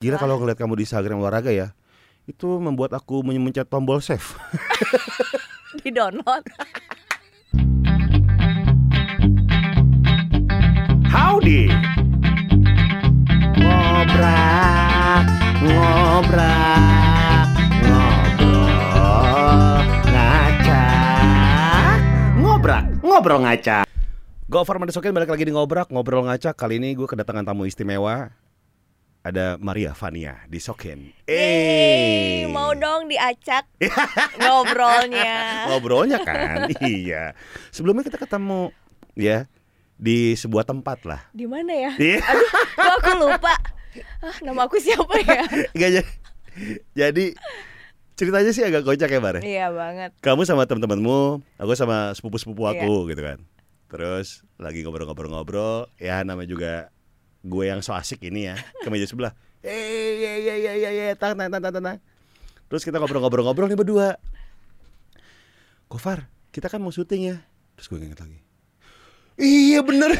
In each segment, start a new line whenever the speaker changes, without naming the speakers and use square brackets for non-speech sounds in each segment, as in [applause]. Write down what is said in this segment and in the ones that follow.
Gila
Wah.
kalau ngeliat kamu di Instagram olahraga ya, itu membuat aku men- mencet tombol save. [laughs]
[laughs] di download.
Howdy. Ngobrak, ngobrak, ngobrol, ngacak, ngobrak, ngobrol ngacak. Go over Sokin balik lagi di ngobrak, ngobrol ngacak. Kali ini gue kedatangan tamu istimewa. Ada Maria Fania di Sokin. Eh,
Yeay, mau dong
[laughs]
diacak ngobrolnya.
ngobrolnya kan iya sebelumnya kita ketemu ya di sebuah tempat lah
Di mana ya?
iya
Kok aku lupa. Ah, nama aku siapa
[laughs]
ya?
nggak Iya. jadi jadi ceritanya sih agak kocak ya bare
iya banget.
kamu sama teman-temanmu aku sama sepupu-sepupu
Iya.
aku gitu kan terus lagi ngobrol-ngobrol-ngobrol ya nama juga gue yang so asik ini ya ke meja sebelah eh ya ya ya ya ya tang tang tang tang tang terus kita ngobrol-ngobrol-ngobrol nih berdua Kofar kita kan mau syuting ya terus gue inget lagi iya bener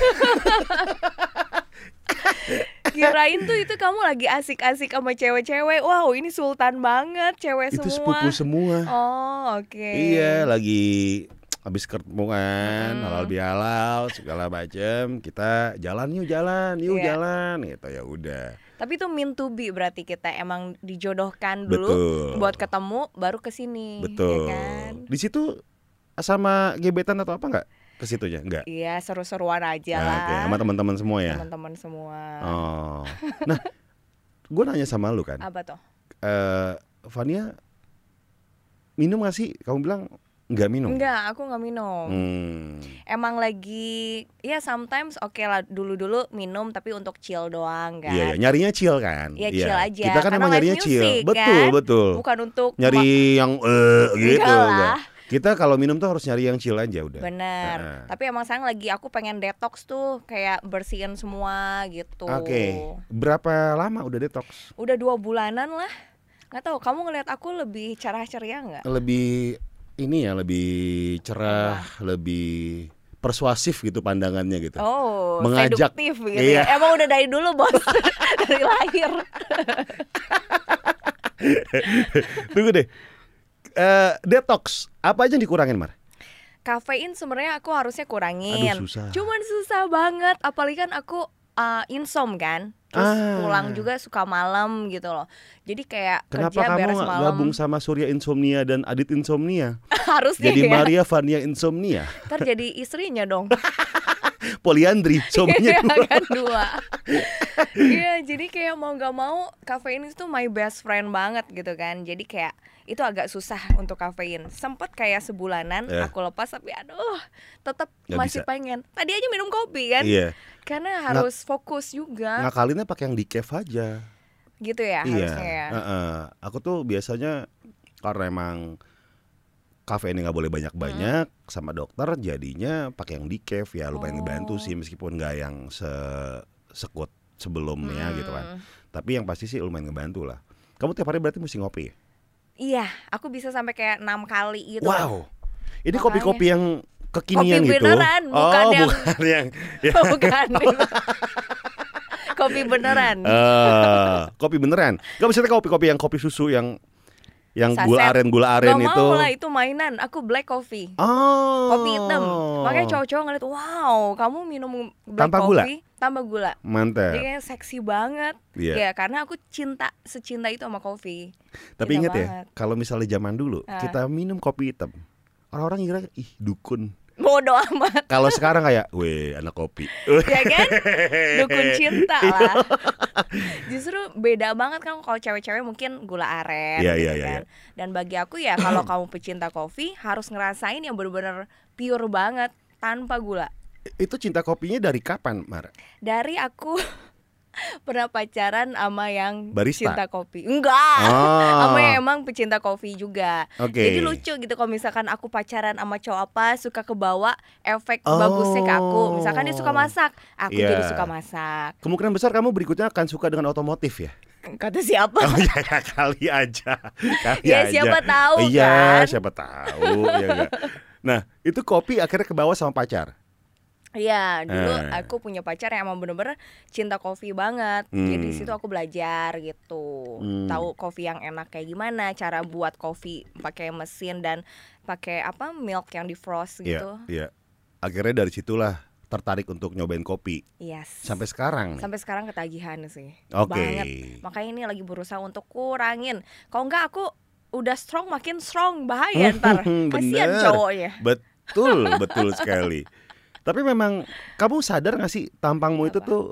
Kirain tuh itu kamu lagi asik-asik sama cewek-cewek. Wow, ini sultan banget cewek
itu
semua.
sepupu semua
Oh, oke.
Iya, lagi habis ketemuan,
Mm.
halal bihalal segala macem kita jalan yuk jalan yuk
Iya. kan?
jalan gitu ya udah
Tapi itu mean to be berarti kita emang dijodohkan dulu
betul
buat ketemu baru ke sini.
betul
Ya kan?
di situ sama gebetan atau apa nggak ke situnya nggak
Iya, seru-seruan aja
Nah,
lah.
oke, sama teman-teman semua ya
Teman-teman semua.
oh nah gue nanya sama lu kan
Apa tuh?
eh Fania minum gak sih kamu bilang nggak minum
Enggak, aku nggak minum.
Hmm.
Emang lagi ya sometimes oke lah dulu-dulu minum tapi untuk chill doang kan.
Iya, iya, nyarinya chill kan.
Iya, chill aja.
Kita kan
Karena
emang
live
nyarinya chill.
music,
Betul,
kan?
betul.
Bukan untuk
nyari yang eh gitu
Enggak lah.
enggak. Kita kalau minum tuh harus nyari yang chill aja udah.
Bener.
Heeh.
Tapi emang sekarang lagi aku pengen detox tuh kayak bersihin semua gitu.
Oke. Berapa lama udah detox?
Udah dua bulanan lah. Nggak tahu kamu ngelihat aku lebih cerah ceria nggak?
Lebih ini ya, lebih cerah, lebih persuasif gitu pandangannya gitu.
Oh,
Mengajak. Iya.
seduktif gitu. ya. Emang udah dari dulu bos dari lahir.
[laughs] Tunggu deh. Eh detox, apa aja yang dikurangin, Mar?
Kafein sebenarnya aku harusnya kurangin.
Aduh, susah.
Cuman susah banget, apalagi kan aku uh, insom kan, terus
Ah.
pulang juga suka malam gitu loh. Jadi kayak
Kenapa
kerja
kamu
beres
nggak
malam [laughs]
gabung sama Surya Insomnia dan Adit Insomnia?
harusnya
Jadi
ya.
Maria Vania Insomnia,
Ntar jadi istrinya dong.
[laughs]
[laughs]
Poliandri, suaminya
Iya
dua.
kan dua. [laughs] Iya, jadi kayak mau nggak mau kafein itu my best friend banget gitu kan. Jadi kayak itu agak susah untuk kafein. Sempet kayak sebulanan
Eh.
aku lepas tapi aduh, tetap
Nggak
masih
bisa.
pengen. Tadi aja minum kopi kan.
Iya.
Karena harus fokus juga
Ngakalinnya pakai yang di cave aja.
gitu
Iya.
ya harusnya ya.
heeh. Aku tuh biasanya karena emang kafein nggak boleh banyak-banyak
Hmm.
sama dokter jadinya pakai yang di cave ya lumayan
Oh.
ngebantu sih meskipun nggak yang se sekut sebelumnya gitu kan.
Hmm.
Tapi yang pasti sih lumayan ngebantu lah. Kamu tiap hari berarti mesti ngopi. ya?
Iya, aku bisa sampai kayak enam kali gitu.
Wow. Ini
Makanya.
kopi-kopi yang kekinian
Kopi
gitu.
beneran, bukan
oh,
yang-
bukan yang ya.
[laughs] Bukan. [laughs] Kopi beneran.
Eh, kopi beneran. Gak maksudnya kopi-kopi yang kopi susu yang yang gula
Saset.
aren gula
Gak
aren itu.
mau lah itu mainan. Aku black coffee.
Oh.
Kopi hitam. Makanya cowok-cowok ngeliat, wow, kamu minum black
Tanpa gula?
coffee tambah gula. Jadi
Mantap.
kayak seksi banget.
Iya.
Ya, karena aku cinta secinta itu sama kopi.
Tapi
Cinta
ingat ya,
banget.
kalau misalnya zaman dulu
Ah.
kita minum kopi hitam, orang-orang kira ih dukun.
Bodoh [laughs]
[laughs]
amat,
Kalau sekarang kayak, weh anak kopi. [laughs]
ya kan? Dukun
Iya.
cinta lah. Justru beda banget kan kalau cewek-cewek mungkin gula aren
Iya,
gitu
iya, iya,
kan. Dan bagi aku
[clears throat]
ya kalau kamu pecinta kopi harus ngerasain yang bener-bener pure banget tanpa gula.
Itu cinta kopinya dari kapan, Mar?
Dari aku [laughs] pernah pacaran sama yang
Barista?
cinta kopi. Enggak.
Oh.
Ah, Sama yang emang pecinta kopi juga.
Oke.
Jadi lucu gitu kalau misalkan aku pacaran sama cowok apa suka kebawa efek
Oh.
bagusnya ke aku. Misalkan dia suka masak, aku
Iya.
jadi suka masak.
Kemungkinan besar kamu berikutnya akan suka dengan otomotif
[laughs]
ya.
Kata siapa?
Oh iya ya, kali aja. Kali
Ya,
aja.
siapa tahu
Iya,
kan?
siapa tahu ya enggak. Nah, itu kopi akhirnya kebawa sama pacar.
Iya, dulu
Eh.
aku punya pacar yang emang bener-bener cinta kopi banget.
Hmm.
Jadi di situ aku belajar gitu,
Hmm.
tahu kopi yang enak kayak gimana, cara buat kopi pakai mesin dan pakai apa milk yang di
Iya,
frost gitu.
iya. Akhirnya dari situlah tertarik untuk nyobain kopi
Yes.
sampai sekarang. nih.
Sampai sekarang ketagihan sih.
Oke.
Banget. Makanya ini lagi berusaha untuk kurangin. Kalau enggak aku udah strong makin strong
[laughs]
bahaya ntar. Kasihan
Bener.
cowoknya.
Betul, betul
[laughs]
sekali. Tapi memang kamu sadar gak sih tampangmu itu
Apa?
tuh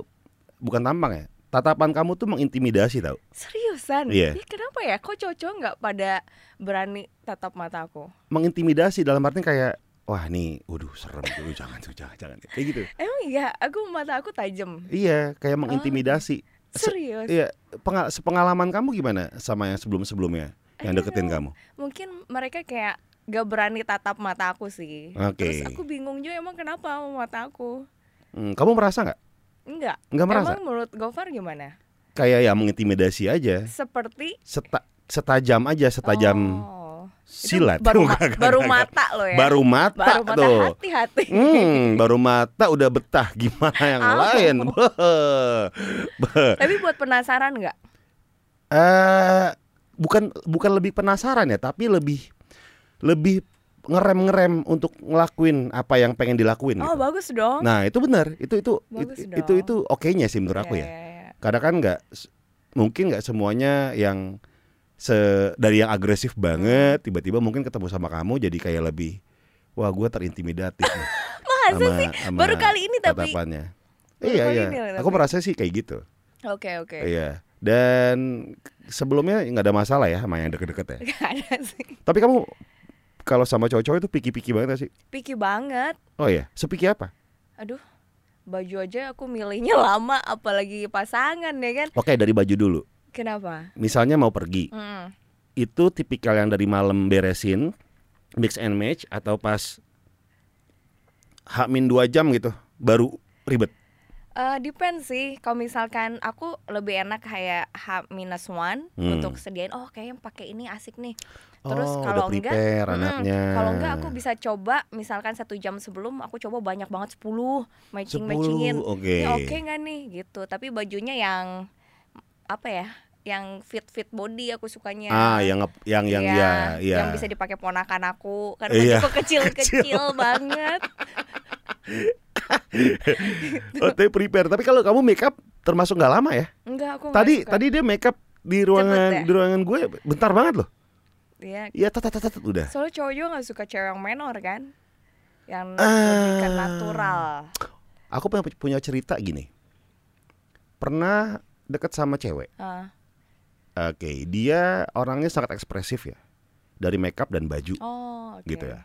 bukan tampang ya? Tatapan kamu tuh mengintimidasi tau.
Seriusan?
Iya.
Ya, kenapa ya? Kok cowok-cowok nggak pada berani tatap mata aku?
Mengintimidasi dalam artian kayak wah nih, waduh serem tuh, [laughs] jangan tuh, jangan, jangan. Kayak gitu.
Emang iya, aku mata aku tajam.
Iya, kayak
Oh,
mengintimidasi. Se-
Serius.
Iya, pengal- sepengalaman kamu gimana sama yang sebelum-sebelumnya?
I don't
Yang deketin
know.
kamu.
Mungkin mereka kayak gak berani tatap mata aku sih.
Oke.
Terus aku bingung juga emang kenapa sama mata aku?
Hmm, kamu merasa nggak?
Enggak.
Nggak merasa?
Emang menurut Gofar gimana?
Kayak ya mengintimidasi aja.
Seperti
Seta- setajam aja, setajam
Oh. Itu
silat. [laughs]
Baru, ma-
Nggak, nggak,
baru
nggak, nggak.
mata lo ya.
Baru mata,
Baru mata
tuh.
hati-hati.
Hmm, baru mata udah betah [laughs] gimana yang
Ah.
lain? [laughs]
Tapi buat penasaran nggak?
Eh, bukan bukan lebih penasaran ya, tapi lebih lebih ngerem-ngerem untuk ngelakuin apa yang pengen dilakuin
Oh,
gitu.
bagus dong.
Nah, itu benar. Itu itu
Bagus
itu,
dong.
itu itu okenya sih menurut aku ya.
Iya, iya, iya.
Kadang kan nggak s- mungkin nggak semuanya yang se dari yang agresif banget tiba-tiba mungkin ketemu sama kamu jadi kayak lebih wah gue terintimidatif nih
[laughs] Masa
sama, sama
Baru kali ini tapi.
tatapannya.
Baru
Iya
kali
iya.
ini loh,
Aku
tapi.
merasa sih kayak gitu.
Oke, oke.
Iya. Dan sebelumnya nggak ada masalah ya sama yang deket-deket ya.
[laughs] Nggak ada sih.
Tapi kamu kalau sama cowok-cowok itu piki-piki banget gak sih?
Picky banget.
Oh iya, sepiki apa?
aduh baju aja aku milihnya [laughs] lama apalagi pasangan ya kan
Oke dari baju dulu.
kenapa
Misalnya mau pergi,
Mm.
itu tipikal yang dari malam beresin, mix and match atau pas hamin dua jam gitu, baru ribet.
Eh, depends sih kalau misalkan aku lebih enak kayak H minus one
Hmm.
untuk sediain oh kayaknya pakai ini asik nih Terus
oh,
kalau
udah prepare
Mm-mm.
anaknya.
kalau enggak aku bisa coba misalkan satu jam sebelum aku coba banyak banget 10 matching matchingin
Sepuluh, oke.
ini oke nggak nih gitu tapi bajunya yang apa ya yang fit fit body aku sukanya
Ah, yang nge- yang yang
Iya,
ya, ya.
yang bisa dipakai ponakan aku kan
Iya,
bajuku
[laughs]
kecil-kecil [laughs] banget
Oh, tapi prepare. Tapi kalau kamu makeup termasuk nggak lama ya?
enggak aku nggak
tadi
suka.
tadi dia makeup di ruangan
Cepet ya?
di ruangan gue bentar banget loh
Iya.
ya tat tat tat, tat, udah
soalnya cowok juga nggak suka cewek yang menor kan yang
Ah.
lebih ke natural
aku punya punya cerita gini pernah deket sama cewek
Ah,
oke dia orangnya sangat ekspresif ya dari makeup dan baju
oh oke
gitu ya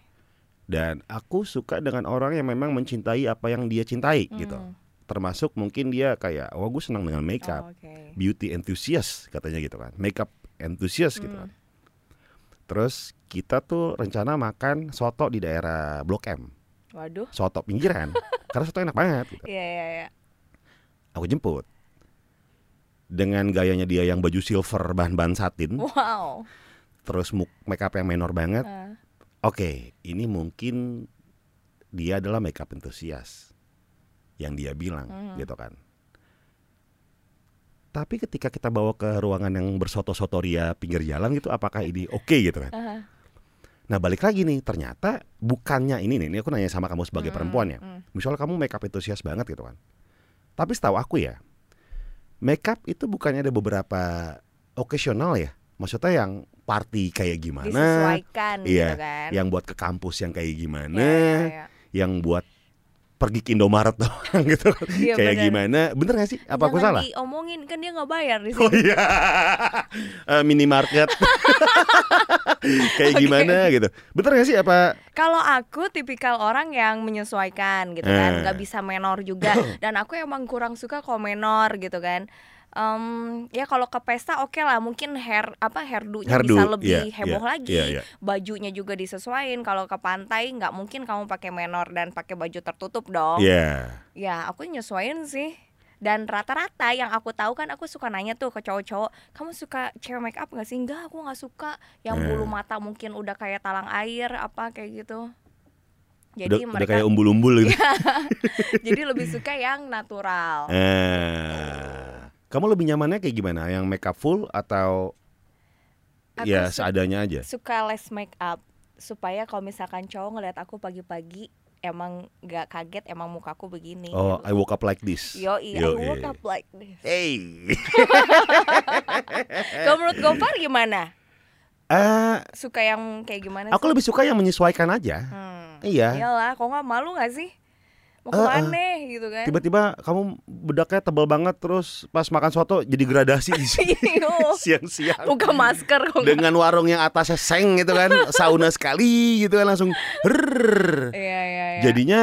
dan aku suka dengan orang yang memang mencintai apa yang dia cintai gitu
Hmm.
termasuk mungkin dia kayak wah gue senang dengan makeup
Oh, oke
beauty enthusiast katanya gitu kan makeup enthusiast gitu
Hmm.
kan terus kita tuh rencana makan soto di daerah blok M
waduh
soto
[laughs]
pinggiran karena soto enak banget gitu.
iya iya iya
aku jemput dengan gayanya dia yang baju silver bahan-bahan satin
Oh. wow
terus muk- make up yang menor banget
Ah.
oke ini mungkin dia adalah make up entusias yang dia bilang
Mhm.
gitu kan tapi ketika kita bawa ke ruangan yang bersoto-soto ria pinggir jalan gitu apakah ini oke gitu kan
Ah.
nah balik lagi nih ternyata bukannya ini nih ini aku nanya sama kamu sebagai
Mm,
perempuan ya
mm.
Misalnya kamu makeup entusias banget gitu kan. Tapi setahu aku ya, makeup itu bukannya ada beberapa occasional ya. Maksudnya yang party kayak gimana,
disesuaikan
Iya, Nah,
gitu kan
yang buat ke kampus yang kayak gimana,
Iya, iya, iya.
yang buat pergi ke Indomaret doang [laughs] gitu. kan.
Iya,
kayak
benar.
gimana? Bener gak sih? Apa aku salah?
Jangan diomongin kan dia nggak bayar di
[laughs] Oh
sini
iya. [laughs] Eh, minimarket. [laughs] kayak
Oke.
gimana gitu. Bener gak sih apa?
Kalau aku tipikal orang yang menyesuaikan gitu
Eh.
kan, nggak bisa menor
[coughs]
juga. Dan aku emang kurang suka kalau menor gitu kan. Em, ya kalau ke pesta oke lah, mungkin hair apa hairdo-nya
Hairdo,
bisa lebih
iya,
heboh
iya,
lagi,
iya, iya.
bajunya juga disesuaikan. Kalau ke pantai nggak mungkin kamu pakai menor dan pakai baju tertutup dong.
Ya.
Ya aku nyesuaiin sih. Dan rata-rata yang aku tahu kan aku suka nanya tuh ke cowok-cowok, kamu suka cewek make up nggak sih? Enggak, aku nggak suka. Yang bulu
Eh.
mata mungkin udah kayak talang air apa kayak gitu.
udah,
Jadi
udah
mereka Iya.
kayak umbul-umbul
[laughs]
gitu.
jadi lebih suka yang natural.
Eh, kamu lebih nyamannya kayak gimana? Yang make up full atau
Aku
ya
su-
seadanya aja?
suka les make up supaya kalau misalkan cowok ngeliat aku pagi-pagi emang nggak kaget emang mukaku begini.
Oh, I woke up like this.
Yo, I
Yoi.
woke up like this.
Hey. [laughs]
Kalau menurut Gopar gimana?
Eh,
Suka yang kayak gimana
aku
sih?
lebih suka yang menyesuaikan aja.
Hmm.
Iya.
Iyalah, kok nggak malu nggak sih? Mau
Eh, eh.
kemana gitu kan?
Tiba-tiba kamu bedaknya tebal banget terus pas makan soto jadi gradasi
[laughs]
isi-
[laughs] Iyo,
siang-siang.
Iya. Buka masker kok nggak-
Dengan warung yang atasnya seng gitu kan, sauna sekali gitu kan langsung. "Rrrr."
Iya, iya, iya.
Jadinya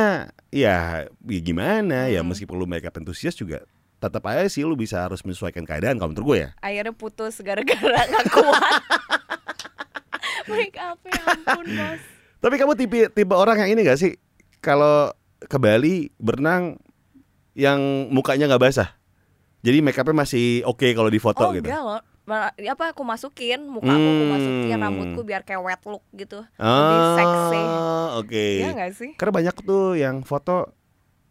ya, ya gimana ya
Hmm.
meskipun lu makeup antusias juga tetap aja sih lu bisa harus menyesuaikan keadaan kalau menurut gue ya.
akhirnya putus gara-gara [laughs] nggak kuat. Make up ya ampun, Bos.
Tapi kamu tipe tipe orang yang ini gak sih kalau ke Bali berenang yang mukanya nggak basah. Jadi makeupnya masih oke kalau di foto
oh,
gitu.
enggak loh. Malah- apa aku masukin muka aku, aku masukin
Hmm.
rambutku biar kayak wet look gitu. Lebih
Ah,
seksi.
oke.
Iya nggak sih?
Karena banyak tuh yang foto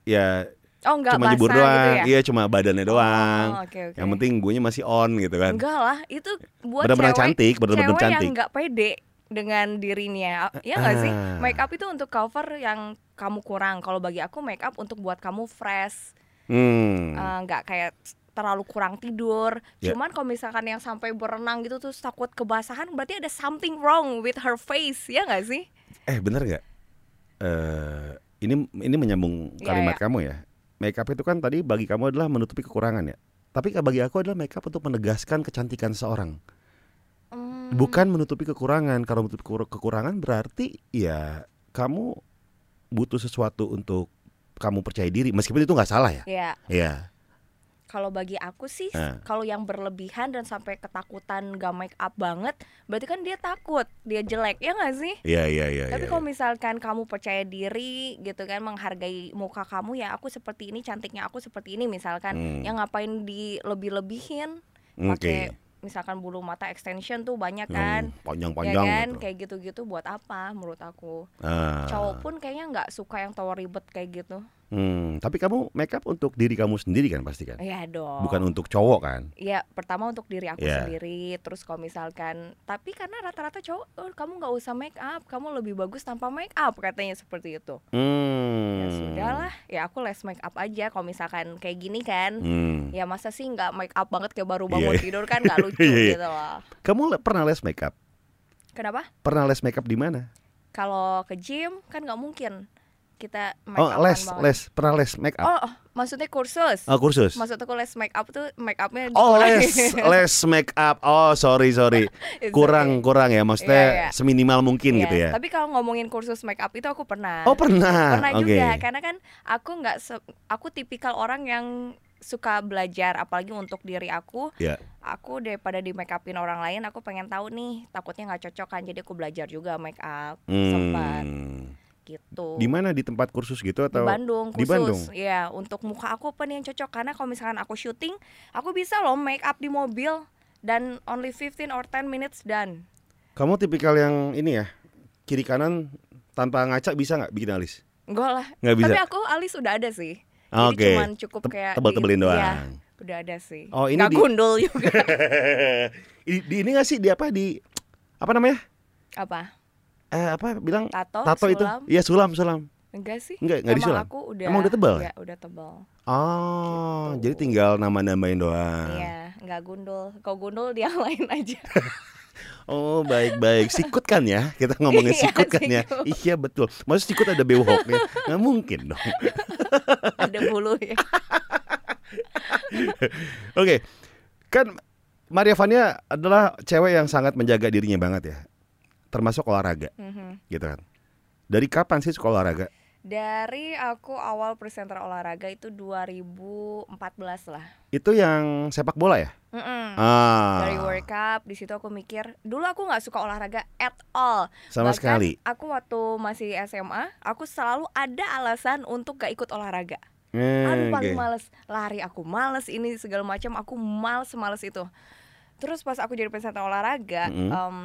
ya
Oh, enggak
cuma nyebur
basah
doang.
gitu ya.
Iya cuma badannya doang.
Oh, oke, oke.
Yang penting guenya masih on gitu kan.
Enggak lah, itu buat
Bener-bener
cewek,
cantik, bener-bener
cewek yang
cantik.
nggak pede dengan dirinya. Ya nggak sih?
Ah.
Make up itu untuk cover yang kamu kurang. Kalau bagi aku make up untuk buat kamu fresh,
Hmm.
eh, nggak kayak terlalu kurang tidur.
Ya.
Cuman kalau misalkan yang sampai berenang gitu terus takut kebasahan, berarti ada something wrong with her face, ya nggak sih?
Eh bener nggak? Eh ini ini menyambung
Iya,
kalimat kamu ya. Makeup itu kan tadi bagi kamu adalah menutupi kekurangan ya. Tapi bagi aku adalah makeup untuk menegaskan kecantikan seorang,
Hmm.
bukan menutupi kekurangan. Kalau menutupi kekur- kekurangan berarti ya kamu butuh sesuatu untuk kamu percaya diri. Meskipun itu nggak salah ya.
Ya,
Iya.
kalau bagi aku sih,
Ah.
kalau yang berlebihan dan sampai ketakutan gak make up banget, berarti kan dia takut, dia jelek, ya nggak sih?
Iya iya iya.
Tapi
iya,
kalau misalkan kamu percaya diri gitu kan menghargai muka kamu ya aku seperti ini cantiknya aku seperti ini misalkan
Hmm.
yang ngapain dilebih-lebihin
iya. Oke.
pakai misalkan bulu mata extension tuh banyak kan
Yang panjang-panjang
ya kan
Hmm, gitu.
kayak gitu-gitu buat apa menurut aku
Ah.
cowok pun kayaknya nggak suka yang tawa ribet kayak gitu
Hmm, tapi kamu makeup untuk diri kamu sendiri kan pasti kan?
ya dong
Bukan untuk cowok kan?
Ya pertama untuk diri aku
Ya.
sendiri Terus kalau misalkan Tapi karena rata-rata cowok "Oh, Kamu nggak usah make up Kamu lebih bagus tanpa make up Katanya seperti itu
Hmm.
Ya sudah lah Ya aku les make up aja Kalau misalkan kayak gini kan
Hmm.
Ya masa sih nggak make up banget Kayak baru
Iya,
bangun
iya.
tidur kan
[laughs]
nggak lucu
Iya, iya.
gitu loh
Kamu le- pernah les makeup?
Kenapa?
Pernah les makeup di mana?
Kalau ke gym kan nggak mungkin Kita make
Oh,
up
les, les, pernah les makeup.
Oh oh, maksudnya kursus
Oh, kursus.
Maksud aku les make up tuh make upnya
Oh,
dikurangin. [laughs]
les, les makeup. Oh, sorry, sorry.
It's
Kurang, kurang ya,
Iya,
maksudnya
iya.
seminimal
okay.
mungkin
Iya,
gitu ya.
Tapi kalau ngomongin kursus make up itu aku pernah
Oh, pernah.
pernah
Oke.
juga karena kan aku nggak se- aku tipikal orang yang suka belajar apalagi untuk diri aku
Ya.
aku daripada di make upin orang lain aku pengen tahu nih takutnya nggak cocok kan jadi aku belajar juga make up sempat
Hmm.
gitu
Di mana di tempat kursus gitu
Di
atau?
Bandung
di
khusus
Bandung?
ya untuk muka aku apa nih yang cocok karena kalau misalkan aku syuting aku bisa loh make up di mobil dan only 15 or 10 minutes done
Kamu tipikal yang ini ya, kiri kanan tanpa ngaca bisa nggak bikin alis?
enggak lah
Nggak bisa.
tapi aku alis udah ada sih jadi
Oke.
cuman cukup
Te-
kayak
Tebel-tebelin
di-
doang.
iya, udah ada sih
Oh, ini
nggak
di-
gundul juga
[laughs] di, di ini nggak sih di apa di apa namanya?
apa
Eh, apa bilang
tato,
tato itu?
Oh, sulam?
Iya sulam sulam.
enggak sih
Enggak, enggak
Emang
disulam?
aku udah
Emang udah tebal
ya udah tebal
Oh,
Gitu.
jadi tinggal nama namain doang.
iya nggak gundul kau gundul dia yang [laughs] lain aja
Oh baik baik sikut kan ya kita ngomongin
Iya,
sikut kan ya
sikut.
iya betul maksud sikut ada bewoknya nggak mungkin dong oke
ada bulu ya
kan Maria Vania adalah cewek yang sangat menjaga dirinya banget ya termasuk olahraga
Mhm.
gitu kan dari kapan sih suka olahraga
dari aku awal presenter olahraga itu 2014 lah
itu yang sepak bola ya
Mm-mm.
ah
Hmm. dari World Cup di situ aku mikir dulu aku nggak suka olahraga at all
sama
Bahkan
sekali
aku waktu masih SMA aku selalu ada alasan untuk gak ikut olahraga
Eh,
Aduh paling
oke.
males Lari aku males Ini segala macam Aku males males itu Terus pas aku jadi peserta olahraga
Mm-mm.
kan, em,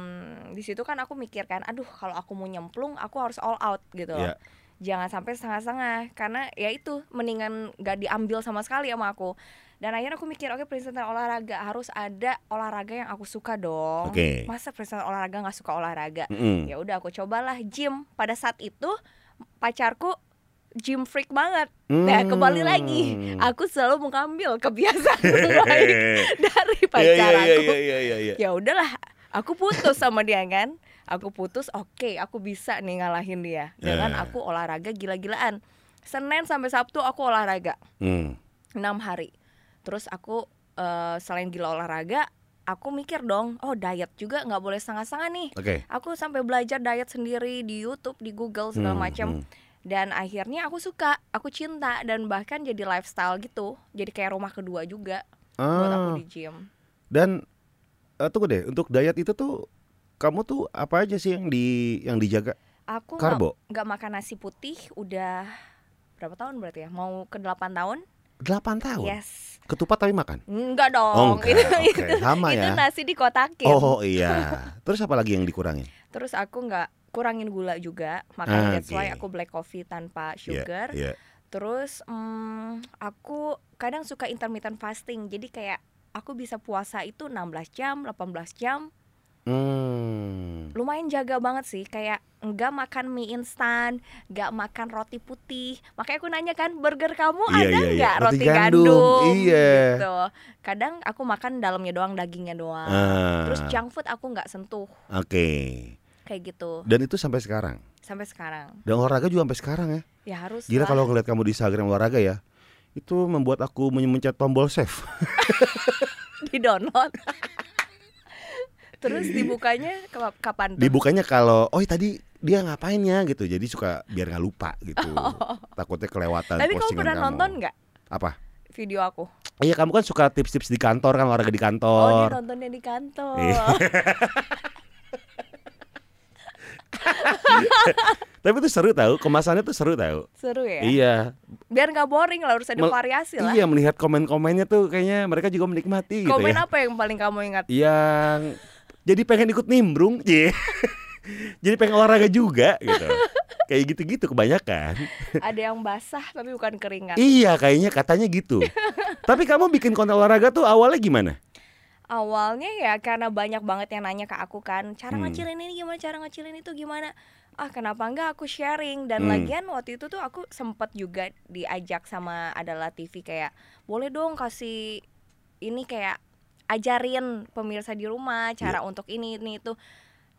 di situ kan aku mikirkan Aduh kalau aku mau nyemplung Aku harus all out gitu loh
Iya.
jangan sampai setengah-setengah karena ya itu mendingan gak diambil sama sekali sama aku dan akhirnya aku mikir oke presenter olahraga harus ada olahraga yang aku suka dong
Oke.
masa presenter olahraga nggak suka olahraga
Mm-mm.
ya udah aku cobalah gym pada saat itu pacarku gym freak banget nah
Hmm.
kembali lagi
[laughs]
aku selalu mengambil kebiasaan baik dari
Iya, iya,
pacar aku
iya, iya, iya, iya.
ya udahlah aku putus sama dia kan aku putus oke aku bisa nih ngalahin dia dengan
Eh.
aku olahraga gila-gilaan Senin sampai Sabtu aku olahraga
Hmm.
enam hari terus aku eh, selain gila olahraga aku mikir dong oh diet juga nggak boleh setengah-setengah nih
Oke.
aku sampai belajar diet sendiri di YouTube di Google segala
Hmm,
macam
hmm.
dan akhirnya aku suka aku cinta dan bahkan jadi lifestyle gitu jadi kayak rumah kedua juga buat aku
Ah,
di gym
dan eh, tunggu deh, untuk diet itu tuh kamu tuh apa aja sih yang di yang dijaga?
aku nggak
Karbo.
nggak makan nasi putih udah berapa tahun berarti ya mau ke 8 tahun
8 tahun.
yes
Ketupat tapi makan.
enggak
Oh,
[laughs] dong
enggak. Oke, sama
Iya. itu
ya.
nasi dikotakin
Oh iya. Terus apa lagi yang dikurangin?
terus aku nggak kurangin gula juga makanya
Ah,
that's why
oke.
aku black coffee tanpa sugar
Iya.
terus mm, aku kadang suka intermittent fasting jadi kayak aku bisa puasa itu 16 jam 18 jam
Hmm.
lumayan jaga banget sih kayak nggak makan mie instan, nggak makan roti putih. Makanya aku nanya kan burger kamu
Iya,
ada
iya, iya.
nggak
Roti
roti,
gandum,
gandum?
iya.
Gitu. Kadang aku makan dalamnya doang, dagingnya doang.
Ah,
Terus
Oke.
junk food aku nggak sentuh kayak gitu
Dan itu sampai sekarang.
sampai sekarang.
Dan olahraga juga sampai sekarang ya.
Ya harus.
Gila
lah.
kalau ngeliat kamu di Instagram olahraga ya. Itu membuat aku men- mencet tombol save. [laughs]
di download. [laughs] Terus dibukanya ke- kapan? tuh?
Dibukanya kalau oh tadi dia ngapain ya gitu. Jadi suka biar nggak lupa
[laughs]
gitu. Takutnya kelewatan
Oh. Tapi kamu
postingan
pernah nonton nggak
Apa?
video aku?
Iya, kamu kan suka tips-tips di kantor kan olahraga di
Oh, dia
kantor.
nontonnya Oh, di kantor.
Iya. [laughs] Tapi itu seru tahu, kemasannya tuh seru tahu.
[laughs] Seru ya.
Iya.
Biar nggak boring lah harus ada
Mel-
variasi lah.
Iya, melihat komen-komennya tuh kayaknya mereka juga menikmati gitu
Komen
ya.
apa yang paling kamu ingat?
Yang jadi pengen ikut nimbrung, Cie. jadi pengen olahraga juga gitu. Kayak gitu-gitu kebanyakan.
Ada yang basah tapi bukan keringat.
Iya, kayaknya katanya gitu. Tapi kamu bikin konten olahraga tuh awalnya gimana?
Awalnya ya karena banyak banget yang nanya ke aku kan, cara
Hmm.
ngecilin ini gimana, cara ngecilin itu gimana. Ah kenapa enggak aku sharing dan
Hmm.
lagian waktu itu tuh aku sempet juga diajak sama adalah TV kayak boleh dong kasih ini kayak ajarin pemirsa di rumah
Iya.
cara untuk ini ini itu.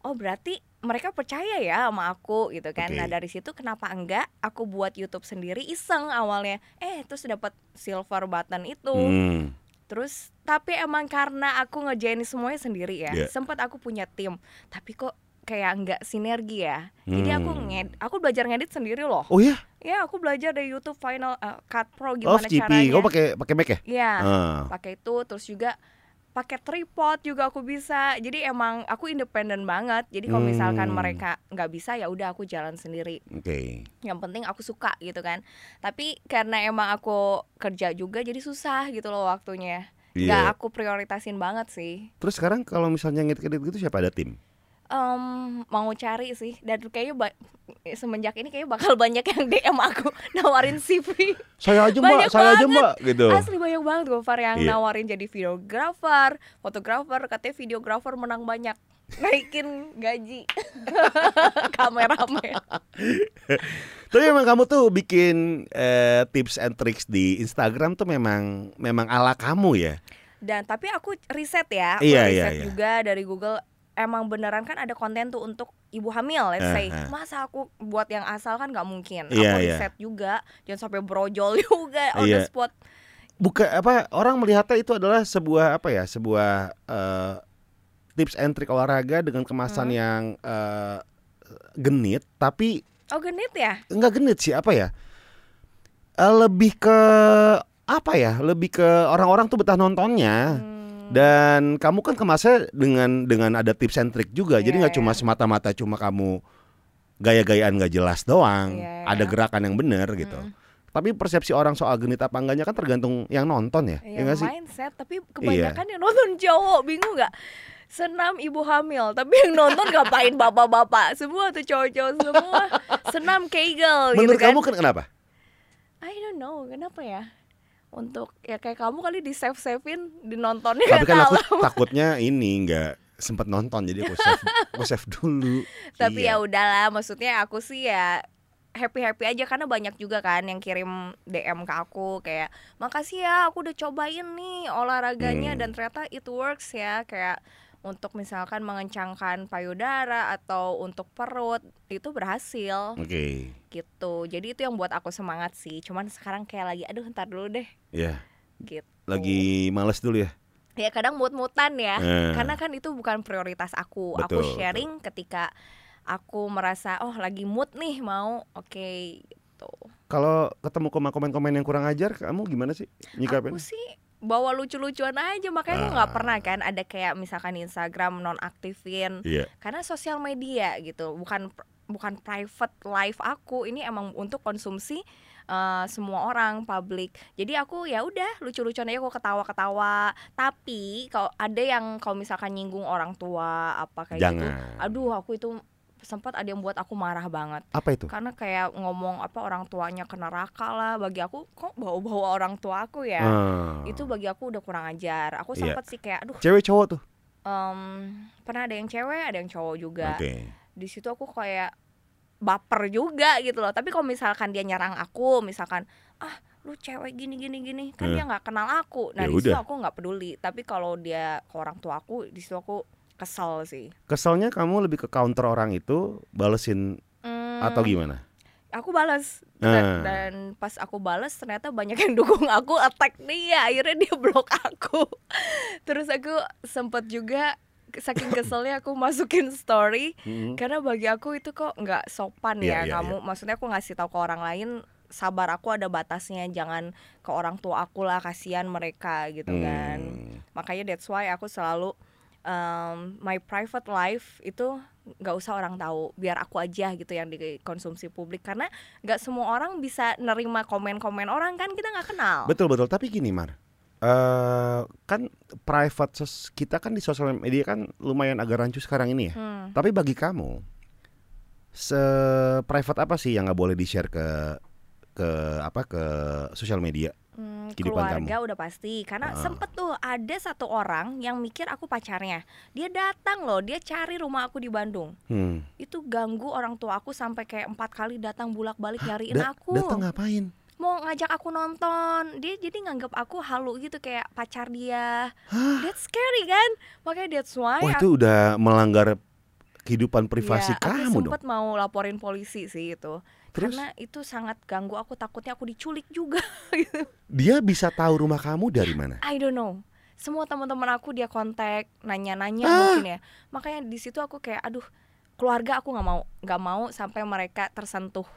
Oh berarti mereka percaya ya sama aku gitu kan.
Oke.
Nah dari situ kenapa enggak aku buat YouTube sendiri iseng awalnya. Eh terus dapat silver button itu.
Hmm.
Terus tapi emang karena aku ngejain semuanya sendiri ya.
Iya.
Sempat aku punya tim, tapi kok kayak nggak sinergi ya. Jadi aku
Hmm.
nged, aku belajar ngedit sendiri loh.
Oh ya,
Ya aku belajar dari YouTube Final eh, Cut
oh
Pro gimana
GP.
caranya.
Kamu pakai pakai Mac ya?
Iya,
Ah.
pakai itu terus juga pakai tripod juga aku bisa. Jadi emang aku independen banget. Jadi kalau misalkan
Hmm.
mereka nggak bisa ya udah aku jalan sendiri
Oke.
yang penting aku suka gitu kan tapi karena emang aku kerja juga jadi susah gitu loh waktunya
Iya.
nggak aku prioritasin banget sih
Terus sekarang kalau misalnya ngedit-ngedit gitu siapa ada tim?
Em, mau cari sih dan kayaknya ba- semenjak ini kayaknya bakal [laughs] banyak yang DM aku [laughs] nawarin CV
Saya aja mbak,
Banyak
saya aja mbak gitu.
asli banyak banget gue Far yang
Iya.
nawarin jadi videographer fotografer katanya videographer menang banyak naikin gaji [laughs] kameramen
Tapi memang kamu tuh bikin eh, tips and tricks di Instagram tuh memang memang ala kamu ya.
dan tapi aku riset ya aku
Iya,
riset
iya, iya.
juga dari Google emang beneran kan ada konten tuh untuk ibu hamil let's say
Aha.
masa aku buat yang asal kan nggak
Ah,
mungkin
Iya,
aku
iya.
riset juga jangan sampai brojol [laughs] juga on
Iya.
the spot
Buka apa orang melihatnya itu adalah sebuah apa ya, sebuah eh, tips and trick olahraga dengan kemasan yang eh, genit, tapi
oh genit ya
enggak genit sih apa ya? Eh, lebih ke apa ya? Lebih ke orang-orang tuh betah nontonnya.
Hmm,
Dan kamu kan kemasnya dengan dengan ada tips and trick juga. jadi
Iya,
nggak cuma
iya.
semata-mata cuma kamu gaya-gayaan nggak jelas doang.
Iya,
Ada
iya.
gerakan yang benar gitu.
Mm.
Tapi persepsi orang soal genit apa enggaknya kan tergantung yang nonton ya.
ya
Ya nggak sih?
mindset tapi kebanyakan yang nonton cowok bingung nggak senam ibu hamil tapi yang nonton ngapain bapak-bapak semua tuh cowok-cowok
[laughs]
semua senam kegel
Menurut
gitu kan
kamu kan
[laughs]
kenapa?
I don't know kenapa ya untuk ya kayak kamu kali di save savein dinontonnya
Tapi
nggak
kan aku
tahu
[laughs] takutnya ini nggak sempat nonton jadi aku save, aku save dulu.
[laughs] [laughs] tapi
Iya.
ya udahlah maksudnya aku sih ya happy happy aja karena banyak juga kan yang kirim DM ke aku kayak makasih ya aku udah cobain nih olahraganya
Hmm.
dan ternyata it works ya kayak untuk misalkan mengencangkan payudara atau untuk perut itu berhasil
Oke.
gitu jadi itu yang buat aku semangat sih cuman sekarang kayak lagi aduh ntar dulu deh
Ya,
gitu
lagi males dulu ya.
ya kadang mut-mutan ya
Eh,
karena kan itu bukan prioritas aku aku
Betul,
sharing ketika aku merasa oh lagi mood nih mau oke gitu
Kalau ketemu koma- komen-komen yang kurang ajar, kamu gimana sih
aku
nyikapin? Ah.
sih bawa lucu-lucuan aja makanya aku nggak pernah kan ada kayak misalkan Instagram nonaktifin
Iya.
karena sosial media gitu bukan bukan private life aku ini emang untuk konsumsi eh, semua orang publik jadi aku ya udah lucu-lucuan aja aku ketawa-ketawa tapi kalau ada yang kalau misalkan nyinggung orang tua apa kayak gitu
Jangan.
aduh aku itu sempat ada yang buat aku marah banget
Apa itu?
karena kayak ngomong apa orang tuanya ke neraka lah bagi aku kok bawa-bawa orang tua aku ya
Ah.
itu bagi aku udah kurang ajar aku
Iya.
sempat sih kayak aduh
cewek cowok tuh.
em, pernah ada yang cewek ada yang cowok juga
Oke.
di situ aku kayak baper juga gitu loh tapi kalau misalkan dia nyerang aku misalkan ah lu cewek gini gini gini
Eh.
kan dia nggak kenal aku nah
Ya
di situ
udah.
aku nggak peduli tapi kalau dia ke orang tua aku di situ aku kesel sih
Keselnya kamu lebih ke counter orang itu, balesin
Hmm.
atau gimana?
aku balas
Ah.
dan, dan pas aku balas ternyata banyak yang dukung aku attack dia akhirnya dia blok aku [laughs] terus aku sempet juga saking keselnya aku masukin story
Mm.
karena bagi aku itu kok nggak sopan
Iya, iya,
ya kamu maksudnya aku ngasih tahu ke orang lain sabar aku ada batasnya jangan ke orang tua aku lah kasihan mereka gitu kan
Hmm.
makanya that's why aku selalu um, my private life itu nggak usah orang tahu biar aku aja gitu yang dikonsumsi publik karena nggak semua orang bisa nerima komen-komen orang kan kita nggak kenal
Betul betul. Tapi gini Mar, Eh, kan private sos- kita kan di sosial media kan lumayan agak rancu sekarang ini ya.
Hmm.
Tapi bagi kamu, se-private apa sih yang nggak boleh di-share ke ke apa ke sosial media?
Hmm,
Kehidupan
keluarga udah pasti
Ah.
karena sempet tuh ada satu orang yang mikir aku pacarnya dia datang loh dia cari rumah aku di Bandung
Hmm.
itu ganggu orang tua aku sampai kayak empat kali datang bolak-balik nyariin
Da-
aku
Datang ngapain?
mau ngajak aku nonton dia jadi nganggap aku halu gitu kayak pacar dia that's scary kan makanya that's why
Wah itu udah melanggar kehidupan
iya. aku-
privasi
ya,
kamu
aku
dong.
sempet mau laporin polisi sih itu
Terus
karena itu sangat ganggu aku takutnya aku diculik juga [laughs] gitu
dia bisa tahu rumah kamu dari mana?
I don't know semua teman-teman aku dia kontak nanya-nanya
Ah.
mungkin ya makanya di situ aku kayak aduh keluarga aku nggak mau nggak mau sampai mereka tersentuh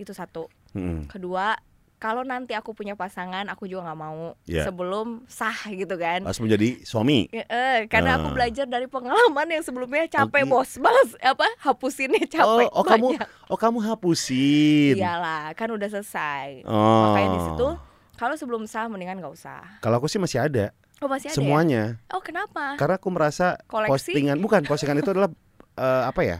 itu satu
Hmm.
kedua kalau nanti aku punya pasangan aku juga nggak mau
Ya.
sebelum sah gitu kan
Harus menjadi suami.
Ya, eh, karena
Ah.
aku belajar dari pengalaman yang sebelumnya capek
Oke.
bos balas apa hapusinnya capek
oh, oh kamu
banyak.
oh kamu hapusin.
iyalah kan udah selesai
Oh.
makanya di situ kalau sebelum sah mendingan nggak usah
Kalau aku sih masih ada
oh masih ada ya?
semuanya
oh kenapa
karena aku merasa
koleksi
postingan bukan postingan itu adalah eh, apa ya?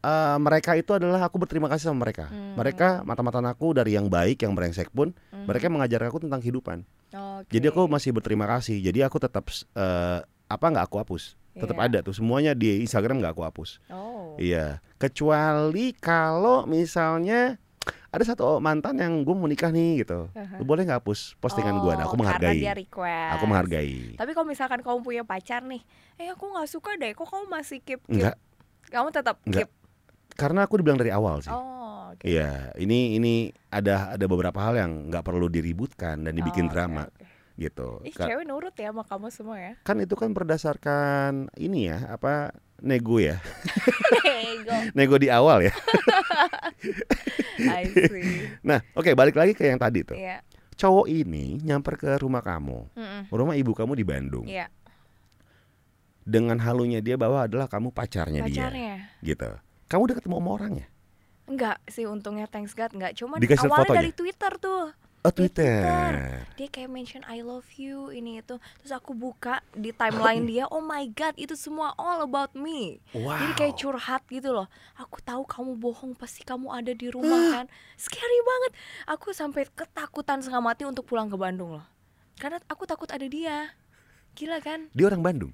Eh, mereka itu adalah aku berterima kasih sama mereka.
Hmm.
Mereka mata-mataan aku dari yang baik, yang brengsek pun,
Mhm.
mereka mengajarkan aku tentang kehidupan.
Oke.
Jadi aku masih berterima kasih. Jadi aku tetap eh, apa nggak aku hapus. Tetap
Iya.
ada tuh semuanya di Instagram nggak aku hapus.
oh
Iya, kecuali kalau misalnya ada satu mantan yang gue mau nikah nih gitu.
Aha.
Lu boleh nggak hapus postingan gue? Nah, aku
Oh, karena
menghargai.
dia request
Aku menghargai.
tapi kalau misalkan kamu punya pacar nih eh aku nggak suka deh kok kamu masih keep keep
Enggak,
kamu tetap
Enggak.
keep
karena aku dibilang dari awal sih.
oh oke
Iya, ini ini ada ada beberapa hal yang nggak perlu diributkan dan dibikin
Oh, oke,
drama
oke.
gitu.
Ih,
Ka-
cewek nurut ya sama kamu semua ya [laughs]
Kan itu kan berdasarkan ini ya apa nego ya, [laughs]
Ego.
nego di awal ya.
I see.
Nah, oke balik lagi ke yang tadi [laughs] tuh.
Iya.
Cowok ini nyamper ke rumah kamu,
Mm-mm.
rumah ibu kamu di Bandung.
Iya.
dengan halunya dia bahwa adalah kamu pacarnya,
Pacarnya.
dia gitu kamu udah ketemu sama orangnya
Enggak sih untungnya thanks God enggak cuman
Dikasih
awalnya
fotonya?
dari Twitter tuh.
Oh,
di
Twitter.
dia kayak mention I love you ini itu terus aku buka di timeline dia oh my god itu semua all about me
Wow.
jadi kayak curhat gitu loh aku tahu kamu bohong pasti kamu ada di
[gasps]
rumah kan scary banget aku sampai ketakutan setengah mati untuk pulang ke Bandung loh karena aku takut ada dia gila kan
Dia orang Bandung.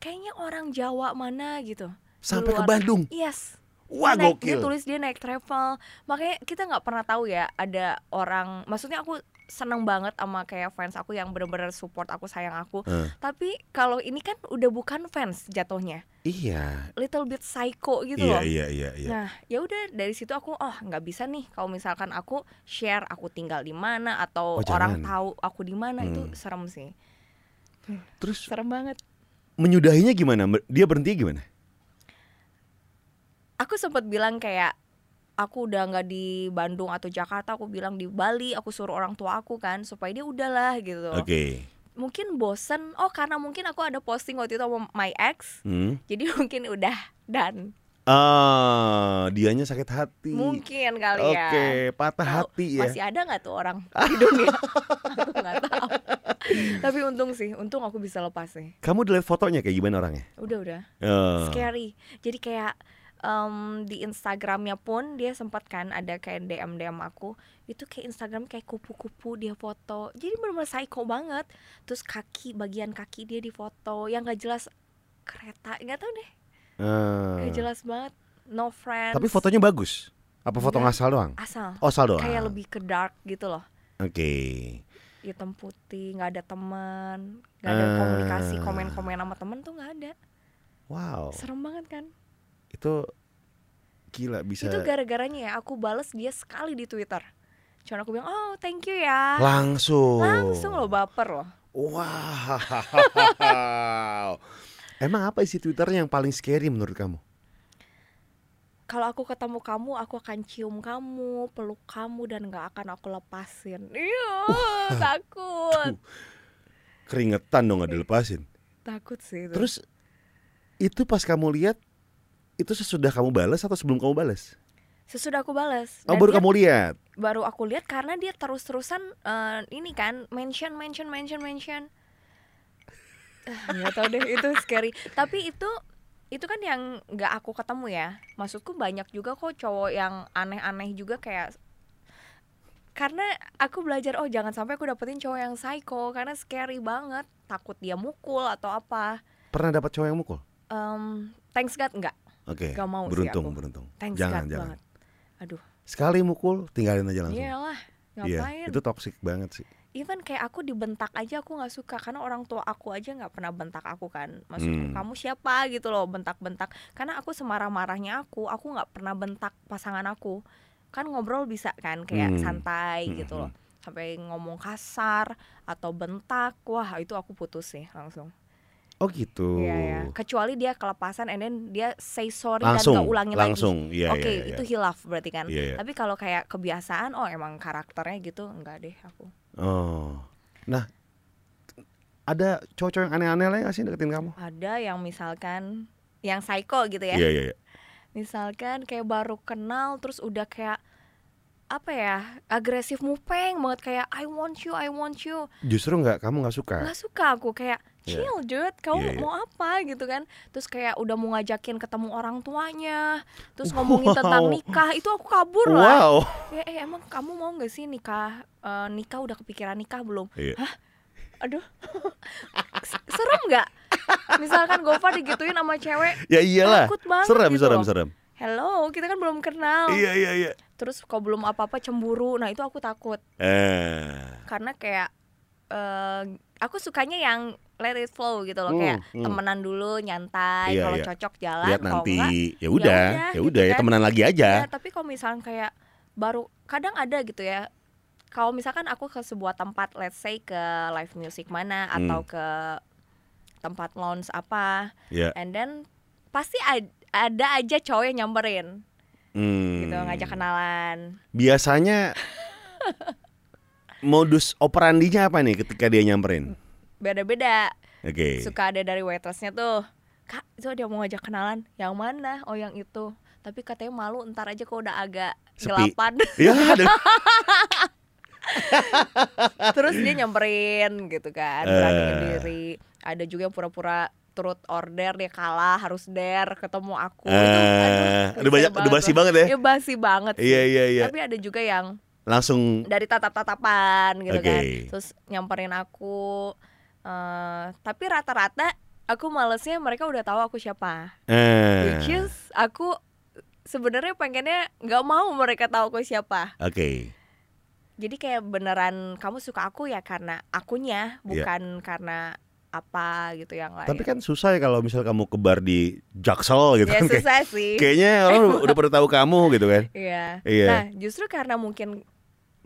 kayaknya orang Jawa mana gitu
Sampai ke
Luar-
Bandung.
yes
Wah,
dia naik, dia
gokil.
tulis dia naik travel makanya kita nggak pernah tahu ya ada orang maksudnya aku seneng banget sama kayak fans aku yang bener-bener support aku sayang aku
Eh.
tapi kalau ini kan udah bukan fans jatuhnya
Iya.
little bit psycho gitu
Iya,
loh
iya, iya, iya.
Nah, ya udah dari situ aku oh nggak bisa nih kalau misalkan aku share aku tinggal di mana atau
Oh,
orang
jangan.
tahu aku di mana itu
Hmm.
serem sih.
Terus
Serem banget.
menyudahinya gimana? Mer- Dia berhenti gimana?
aku sempat bilang kayak aku udah nggak di Bandung atau Jakarta aku bilang di Bali aku suruh orang tua aku kan supaya dia udahlah gitu
Oke.
mungkin bosen oh karena mungkin aku ada posting waktu itu sama my ex
Hmm.
jadi [laughs] mungkin udah dan
Ah, dianya sakit hati.
mungkin kali
Oke,
ya
patah
Tahu,
hati ya.
masih ada nggak tuh orang di
[laughs]
dunia aku nggak tahu tapi untung sih untung aku bisa lepas nih
Kamu dilihat fotonya kayak gimana orangnya?
udah udah
Eh,
scary jadi kayak em, di Instagramnya pun dia sempat kan ada kayak DM DM aku itu kayak Instagram kayak kupu-kupu dia foto jadi benar-benar psycho banget terus kaki bagian kaki dia difoto yang gak jelas kereta nggak tahu deh
eh.
nggak jelas banget no friends
Tapi fotonya bagus. Apa foto
Enggak.
ngasal doang?
asal
Oh, sal doang.
kayak lebih ke dark gitu loh
Oke.
hitam putih nggak ada teman nggak ada
Ah.
komunikasi komen-komen sama temen tuh nggak ada
Wow.
serem banget kan
Itu gila bisa
Itu gara-garanya ya aku bales dia sekali di Twitter. Cuman aku bilang, "Oh, thank you ya."
langsung.
Langsung loh baper loh.
Wow. [laughs] Emang apa isi Twitternya yang paling scary menurut kamu?
Kalau aku ketemu kamu, aku akan cium kamu, peluk kamu dan nggak akan aku lepasin. Iya, takut.
Keringetan dong gak dilepasin.
Takut sih itu.
Terus itu pas kamu lihat itu sesudah kamu balas atau sebelum kamu balas?
sesudah aku balas.
Oh,
Dan
baru
dia-
kamu lihat.
baru aku lihat karena dia terus-terusan eh, ini kan mention mention mention mention. Ah, Nggak tahu deh itu scary. Tapi itu itu kan yang nggak aku ketemu ya. Maksudku banyak juga kok cowok yang aneh-aneh juga kayak karena aku belajar oh jangan sampai aku dapetin cowok yang psycho karena scary banget takut dia mukul atau apa
Pernah dapat cowok yang mukul?
Em, thanks god nggak
Oke.
Gak mau sih
beruntung,
aku.
beruntung.
thanks
jangan,
god
jangan.
banget aduh
Sekali mukul tinggalin aja langsung.
iyalah
Iya,
ngapain
itu toksik banget sih.
even kayak aku dibentak aja aku nggak suka karena orang tua aku aja nggak pernah bentak aku kan
Hmm.
maksudku kamu siapa gitu loh bentak-bentak karena aku semarah-marahnya aku aku nggak pernah bentak pasangan aku kan ngobrol bisa kan kayak
Hmm.
santai
Hmm,
gitu
hmm.
loh sampai ngomong kasar atau bentak wah itu aku putus sih langsung
Oh gitu.
Iya, ya. kecuali dia kelepasan and then dia say sorry
Langsung,
dan nggak ulangi lagi
langsung. Iya,
Oke,
iya, iya.
itu hilaf berarti kan.
Iya, iya.
Tapi kalau kayak kebiasaan, oh emang karakternya gitu, enggak deh aku.
Oh. Nah, ada cowok-cowok yang aneh-aneh lain nggak sih deketin kamu?
ada yang misalkan yang psycho gitu ya.
iya, iya.
Misalkan kayak baru kenal terus udah kayak apa ya agresif mupeng banget kayak I want you I want you
Justru nggak, kamu nggak suka.
nggak suka aku kayak
Nah. Iya.
chill dude kamu
Iya, iya.
mau apa gitu kan terus kayak udah mau ngajakin ketemu orang tuanya
[laughs]
terus ngomongin tentang
Wow.
nikah itu aku kabur lah
Wow.
Ya, eh, emang kamu mau nggak sih nikah Eh, nikah udah kepikiran nikah belum
Iya.
hah aduh [laughs] S- serem nggak misalkan Gofar digituin sama cewek
Ya iyalah.
Takut banget
Serem,
gitu
serem,
loh.
serem.
Hello, kita kan belum kenal.
Iya, iya, iya.
Terus kalau belum apa-apa cemburu. Nah, itu aku takut
Eh.
karena kayak eh aku sukanya yang let it flow gitu loh,
Hmm,
kayak
hmm.
temenan dulu, nyantai,
Iya,
kalau
iya.
cocok jalan,
Lihat
kalau
nanti.
enggak
Ya udah, ya
gitu
udah ya
kan.
temenan lagi
Ya,
aja.
tapi kalau misalnya kayak baru kadang ada gitu ya. Kalau misalkan aku ke sebuah tempat, let's say ke live music mana
Hmm.
atau ke tempat lounge apa,
Ya.
and then pasti ad- ada aja cowok yang nyamperin
Hmm.
gitu ngajak kenalan.
Biasanya modus operandinya apa nih ketika dia nyamperin?
Beda-beda.
Oke. [laughs]
Suka ada dari waitressnya tuh. Kak, itu dia mau ngajak kenalan. Yang mana? Oh, yang itu.
[laughs]
Tapi katanya malu, ntar aja kok udah agak
Sepi.
gelapan.
Ya, aduh.
terus dia nyamperin gitu kan beraniin
Eh.
diri ada juga yang pura-pura turut order dia kalah harus dare ketemu aku Itu,
Eh, aduh
aduh,
banyak
banget
aduh basi
loh.
banget ya.
ya basi banget sih.
Iya iya iya.
tapi ada juga yang
Langsung
dari tatap-tatapan gitu kan
Oke.
terus nyamperin aku eh tapi rata-rata aku malesnya mereka udah tahu aku siapa
eh.
which is aku sebenarnya pengennya nggak mau mereka tahu aku siapa
Oke.
jadi kayak beneran kamu suka aku ya karena akunya bukan karena apa gitu yang lain
Iya. Tapi kan susah ya kalau misal kamu ke bar di Jaksel gitu
ya
kan. Kayak-
susah sih
Kayaknya orang
[laughs]
udah- udah pada tahu kamu gitu kan.
Iya.
Iya.
nah justru karena mungkin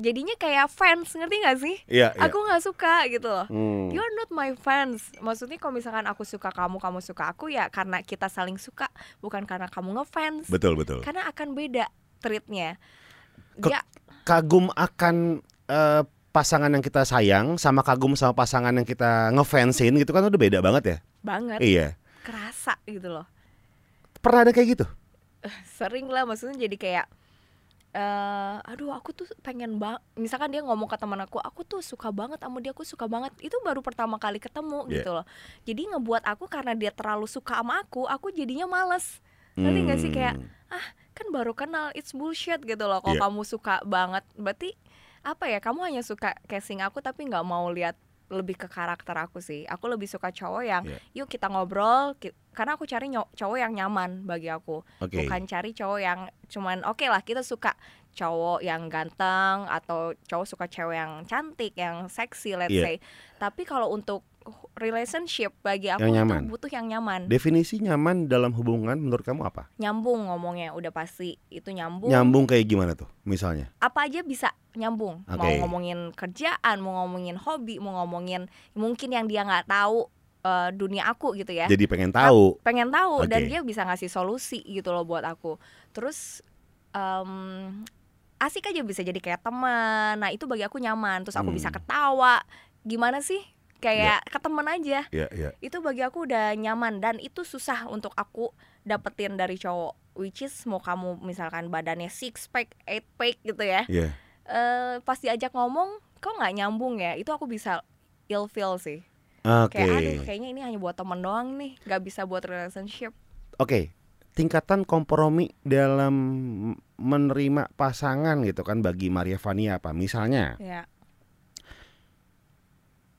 jadinya kayak fans ngerti nggak sih
Iya, iya.
aku nggak suka gitu loh
Hmm.
You're not my fans. Maksudnya kalau misalkan aku suka kamu, kamu suka aku ya karena kita saling suka, bukan karena kamu ngefans.
Betul, betul.
Karena akan beda treatnya.
Ke-
Dia
Kagum akan eh, pasangan yang kita sayang sama kagum sama pasangan yang kita ngefansin gitu kan udah beda banget ya.
banget
Iya.
kerasa gitu loh.
Pernah ada kayak gitu?
Sering lah maksudnya jadi kayak eh aduh aku tuh pengen banget misalkan dia ngomong ke teman aku aku tuh suka banget sama dia aku suka banget itu baru pertama kali ketemu
Iya.
gitu loh jadi ngebuat aku karena dia terlalu suka sama aku aku jadinya males Ngerti nggak sih, kayak-
Hmm.
kan baru kenal it's bullshit gitu loh kalau
Iya.
kamu suka banget berarti apa ya kamu hanya suka casing aku tapi nggak mau lihat lebih ke karakter aku sih aku lebih suka cowok yang
Iya.
yuk kita ngobrol ki- karena aku cari nyo- cowok yang nyaman bagi aku
Oke.
bukan cari cowok yang cuman oke lah kita suka cowok yang ganteng atau cowok suka cewek yang cantik yang seksi let's
Iya.
say tapi kalau untuk relationship bagi aku
Yang
itu
nyaman.
butuh yang nyaman
Definisi nyaman dalam hubungan menurut kamu apa?
nyambung ngomongnya udah pasti itu nyambung
Nyambung kayak gimana tuh misalnya?
apa aja bisa nyambung mau
Oke.
ngomongin kerjaan mau ngomongin hobi mau ngomongin mungkin yang dia nggak tahu eh, dunia aku gitu ya
Jadi pengen tahu.
pengen tahu dan
Oke.
dia bisa ngasih solusi gitu loh buat aku terus em, asik aja bisa jadi kayak teman nah itu bagi aku nyaman terus
Hmm.
aku
Ya.
bisa ketawa gimana sih kayak ke teman aja
Iya, iya.
itu bagi aku udah nyaman dan itu susah untuk aku dapetin dari cowok which is mau kamu misalkan badannya six pack eight pack gitu ya
Iya.
eh pas diajak ngomong kok nggak nyambung ya itu aku bisa ill feel sih
Oke.
kayak aduh kayaknya ini hanya buat temen doang nih nggak bisa buat relationship
Oke, tingkatan kompromi dalam menerima pasangan gitu kan bagi Maria Vania apa? Misalnya
ya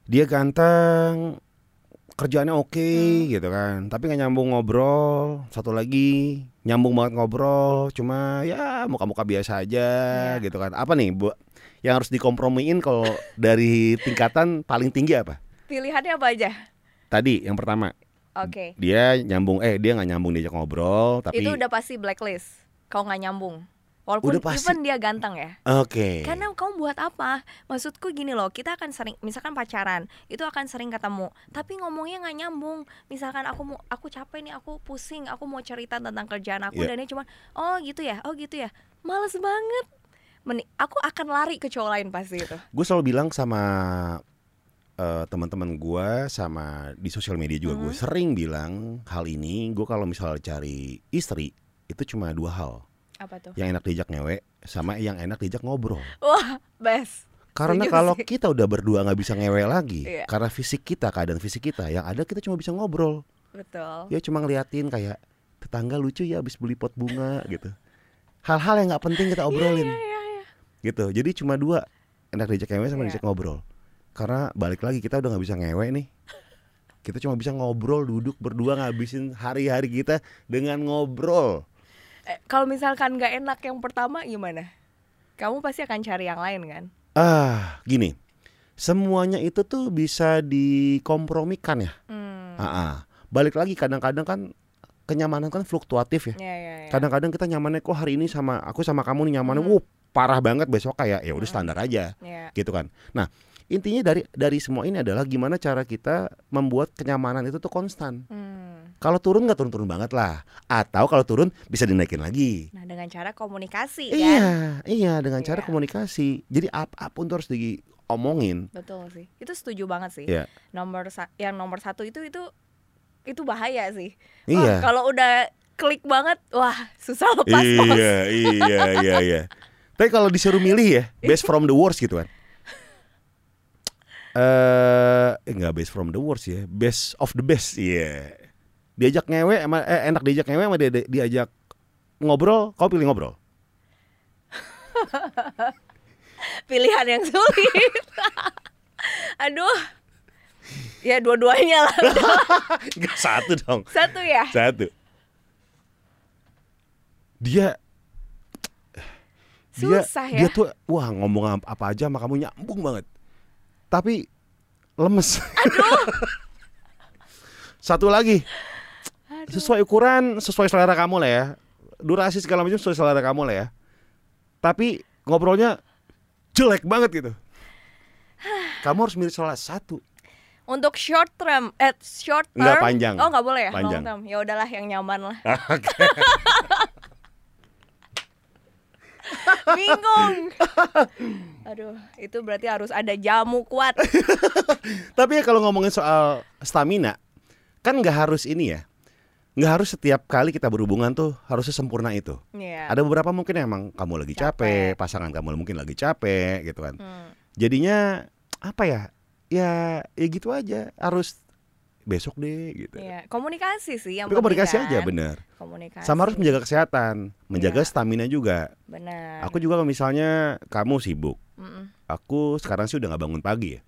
dia ganteng, kerjaannya oke
Hmm.
gitu kan, tapi nggak nyambung ngobrol. Satu lagi nyambung banget ngobrol, cuma ya muka-muka biasa aja
Iya.
gitu kan. Apa nih bu? Yang harus dikompromiin kalau dari tingkatan paling tinggi apa?
pilihannya apa aja
Tadi yang pertama
oke
dia nyambung, eh dia nggak nyambung diajak ngobrol, Hmm, tapi
itu udah pasti blacklist kalau nggak nyambung walaupun
Udah pasti. Iya.
even dia ganteng ya
oke.
Karena kamu buat apa? Maksudku gini loh, kita akan sering misalkan pacaran, itu akan sering ketemu, tapi ngomongnya nggak nyambung. Misalkan aku mau aku capek nih, aku pusing, aku mau cerita tentang kerjaan aku
Iya.
dan dia cuma oh gitu ya, oh gitu ya. Males banget. Meni- aku akan lari ke cowok lain pasti itu.
gue selalu bilang sama eh, teman-teman gue sama di sosial media juga gue
Mhm.
sering bilang hal ini gue kalau misalnya cari istri itu cuma dua hal
Apa tuh?
yang enak diajak ngewe sama yang enak diajak
[laughs]
ngobrol
Best.
karena
Setuju
kalau
sih.
kita udah berdua nggak bisa ngewe lagi
[laughs] Iya.
karena fisik kita keadaan fisik kita yang ada kita cuma bisa ngobrol
Betul.
ya cuma ngeliatin kayak tetangga lucu ya abis beli pot bunga gitu hal-hal yang nggak penting kita obrolin
Iya, iya, iya.
gitu jadi cuma dua enak diajak ngewe sama
Iya.
diajak ngobrol karena balik lagi kita udah nggak bisa ngewe nih kita cuma bisa ngobrol duduk berdua ngabisin hari-hari kita dengan ngobrol
Eh, Kalau misalkan nggak enak yang pertama gimana? Kamu pasti akan cari yang lain kan?
ah gini semuanya itu tuh bisa dikompromikan ya
Hmm.
Ah, ah. balik lagi kadang-kadang kan kenyamanan kan fluktuatif ya
Ya, ya, ya.
kadang-kadang kita nyamannya kok hari ini sama aku sama kamu nih nyamannya
Hmm.
wuh, parah banget besok kayak ya udah
Hmm.
standar aja
Ya.
gitu kan. Nah, intinya dari dari semua ini adalah gimana cara kita membuat kenyamanan itu tuh konstan.
Hmm.
Kalau turun nggak turun-turun banget lah, atau kalau turun bisa dinaikin lagi.
Nah, dengan cara komunikasi kan?
Iya, iya dengan cara
Iya.
komunikasi. Jadi apapun tuh harus diomongin.
Betul sih. Itu setuju banget sih.
Iya.
Nomor sa- yang nomor satu itu itu itu bahaya sih.
Iya.
Wah, kalau udah klik banget, wah susah lepas bos.
[laughs] iya, iya, iya, iya. Tapi kalau disuruh milih ya, best from the worst gitu kan. eh nggak best from the worst ya best of the best iya diajak ngewe emang eh, enak diajak ngewe sama dia, diajak ngobrol kau pilih ngobrol
Pilihan yang sulit. [laughs] Aduh. Ya dua-duanya lah.
[laughs] Nggak, satu dong
Satu ya.
satu dia dia
Susah
dia
ya.
tuh wah ngomong ap- apa aja sama kamu nyambung banget tapi lemes [laughs] satu lagi
Aduh.
sesuai ukuran sesuai selera kamu lah ya durasi segala macam sesuai selera kamu lah ya tapi ngobrolnya jelek banget
[sighs]
gitu kamu harus milih salah satu
Untuk short term, eh short term.
Nggak, panjang.
Oh nggak boleh ya.
Panjang.
Long term. Ya udahlah yang nyaman lah. [laughs] Bingung. Aduh, itu berarti harus ada jamu
[laughs]
kuat.
Tapi ya kalau ngomongin soal stamina, kan nggak harus ini ya. Nggak harus setiap kali kita berhubungan tuh harusnya sempurna itu.
Iya.
Ada beberapa mungkin emang kamu lagi capek,
Capek.
pasangan kamu mungkin lagi capek gitu kan.
Hmm.
Jadinya apa ya? Ya ya gitu aja. Harus besok deh gitu.
Iya, komunikasi sih yang
Tapi komunikasi
penting,
aja
kan?
bener.
Komunikasi.
Sama harus menjaga kesehatan, menjaga
Iya.
stamina juga.
benar.
Aku juga kalau misalnya kamu sibuk,
Mm-mm.
aku sekarang sih udah nggak bangun pagi ya.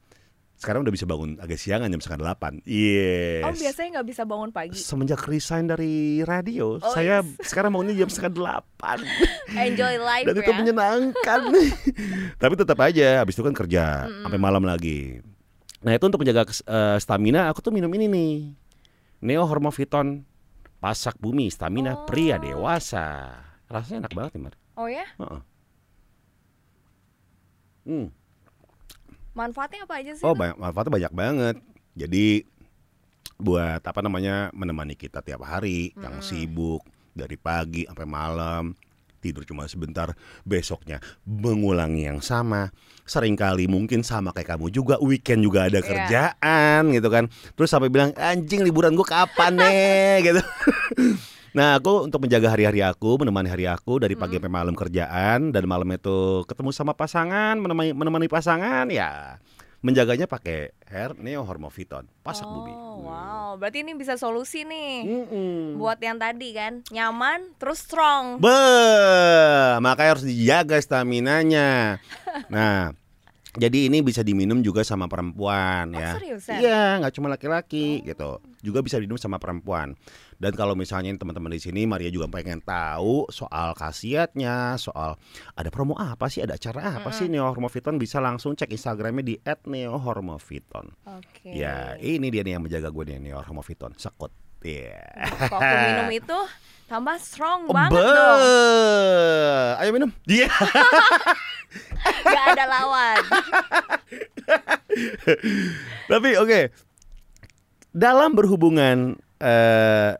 Sekarang udah bisa bangun agak siangan jam setengah delapan. Yes.
Oh, biasanya nggak bisa bangun
[laughs]
pagi.
semenjak resign dari radio,
Oh,
saya [laughs]
yes.
sekarang bangunnya jam setengah
[laughs]
delapan
Enjoy life
dan itu
ya. [laughs]
menyenangkan. Tapi tetap aja, habis itu kan kerja
Mm-mm.
sampai malam lagi. Nah itu untuk menjaga kes- eh, stamina, aku tuh minum ini nih, Neo Hormoviton Pasak Bumi Stamina
Oh.
Pria Dewasa. Rasanya enak banget nih, Mar.
Oh ya,
Heeh. Hmm.
manfaatnya apa aja Iya sih?
Oh
Bang?
banyak manfaatnya banyak banget. Jadi buat apa namanya menemani kita tiap hari yang
Mm-mm.
sibuk dari pagi sampai malam tidur cuma sebentar besoknya mengulangi yang sama seringkali mungkin sama kayak kamu juga weekend juga ada
Iya.
kerjaan gitu kan terus sampai bilang anjing liburan gue kapan
[laughs]
nih gitu nah aku untuk menjaga hari-hari aku menemani hari aku dari pagi
Mm-mm.
sampai malam kerjaan dan malam itu ketemu sama pasangan menemani menemani pasangan ya menjaganya pakai hair neo hormoviton pasak
oh,
bumi
wow, berarti ini bisa solusi
Hmm.
nih
Mm-mm.
buat yang tadi kan, nyaman terus strong.
be makanya harus dijaga staminanya nah jadi ini bisa diminum juga sama perempuan
Oh,
ya
seriusan?
Iya, nggak cuma laki-laki gitu. Juga bisa diminum sama perempuan. Dan kalau misalnya teman-teman di sini Maria juga pengen tahu soal khasiatnya, soal ada promo apa sih, ada acara apa sih Neo Hormoviton bisa langsung cek Instagramnya di @neohormoviton.
Oke.
Ya, ini dia nih yang menjaga gue nih Neo Hormoviton. Sekut. Iya. Oh,
Kalau aku minum itu tambah strong banget
Be.
dong.
Ayo minum. Iya.
Gak ada lawan. [laughs]
Tapi oke. Dalam berhubungan eh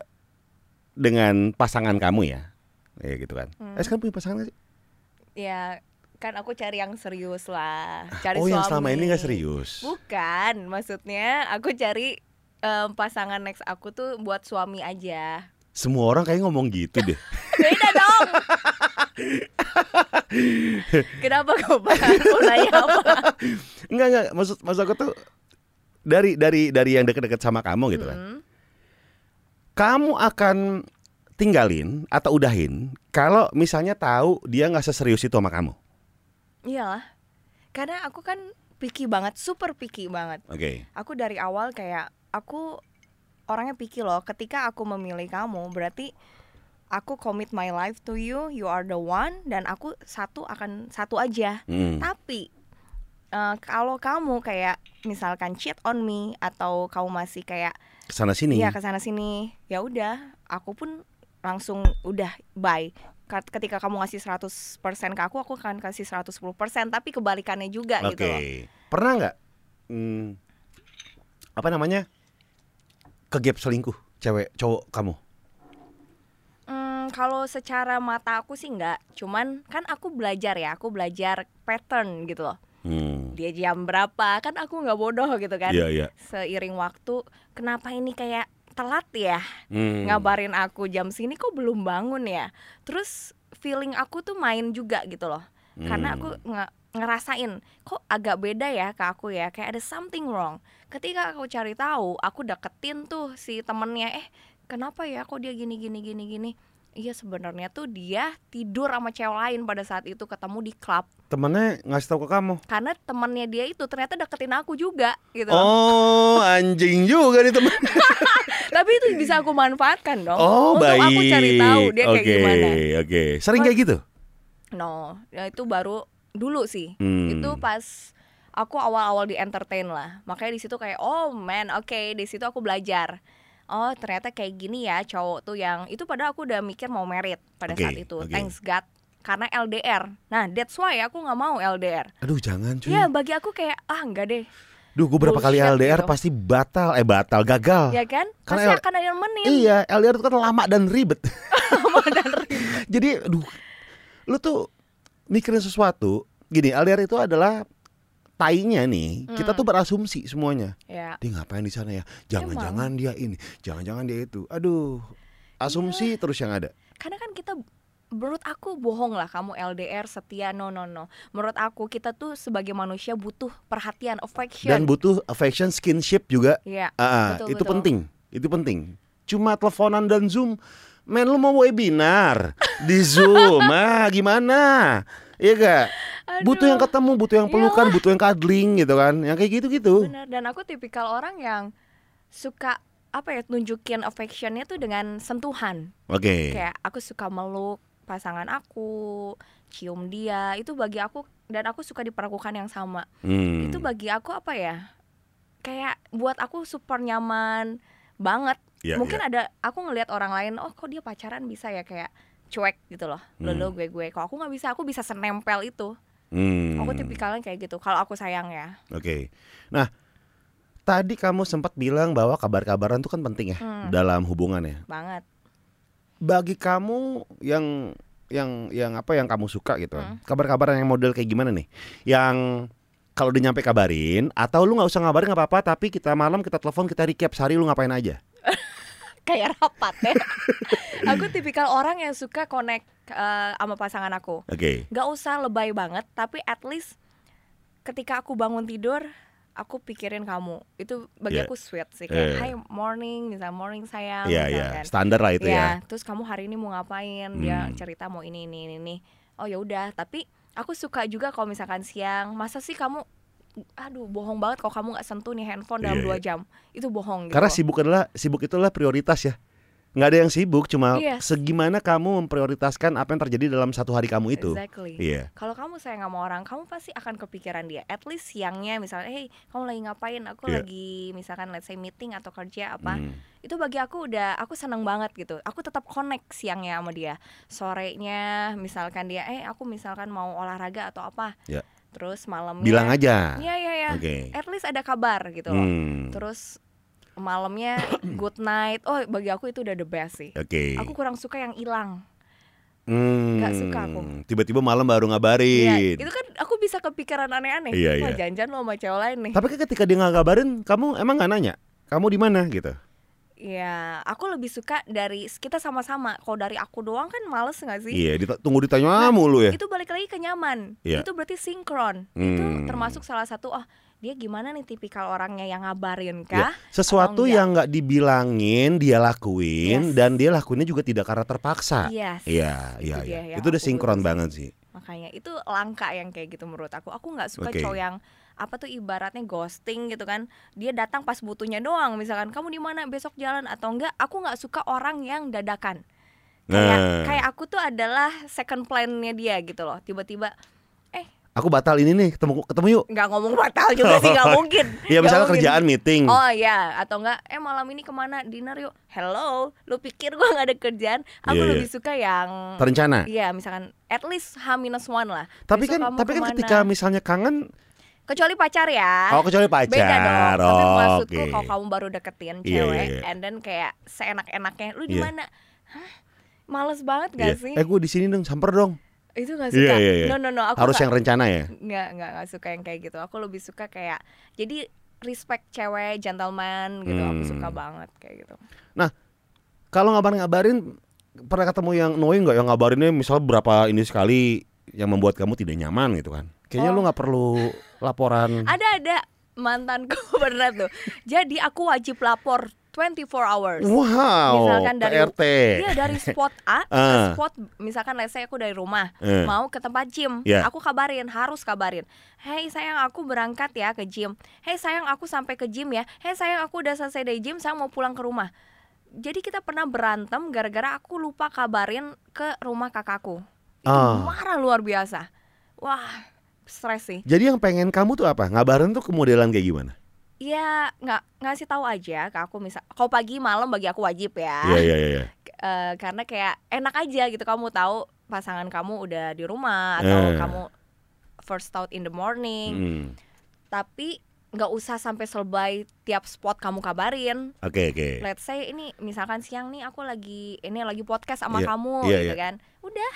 dengan pasangan kamu ya. Ya gitu kan.
Hmm.
Eh sekarang punya pasangan gak sih?
ya kan aku cari yang serius lah. Cari
oh, yang
suami.
selama ini gak serius.
Bukan, maksudnya aku cari em, pasangan next aku tuh buat suami aja.
Semua orang kayak ngomong gitu deh.
Beda
[laughs]
dong. Kenapa kau bahas? Mau nanya apa?
Enggak enggak, maksud maksud aku tuh dari dari dari yang deket-deket sama kamu gitu kan.
Mm-mm.
Kamu akan tinggalin atau udahin kalau misalnya tahu dia nggak seserius itu sama kamu.
Iyalah. Karena aku kan picky banget, super picky banget.
Oke.
Aku dari awal kayak aku orangnya picky loh. Ketika aku memilih kamu, berarti aku commit my life to you, you are the one dan aku satu akan satu aja.
Hmm.
Tapi eh, kalau kamu kayak misalkan cheat on me atau kamu masih kayak
Kesana sini.
ya kesana sini, ya udah, aku pun langsung udah bye. Kat- Ketika kamu ngasih 100% ke aku, aku akan kasih 110%, tapi kebalikannya juga
Oke.
gitu loh.
Pernah nggak? hmm, apa namanya? Kegap selingkuh cewek cowok kamu.
Hmm, kalau secara mata aku sih enggak, cuman kan aku belajar ya, aku belajar pattern gitu loh.
Hmm.
Dia jam berapa, kan aku nggak bodoh gitu kan.
Iya iya.
Seiring waktu, kenapa ini kayak telat ya?
Hmm.
ngabarin aku jam sini kok belum bangun ya terus feeling aku tuh main juga gitu loh
Hmm.
karena aku nge- ngerasain kok agak beda ya ke aku ya kayak ada something wrong ketika aku cari tahu aku deketin tuh si temennya eh kenapa ya kok dia gini gini gini gini iya sebenarnya tuh dia tidur sama cewek lain pada saat itu ketemu di klub
Temennya ngasih tahu ke kamu.
karena temennya dia itu ternyata deketin aku juga gitu loh.
Oh, anjing juga nih temen.
tapi itu bisa aku manfaatkan dong
Oh,
untuk
baik.
aku cari tahu dia
Oke,
kayak gimana
Oke, Sering kayak gitu?
no ya itu baru dulu sih
Hmm.
itu pas aku awal-awal di entertain lah makanya di situ kayak oh man oke di situ aku belajar oh ternyata kayak gini ya cowok tuh yang itu padahal aku udah mikir mau merit pada
Oke,
saat itu
oke.
thanks God karena LDR nah that's why aku nggak mau LDR
Aduh, jangan cuy.
ya bagi aku kayak ah nggak deh
Duh, gue berapa kali
bullshit
LDR
gitu.
pasti batal, eh batal, gagal.
ya kan
Karena L-
pasti akan ada yang menin
Iya, LDR itu kan lama dan
[laughs]
ribet. Jadi, aduh, lu tuh mikirin sesuatu. Gini, LDR itu adalah tainya nih.
Mm.
Kita tuh berasumsi semuanya.
ya
Dia ngapain di sana ya? Jangan-jangan dia ini, jangan-jangan dia itu. Aduh,
Iya.
asumsi terus yang ada.
karena kan kita menurut aku bohong lah kamu LDR setia no no no menurut aku kita tuh sebagai manusia butuh perhatian
Dan
affection
butuh affection, skinship juga.
Iya,
Ah, itu
Betul, betul.
penting, itu penting. Cuma teleponan dan zoom, men lu mau webinar di zoom, ah gimana? Iya gak? Butuh yang ketemu, butuh yang pelukan, butuh yang cuddling gitu kan? Yang kayak gitu gitu.
Iya. benar dan aku tipikal orang yang suka apa ya nunjukin affectionnya tuh dengan sentuhan
Oke.
kayak aku suka meluk pasangan aku cium dia itu bagi aku dan aku suka diperlakukan yang sama
Hmm.
itu bagi aku apa ya kayak buat aku super nyaman banget
Iya,
mungkin ada aku ngelihat orang lain oh kok dia pacaran bisa ya kayak cuek gitu loh lo lo gue gue kalau aku nggak bisa aku bisa senempel itu
Hmm.
aku tipikalnya kayak gitu kalau aku sayang ya
Oke. Nah, tadi kamu sempat bilang bahwa kabar-kabaran itu kan penting ya
Hmm.
dalam hubungan ya.
banget
Bagi kamu yang yang yang apa yang kamu suka gitu, kan.
Hmm.
kabar-kabaran yang model kayak gimana nih? Yang kalau udah nyampe kabarin atau lu nggak usah ngabarin nggak apa-apa tapi kita malam kita telepon kita recap sehari lu ngapain aja
kayak rapat ya [laughs] aku tipikal orang yang suka connect eh, sama pasangan aku
oke
nggak usah lebay banget tapi at least ketika aku bangun tidur aku pikirin kamu itu bagi
Yeah.
aku sweet sih kayak
Yeah.
hi morning misal morning sayang
iya iya
misalkan. kan.
standar lah itu ya
ya. Terus kamu hari ini mau ngapain? Dia
Hmm.
cerita mau ini ini ini. ini. Oh ya udah, tapi aku suka juga kalau misalkan siang. Masa sih kamu aduh bohong banget kalau kamu nggak sentuh nih handphone dalam
Iya,
dua jam. Itu bohong gitu.
karena
loh.
sibuk adalah sibuk itulah prioritas ya nggak ada yang sibuk cuma
Iya.
segimana kamu memprioritaskan apa yang terjadi dalam satu hari kamu itu
Exactly.
iya
Kalau kamu sayang sama orang, kamu pasti akan kepikiran dia. At least siangnya misalnya, "Hey, kamu lagi ngapain? Aku
Iya.
lagi misalkan let's say meeting atau kerja apa."
Hmm.
itu bagi aku udah aku seneng banget gitu aku tetap connect siangnya sama dia sorenya misalkan dia eh aku misalkan mau olahraga atau apa
Ya.
terus malamnya
bilang aja
ya ya ya
oke
at least ada kabar gitu loh
Hmm.
terus malamnya good night oh bagi aku itu udah the best sih
oke
aku kurang suka yang hilang
Hmm.
nggak suka aku.
tiba-tiba malam baru
Iya,
ngabarin
itu kan aku bisa kepikiran aneh-aneh
Iya,
Wah,
iya.
janjian lo sama cewek lain nih
Tapi kan ketika dia nggak ngabarin, kamu emang nggak nanya, kamu di mana gitu?
ya aku lebih suka dari kita sama-sama kalau dari aku doang kan males nggak sih
Iya, dita- tunggu ditanya mulu ya.
itu balik lagi ke nyaman
Iya.
itu berarti sinkron Nah, itu
Hmm.
termasuk salah satu oh dia gimana nih tipikal orangnya yang ngabarin
Iya.
kah
Sesuatu
atau enggak?
yang nggak dibilangin dia lakuin
Yes.
dan dia lakuinnya juga tidak karena terpaksa.
Yes.
Iya,
Itu
iya,
dia
iya.
yang
Itu udah
aku
sinkron
butuh.
banget sih.
makanya itu langka yang kayak gitu menurut aku aku nggak suka
Oke.
cowok yang apa tuh ibaratnya ghosting gitu kan dia datang pas butuhnya doang misalkan kamu di mana besok jalan atau enggak aku nggak suka orang yang dadakan kayak
Nah.
kayak aku tuh adalah second plan-nya dia gitu loh tiba-tiba
Aku batal ini nih, ketemu ketemu yuk.
nggak ngomong batal juga
[laughs]
sih nggak mungkin
Ya
Nggak
misalnya
mungkin.
kerjaan meeting.
Oh iya, atau enggak? Eh malam ini kemana? Dinner yuk. Hello, lu pikir gua nggak ada kerjaan?
Iya,
Aku
iya.
lebih suka yang
Terencana.
Iya, misalkan at least H-1 lah.
Tapi
Besok
kan,
kamu
tapi kan
kemana?
ketika misalnya kangen,
kecuali pacar ya.
kalau Oh, kecuali pacar,
Beda dong. Tapi
oh,
maksudku
oke.
kalau kamu baru deketin
Iya, iya,
cewek
iya.
and then kayak seenak-enaknya, lu di
Iya.
mana? Hah? Males banget
Iya.
gak sih?
Eh gue di sini dong, samper dong.
Itu
Iya,
gak suka.
iya, iya.
No no no, aku
Harus
nggak-
yang rencana ya.
nggak nggak nggak suka yang kayak gitu aku lebih suka kayak jadi respect cewek gentleman gitu aku
Hmm.
suka banget kayak gitu
Kalau ngabarin-ngabarin pernah ketemu yang annoying nggak yang ngabarinnya misal berapa ini sekali yang membuat kamu tidak nyaman gitu kan?
Kayaknya lu nggak perlu laporan.
Oh. Ada ada mantanku [laughs] pernah tuh. Jadi aku wajib lapor 24 hours.
Wow,
Misalkan dari-
PRT.
Iya dari spot A ke
[laughs] Ah.
spot misalkan let's say aku dari rumah
Eh.
mau ke tempat gym,
Ya.
aku kabarin harus kabarin. Hey sayang aku berangkat ya ke gym. Hey sayang aku sampai ke gym ya. Hey sayang aku udah selesai dari gym, saya mau pulang ke rumah. Jadi kita pernah berantem gara-gara aku lupa kabarin ke rumah kakakku. Itu
Ah.
marah luar biasa. Wah stres sih.
Jadi yang pengen kamu tuh apa? Ngabarin tuh kemodelan kayak gimana?
Iya nggak ngasih tahu aja ke aku misal kau pagi malam bagi aku wajib ya.
Iya iya iya. iya.
Eh, karena kayak enak aja gitu kamu tahu pasangan kamu udah di rumah
Eh.
atau kamu first out in the morning
Hmm.
tapi nggak usah sampai selebay tiap spot kamu kabarin
Oke oke.
let's say ini misalkan siang nih aku lagi ini lagi podcast sama
Iya,
kamu
iya, iya.
gitu kan udah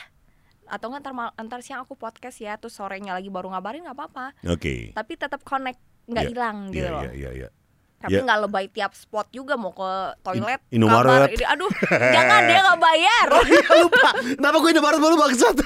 atau nggak ntar, mal- ntar siang aku podcast ya terus sorenya lagi baru ngabarin nggak apa-apa
Oke.
tapi tetap connect nggak
Iya,
hilang gitu
Iya
loh
iya iya iya. [laughs]
tapi
Iya.
nggak lebay tiap spot juga mau ke toilet
In- Indomaret.
kabar ini aduh jangan dia nggak
[laughs]
bayar
Oh iya lupa. Kenapa gue Indomaret baru
[laughs]
bangsat?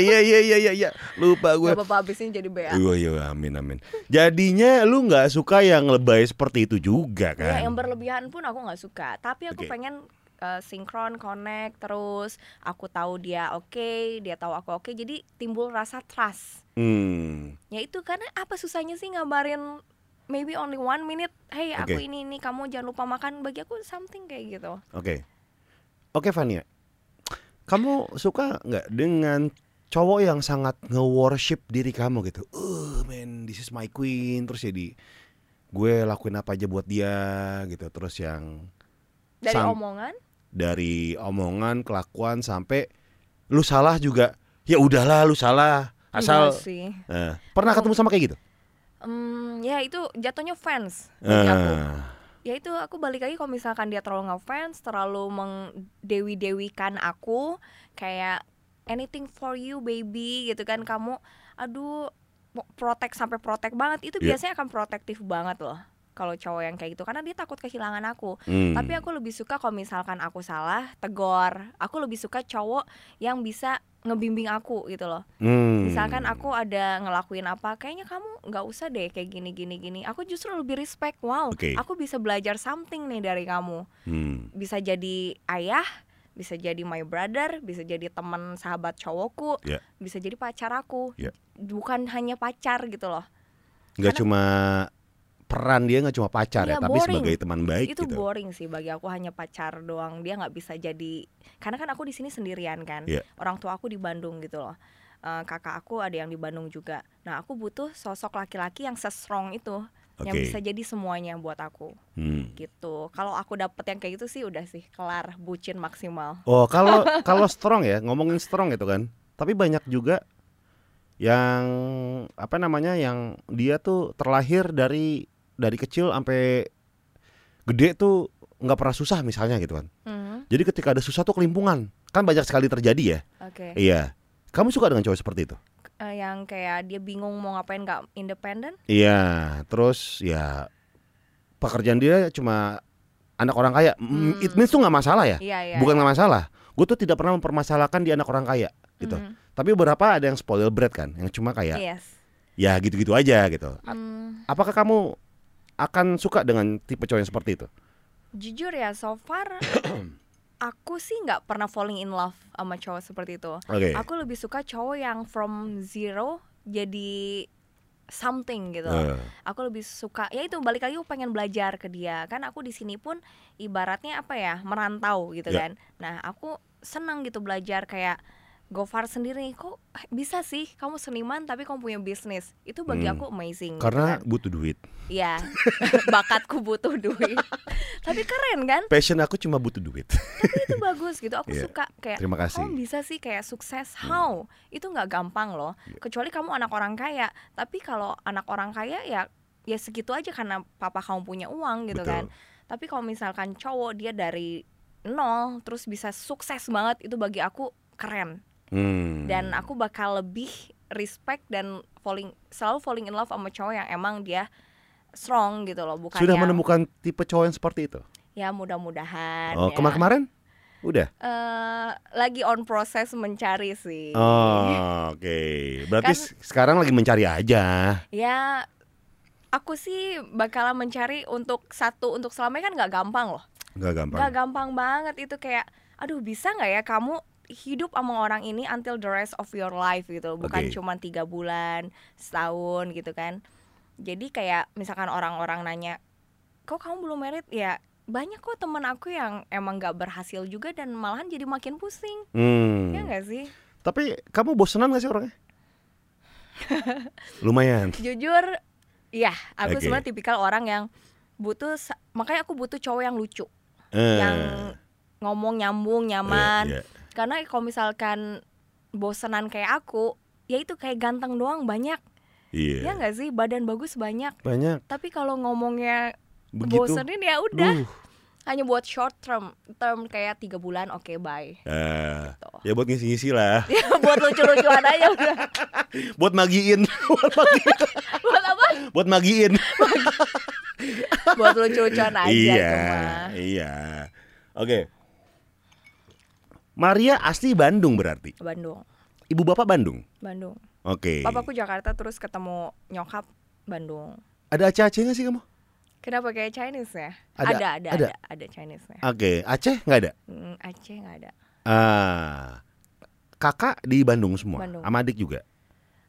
iya iya iya iya iya. Lupa gue.
Gak apa-apa ya. abis ini jadi BA
Iya iya amin amin. Jadinya lu nggak suka yang lebay seperti itu juga
Ya,
kan?
yang berlebihan pun aku nggak suka Tapi aku
Oke.
pengen eh, sinkron, connect terus Aku tahu dia oke, dia tahu aku oke Jadi timbul rasa trust
Hmm.
Ya itu karena apa susahnya sih ngabarin Maybe only one minute Hey aku
Oke.
ini, ini, kamu jangan lupa makan Bagi aku something kayak gitu
Oke. Oke Fania. Kamu suka nggak dengan cowok yang sangat nge-worship diri kamu gitu? Uh, man, this is my queen. Terus jadi gue lakuin apa aja buat dia gitu. Terus yang
Dari
Sam-
omongan
dari omongan, kelakuan sampai lu salah juga. Ya udahlah, lu salah. Asal
enggak Iya sih
Eh, pernah ketemu sama kayak gitu?
Hmm, Ya itu jatuhnya fans bagi Iya, aku
Eh,
ya itu aku balik lagi kalau misalkan dia terlalu ngefans terlalu mengdewi-dewikan aku kayak anything for you baby gitu kan kamu aduh mo- protect sampai protect banget itu
Iya.
biasanya akan protektif banget loh kalau cowok yang kayak gitu karena dia takut kehilangan aku
hmm.
tapi aku lebih suka kalau misalkan aku salah tegor aku lebih suka cowok yang bisa ngebimbing aku gitu loh
Hmm.
misalkan aku ada ngelakuin apa kayaknya kamu nggak usah deh kayak gini gini gini aku justru lebih respect wow
Oke.
aku bisa belajar something nih dari kamu
Hmm.
bisa jadi ayah bisa jadi my brother bisa jadi teman sahabat cowokku
Ya.
bisa jadi pacar aku
Ya.
bukan hanya pacar gitu loh
Nggak
Karena-
cuma peran dia nggak cuma pacar ya,
Iya,
tapi
boring.
sebagai teman baik
itu
gitu.
boring sih bagi aku hanya pacar doang dia nggak bisa jadi karena kan aku di sini sendirian kan
Iya.
orang tua aku di Bandung gitu loh Eh, kakak aku ada yang di Bandung juga nah aku butuh sosok laki-laki yang sestrong itu yang
Oke.
bisa jadi semuanya buat aku
Hmm.
gitu. Kalau aku dapet yang kayak gitu sih udah sih kelar bucin maksimal.
Oh, kalau kalau strong ya, ngomongin strong gitu kan. Tapi banyak juga yang apa namanya yang dia tuh terlahir dari dari kecil sampai gede tuh nggak pernah susah misalnya gitu kan. Jadi ketika ada susah tuh kelimpungan. Kan banyak sekali terjadi ya.
Oke.
Iya. Kamu suka dengan cowok seperti itu?
Eh, yang kayak dia bingung mau ngapain nggak independen?
Iya, terus ya pekerjaan dia cuma anak orang kaya. Mm,
Hmm.
It means tuh nggak masalah ya.
Iya iya.
Bukan nggak masalah. Gue tuh tidak pernah mempermasalahkan dia anak orang kaya gitu.
Mhm.
Tapi beberapa ada yang spoil bread kan, yang cuma kayak
Yes. Iya.
ya gitu-gitu aja gitu.
Hmm,
Apakah kamu akan suka dengan tipe cowok yang seperti itu?
jujur ya so
[coughs]
far aku sih nggak pernah falling in love sama cowok seperti itu.
Oke.
Aku lebih suka cowok yang from zero jadi something gitu.
Eh,
aku lebih suka ya itu balik lagi aku pengen belajar ke dia kan aku di sini pun ibaratnya apa ya merantau gitu
Ya.
kan nah aku senang gitu belajar kayak Gofar sendiri kok eh, bisa sih kamu seniman tapi kamu punya bisnis itu bagi
Hmm.
aku amazing gitu
karena
kan.
butuh duit. [laughs]
ya bakatku butuh duit tapi keren kan
Passion aku cuma butuh duit.
itu bagus gitu aku
Iya.
suka kayak
Terima kasih.
kamu bisa sih kayak
Hmm.
sukses how itu nggak gampang loh
Ya.
kecuali kamu anak orang kaya tapi kalau anak orang kaya ya ya segitu aja karena papa kamu punya uang gitu kan
Betul.
tapi kalau misalkan cowok dia dari nol terus bisa sukses banget itu bagi aku keren
Hmm.
dan aku bakal lebih respect dan falling selalu falling in love sama cowok yang emang dia strong gitu loh bukan
sudah
yang-
menemukan tipe cowok yang seperti itu.
ya mudah-mudahan
Oh,
ya.
kemarin-kemarin? Udah.
eh lagi on proses mencari sih.
Oh, Oke. Berarti
Iya. Kan-
se- sekarang lagi mencari aja.
Ya aku sih bakalan mencari untuk satu untuk selamanya kan nggak gampang loh.
Gak gampang.
Nggak gampang banget itu kayak aduh bisa nggak ya kamu hidup sama orang ini until the rest of your life gitu
Oke.
bukan cuma tiga bulan setahun gitu kan jadi kayak misalkan orang-orang nanya kok kamu belum merit ya banyak kok teman aku yang emang nggak berhasil juga dan malahan jadi makin pusing
Hmm.
ya nggak sih
Tapi kamu bosenan gak sih
[laughs]
orangnya? Lumayan.
jujur ya aku
Oke.
sebenarnya tipikal orang yang butuh sa- makanya aku butuh cowok yang lucu
Eh,
yang ngomong nyambung nyaman
iya, iya.
karena kalau misalkan bosenan kayak aku ya itu kayak ganteng doang banyak
Iya.
ya nggak sih badan bagus banyak
Banyak.
tapi kalau ngomongnya
Begitu.
bosenin ya udah
Duh.
hanya buat short term term kayak tiga bulan oke bye [laughs]
Eh,
Gitu.
ya buat ngisi-ngisi lah.
ya buat lucu-lucuan aja
[laughs]
udah
Buat magiin. [laughs] buat magiin.
buat apa
Buat magiin.
buat lucu-lucuan aja
iya.
itu mah.
Iya. Oke. Maria asli Bandung berarti.
Bandung
Ibu bapak Bandung.
Bandung
Oke.
papaku Jakarta terus ketemu nyokap Bandung
Ada Aceh-Aceh gak sih kamu?
kenapa kayak Chinese ya
Ada-
ada ada
ada.
ada, Chinese ya
Oke, Aceh nggak ada.
Hmm, Aceh nggak ada
Ah, kakak di Bandung semua,
Bandung.
sama adik juga.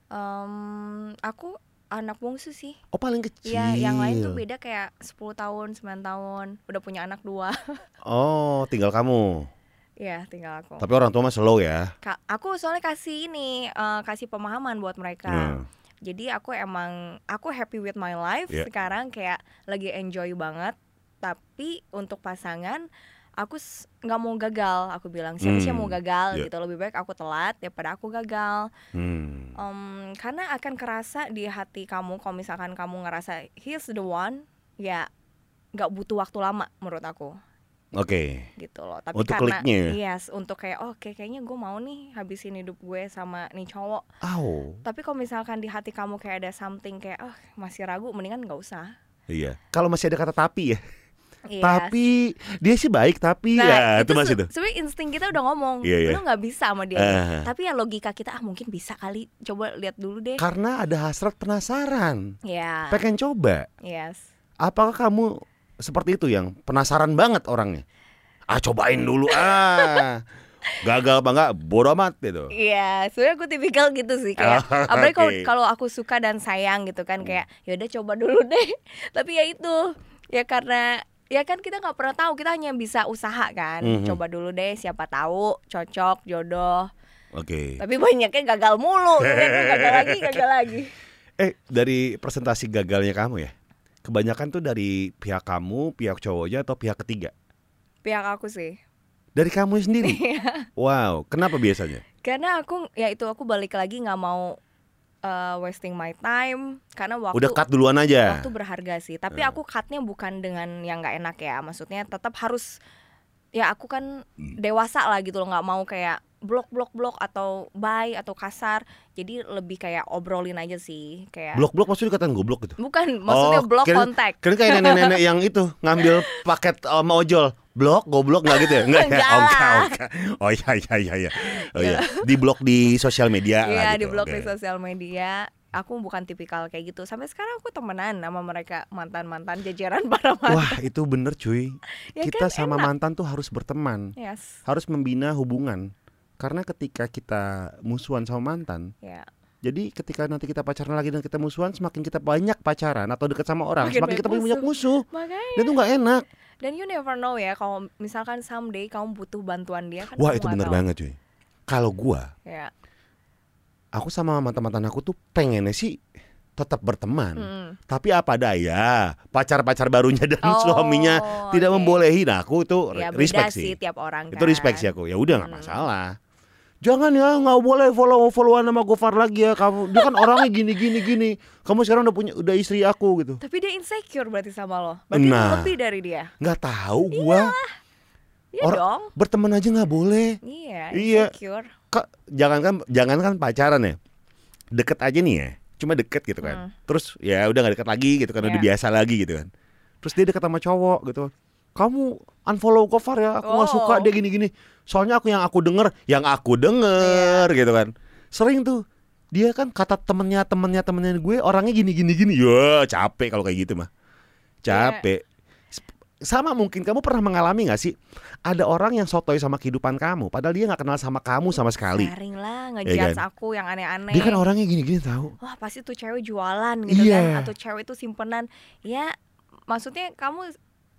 Em, aku anak bungsu sih
Oh paling kecil.
Iya, yang lain tuh beda kayak 10 tahun, 9 tahun, udah punya anak dua. [laughs]
Oh, tinggal kamu.
Iya, tinggal aku.
Tapi orang tua mah slow ya.
Ka- aku soalnya kasih ini, eh, kasih pemahaman buat mereka.
Hmm.
Jadi aku emang aku happy with my life
Iya.
sekarang kayak lagi enjoy banget. Tapi untuk pasangan aku s- nggak mau gagal, aku bilang siapa sih yang
Hmm,
mau gagal
iya.
gitu. Lebih baik aku telat daripada aku gagal.
Hmm.
Em, karena akan kerasa di hati kamu kalau misalkan kamu ngerasa he's the one, ya nggak butuh waktu lama menurut aku
Oke.
gitu loh. Tapi
Untuk
karena
kliknya ya?
yes, untuk kayak "Oh, oke kayaknya gue mau nih habisin hidup gue sama nih cowok.
Au.
Tapi kalau misalkan di hati kamu kayak ada something kayak oh masih ragu, mendingan nggak usah.
Iya. Kalau masih ada kata tapi ya.
Yes.
Tapi dia sih baik tapi
Nah,
ya itu, masih
se-
tuh.
Sebenarnya insting kita udah ngomong,
Iya, iya.
lu nggak bisa sama dia.
Eh,
Tapi ya logika kita ah mungkin bisa kali. Coba lihat dulu deh.
karena ada hasrat penasaran,
Ya,
pengen coba.
yes.
Apakah kamu seperti itu yang penasaran banget orangnya? Ah cobain dulu
[laughs]
ah. Gagal apa enggak bodo amat gitu.
Iya, sebenarnya aku tipikal gitu
[laughs]
sih kayak
Ah,
apalagi kalau
oke. Hmm.
kalau aku suka dan sayang gitu kan kayak yaudah coba dulu [laughs] deh. Tapi ya itu ya karena ya kan kita nggak pernah tahu kita hanya bisa usaha kan.
Mhm.
Coba dulu deh siapa tahu cocok jodoh.
Oke.
Tapi banyaknya gagal
[laughs]
mulu. Banyaknya gagal lagi, gagal lagi.
Eh dari presentasi gagalnya kamu ya? Kebanyakan tuh dari pihak kamu, pihak cowoknya atau pihak ketiga?
Pihak aku sih.
Dari kamu sendiri.
Iya.
wow, kenapa biasanya?
Karena aku ya itu aku balik lagi nggak mau eh, wasting my time karena waktu
Udah cut ya? duluan aja.
waktu berharga sih tapi
Eh.
aku cutnya bukan dengan yang nggak enak ya maksudnya tetap harus ya aku kan
Hmm.
dewasa lah gitu loh nggak mau kayak blok blok blok atau bye atau kasar jadi lebih kayak obrolin aja sih kayak
Blok-blok maksudnya dikatain goblok gitu.
bukan maksudnya
Oh,
blok
kirain-
kontak
Keren kayak nenek-nenek yang itu ngambil paket eh, sama ojol. Blok, goblok nggak gitu ya? Nggak ya?
Nggak
Oh,
lah.
nggak, oh, nggak. Oh iya iya iya iya. Oh iya. Di blok di sosial media lah
iya
gitu.
di blok
Oke.
di sosial media aku bukan tipikal kayak gitu sampai sekarang aku temenan sama mereka mantan mantan jajaran [laughs] para mantan
Wah, itu bener cuy.
Ya
kita
kan,
sama mantan tuh harus berteman,
yes
harus membina hubungan. Karena ketika kita musuhan sama mantan,
ya
jadi ketika nanti kita pacaran lagi dan kita musuhan, semakin kita banyak pacaran atau dekat sama orang, semakin
Makin banyak Iya.
kita punya banyak musuh.
makanya
Dan itu nggak enak.
dan you never know ya kalau misalkan someday kamu butuh bantuan dia kan
Wah,
kamu
itu
nggak
bener
tahu.
banget cuy. Kalau gua
ya
aku sama mantan-mantan aku tuh pengennya sih tetap berteman.
Mm.
Tapi apa daya, pacar-pacar barunya dan
Oh,
suaminya tidak
oke.
membolehin aku itu
Ya, beda
respect sih.
sih tiap orang
Itu respect sih
kan.
aku. Ya udah nggak
Hmm.
masalah. Jangan ya nggak boleh follow followan sama Gofar lagi ya kamu. Dia kan orangnya gini gini gini. Kamu sekarang udah punya udah istri aku gitu.
Tapi dia insecure berarti sama lo. Berarti lo
Nah.
lebih dari dia.
Nggak tahu gua
Iya
Or-
dong.
berteman aja nggak boleh.
Iya,
Iya.
insecure.
Kak jangan kan jangan kan pacaran ya. Deket aja nih ya. Cuma deket gitu kan. Terus ya udah nggak deket lagi gitu kan udah
Hmm. Iya.
biasa lagi gitu kan. Terus dia deket sama cowok gitu. kamu unfollow Gofar ya aku nggak suka
Oh.
dia gini-gini soalnya aku yang aku denger yang aku denger
Iya.
gitu kan sering tuh dia kan kata temennya temennya temennya gue orangnya gini-gini gini ya capek kalau kayak gitu mah
Iya.
capek Sp- sama mungkin kamu pernah mengalami nggak sih ada orang yang sotoy sama kehidupan kamu padahal dia nggak kenal sama kamu sama sekali
Sering lah
Iya
ngejudge
kan?
aku yang aneh-aneh.
dia kan orangnya gini-gini tahu
Wah pasti tuh cewek jualan gitu
Iya.
kan atau cewek itu simpenan. Ya maksudnya kamu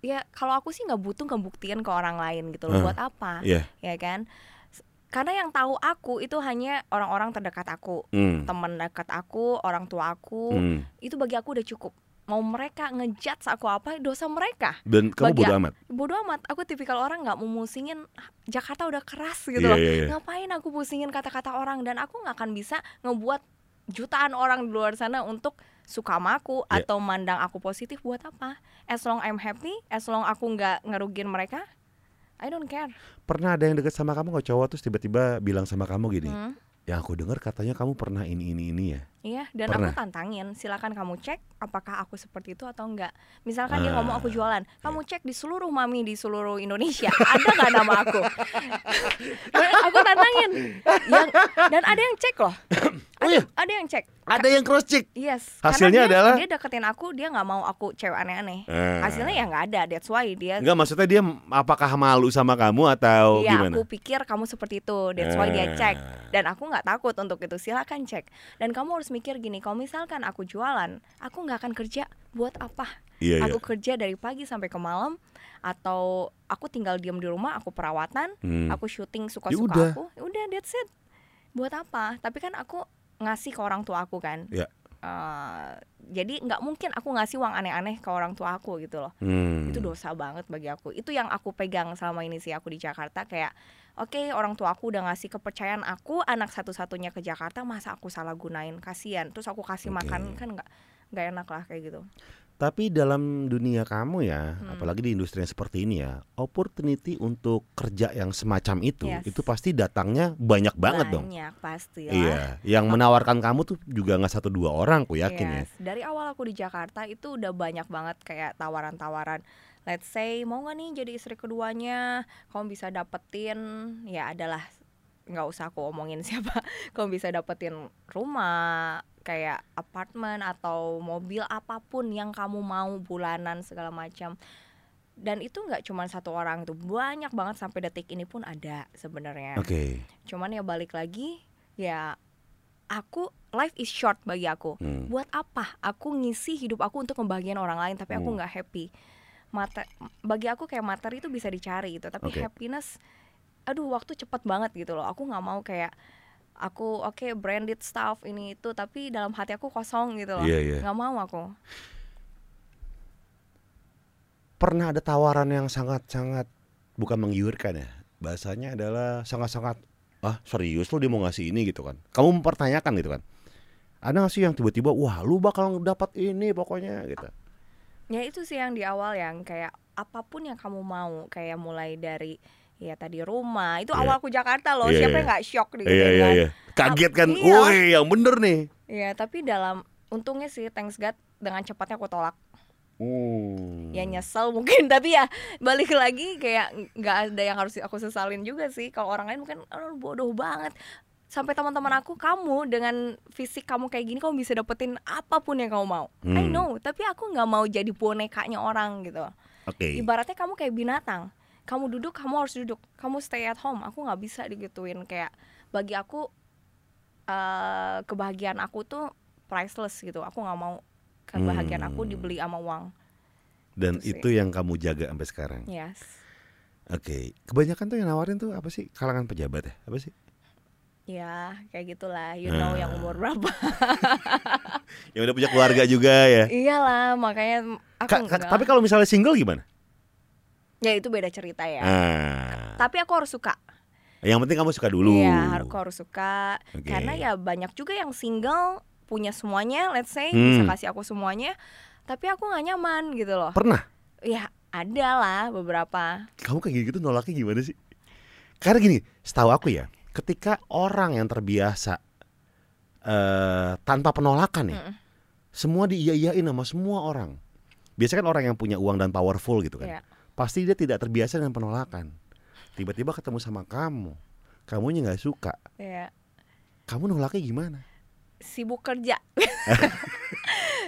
ya kalau aku sih nggak butuh ngebuktiin ke orang lain gitu loh
Ah,
buat apa
Iya.
ya kan? S- Karena yang tahu aku itu hanya orang-orang terdekat aku,
Hmm.
teman dekat aku, orang tua aku.
Hmm.
Itu bagi aku udah cukup. Mau mereka ngejudge aku apa dosa mereka.
Dan kamu
Bagi-
bodo amat.
bodo amat aku tipikal orang nggak mau musingin "Ah, Jakarta udah keras gitu
Iya,
loh
iya, iya.
ngapain aku pusingin kata-kata orang dan aku nggak akan bisa ngebuat jutaan orang di luar sana untuk suka sama aku
Iya.
atau mandang aku positif buat apa as long I'm happy as long aku nggak ngerugiin mereka I don't care
pernah ada yang deket sama kamu nggak cowok terus tiba-tiba bilang sama kamu gini
Hmm.
yang aku dengar katanya kamu pernah ini ini ini ya
Iya, dan
Pernah?
aku tantangin. Silakan kamu cek apakah aku seperti itu atau enggak. Misalkan dia
Ah,
ngomong aku jualan, kamu cek di seluruh mami di seluruh Indonesia, ada nggak nama
[laughs]
aku? aku tantangin. Yang- dan ada yang cek loh. Ada,
iya?
ada yang cek.
ada yang cross check
Yes.
Hasilnya
Karena dia,
adalah?
dia deketin aku, dia nggak mau aku cewek aneh-aneh.
Eh.
Ah.
Hasilnya ya nggak ada. That's why dia
Enggak maksudnya dia apakah malu sama kamu atau oh,
Iya,
gimana? Eh.
aku pikir kamu seperti itu. That's
Ah.
why dia cek. Dan aku nggak takut untuk itu. Silakan cek. Dan kamu harus mikir gini, kalau misalkan aku jualan, aku nggak akan kerja buat apa?
Iya, iya.
Aku kerja dari pagi sampai ke malam atau aku tinggal diam di rumah, aku perawatan,
Hmm.
aku syuting
Ya
suka-suka
udah.
aku. Ya Udah, that's it. Buat apa? Tapi kan aku ngasih ke orang tua aku kan.
Iya.
Ya.
Eh, jadi nggak mungkin aku ngasih uang aneh-aneh ke orang tua aku gitu loh
Hmm.
itu dosa banget bagi aku itu yang aku pegang selama ini sih aku di Jakarta kayak oke orang tua aku udah ngasih kepercayaan aku anak satu-satunya ke Jakarta masa aku salah gunain kasihan terus aku kasih
Oke.
makan kan nggak nggak enak lah kayak gitu
Tapi dalam dunia kamu ya,
Hmm.
apalagi di industri yang seperti ini ya, opportunity untuk kerja yang semacam itu,
Yes.
itu pasti datangnya banyak banget dong.
banyak ya. pasti
Iya, yang menawarkan kamu tuh juga nggak satu dua orang, ku yakin ya.
Yes. Dari awal aku di Jakarta itu udah banyak banget kayak tawaran-tawaran. Let's say mau nggak nih jadi istri keduanya, kamu bisa dapetin ya adalah nggak usah aku omongin [laughs] siapa, kamu bisa dapetin rumah kayak apartemen atau mobil apapun yang kamu mau bulanan segala macam. Dan itu nggak cuma satu orang tuh banyak banget sampai detik ini pun ada sebenarnya
Oke.
cuman ya balik lagi ya aku life is short bagi aku
Hmm.
buat apa aku ngisi hidup aku untuk membagian orang lain tapi aku
Hmm.
nggak happy Mate- bagi aku kayak materi itu bisa dicari itu tapi
Oke.
happiness aduh waktu cepet banget gitu loh aku nggak mau kayak aku oke branded stuff ini itu tapi dalam hati aku kosong gitu loh
Iya, iya.
nggak mau aku
Pernah ada tawaran yang sangat sangat bukan menggiurkan ya, bahasanya adalah sangat sangat ah serius lo dia mau ngasih ini gitu kan? Kamu mempertanyakan gitu kan? Ada nggak sih yang tiba-tiba wah lu bakal dapat ini pokoknya gitu?
Ya itu sih yang di awal yang kayak apapun yang kamu mau kayak mulai dari ya tadi rumah itu
Iya.
awal aku Jakarta loh
Iya,
siapa
iya.
yang nggak shock gitu
Iya, iya,
kan?
iya. Kaget kan?
Iya.
Woi, yang bener nih.
Ya tapi dalam untungnya sih thanks God dengan cepatnya aku tolak
Hmm.
ya nyesel [laughs] mungkin tapi ya balik lagi kayak nggak ada yang harus aku sesalin juga sih kalau orang lain mungkin "Aduh, bodoh banget sampai teman-teman aku kamu dengan fisik kamu kayak gini kamu bisa dapetin apapun yang kamu mau I
Hmm.
know tapi aku nggak mau jadi bonekanya orang gitu
Oke.
ibaratnya kamu kayak binatang kamu duduk kamu harus duduk kamu stay at home aku nggak bisa digituin kayak bagi aku eh kebahagiaan aku tuh priceless gitu aku nggak mau kebahagiaan aku
Hmm.
dibeli sama uang
Dan
Gitu sih.
itu yang kamu jaga sampai sekarang.
yes
Oke, kebanyakan tuh yang nawarin tuh apa sih? Kalangan pejabat ya? Apa sih?
ya kayak gitulah you
Ah.
know yang umur berapa [laughs]
Yang udah punya keluarga juga ya.
iyalah makanya aku
Ka- ka-
nggak-
tapi kalau misalnya single gimana?
ya itu beda cerita ya
Ah.
tapi aku harus suka
Nah,
Yang penting kamu suka dulu.
Iya, aku harus suka
Oke.
karena ya banyak juga yang single punya semuanya let's say
Hmm.
bisa kasih aku semuanya tapi aku nggak nyaman gitu loh
Pernah?
ya ada lah beberapa
Kamu kayak gitu nolaknya gimana sih? Karena gini, setahu aku ya, ketika orang yang terbiasa eh tanpa penolakan ya,
Mm.
semua diiyain sama semua orang. Biasanya kan orang yang punya uang dan powerful gitu kan.
Iya.
pasti dia tidak terbiasa dengan penolakan. Tiba-tiba ketemu sama kamu, kamunya nggak suka,
Iya.
kamu nolaknya gimana?
sibuk
[laughs]
kerja.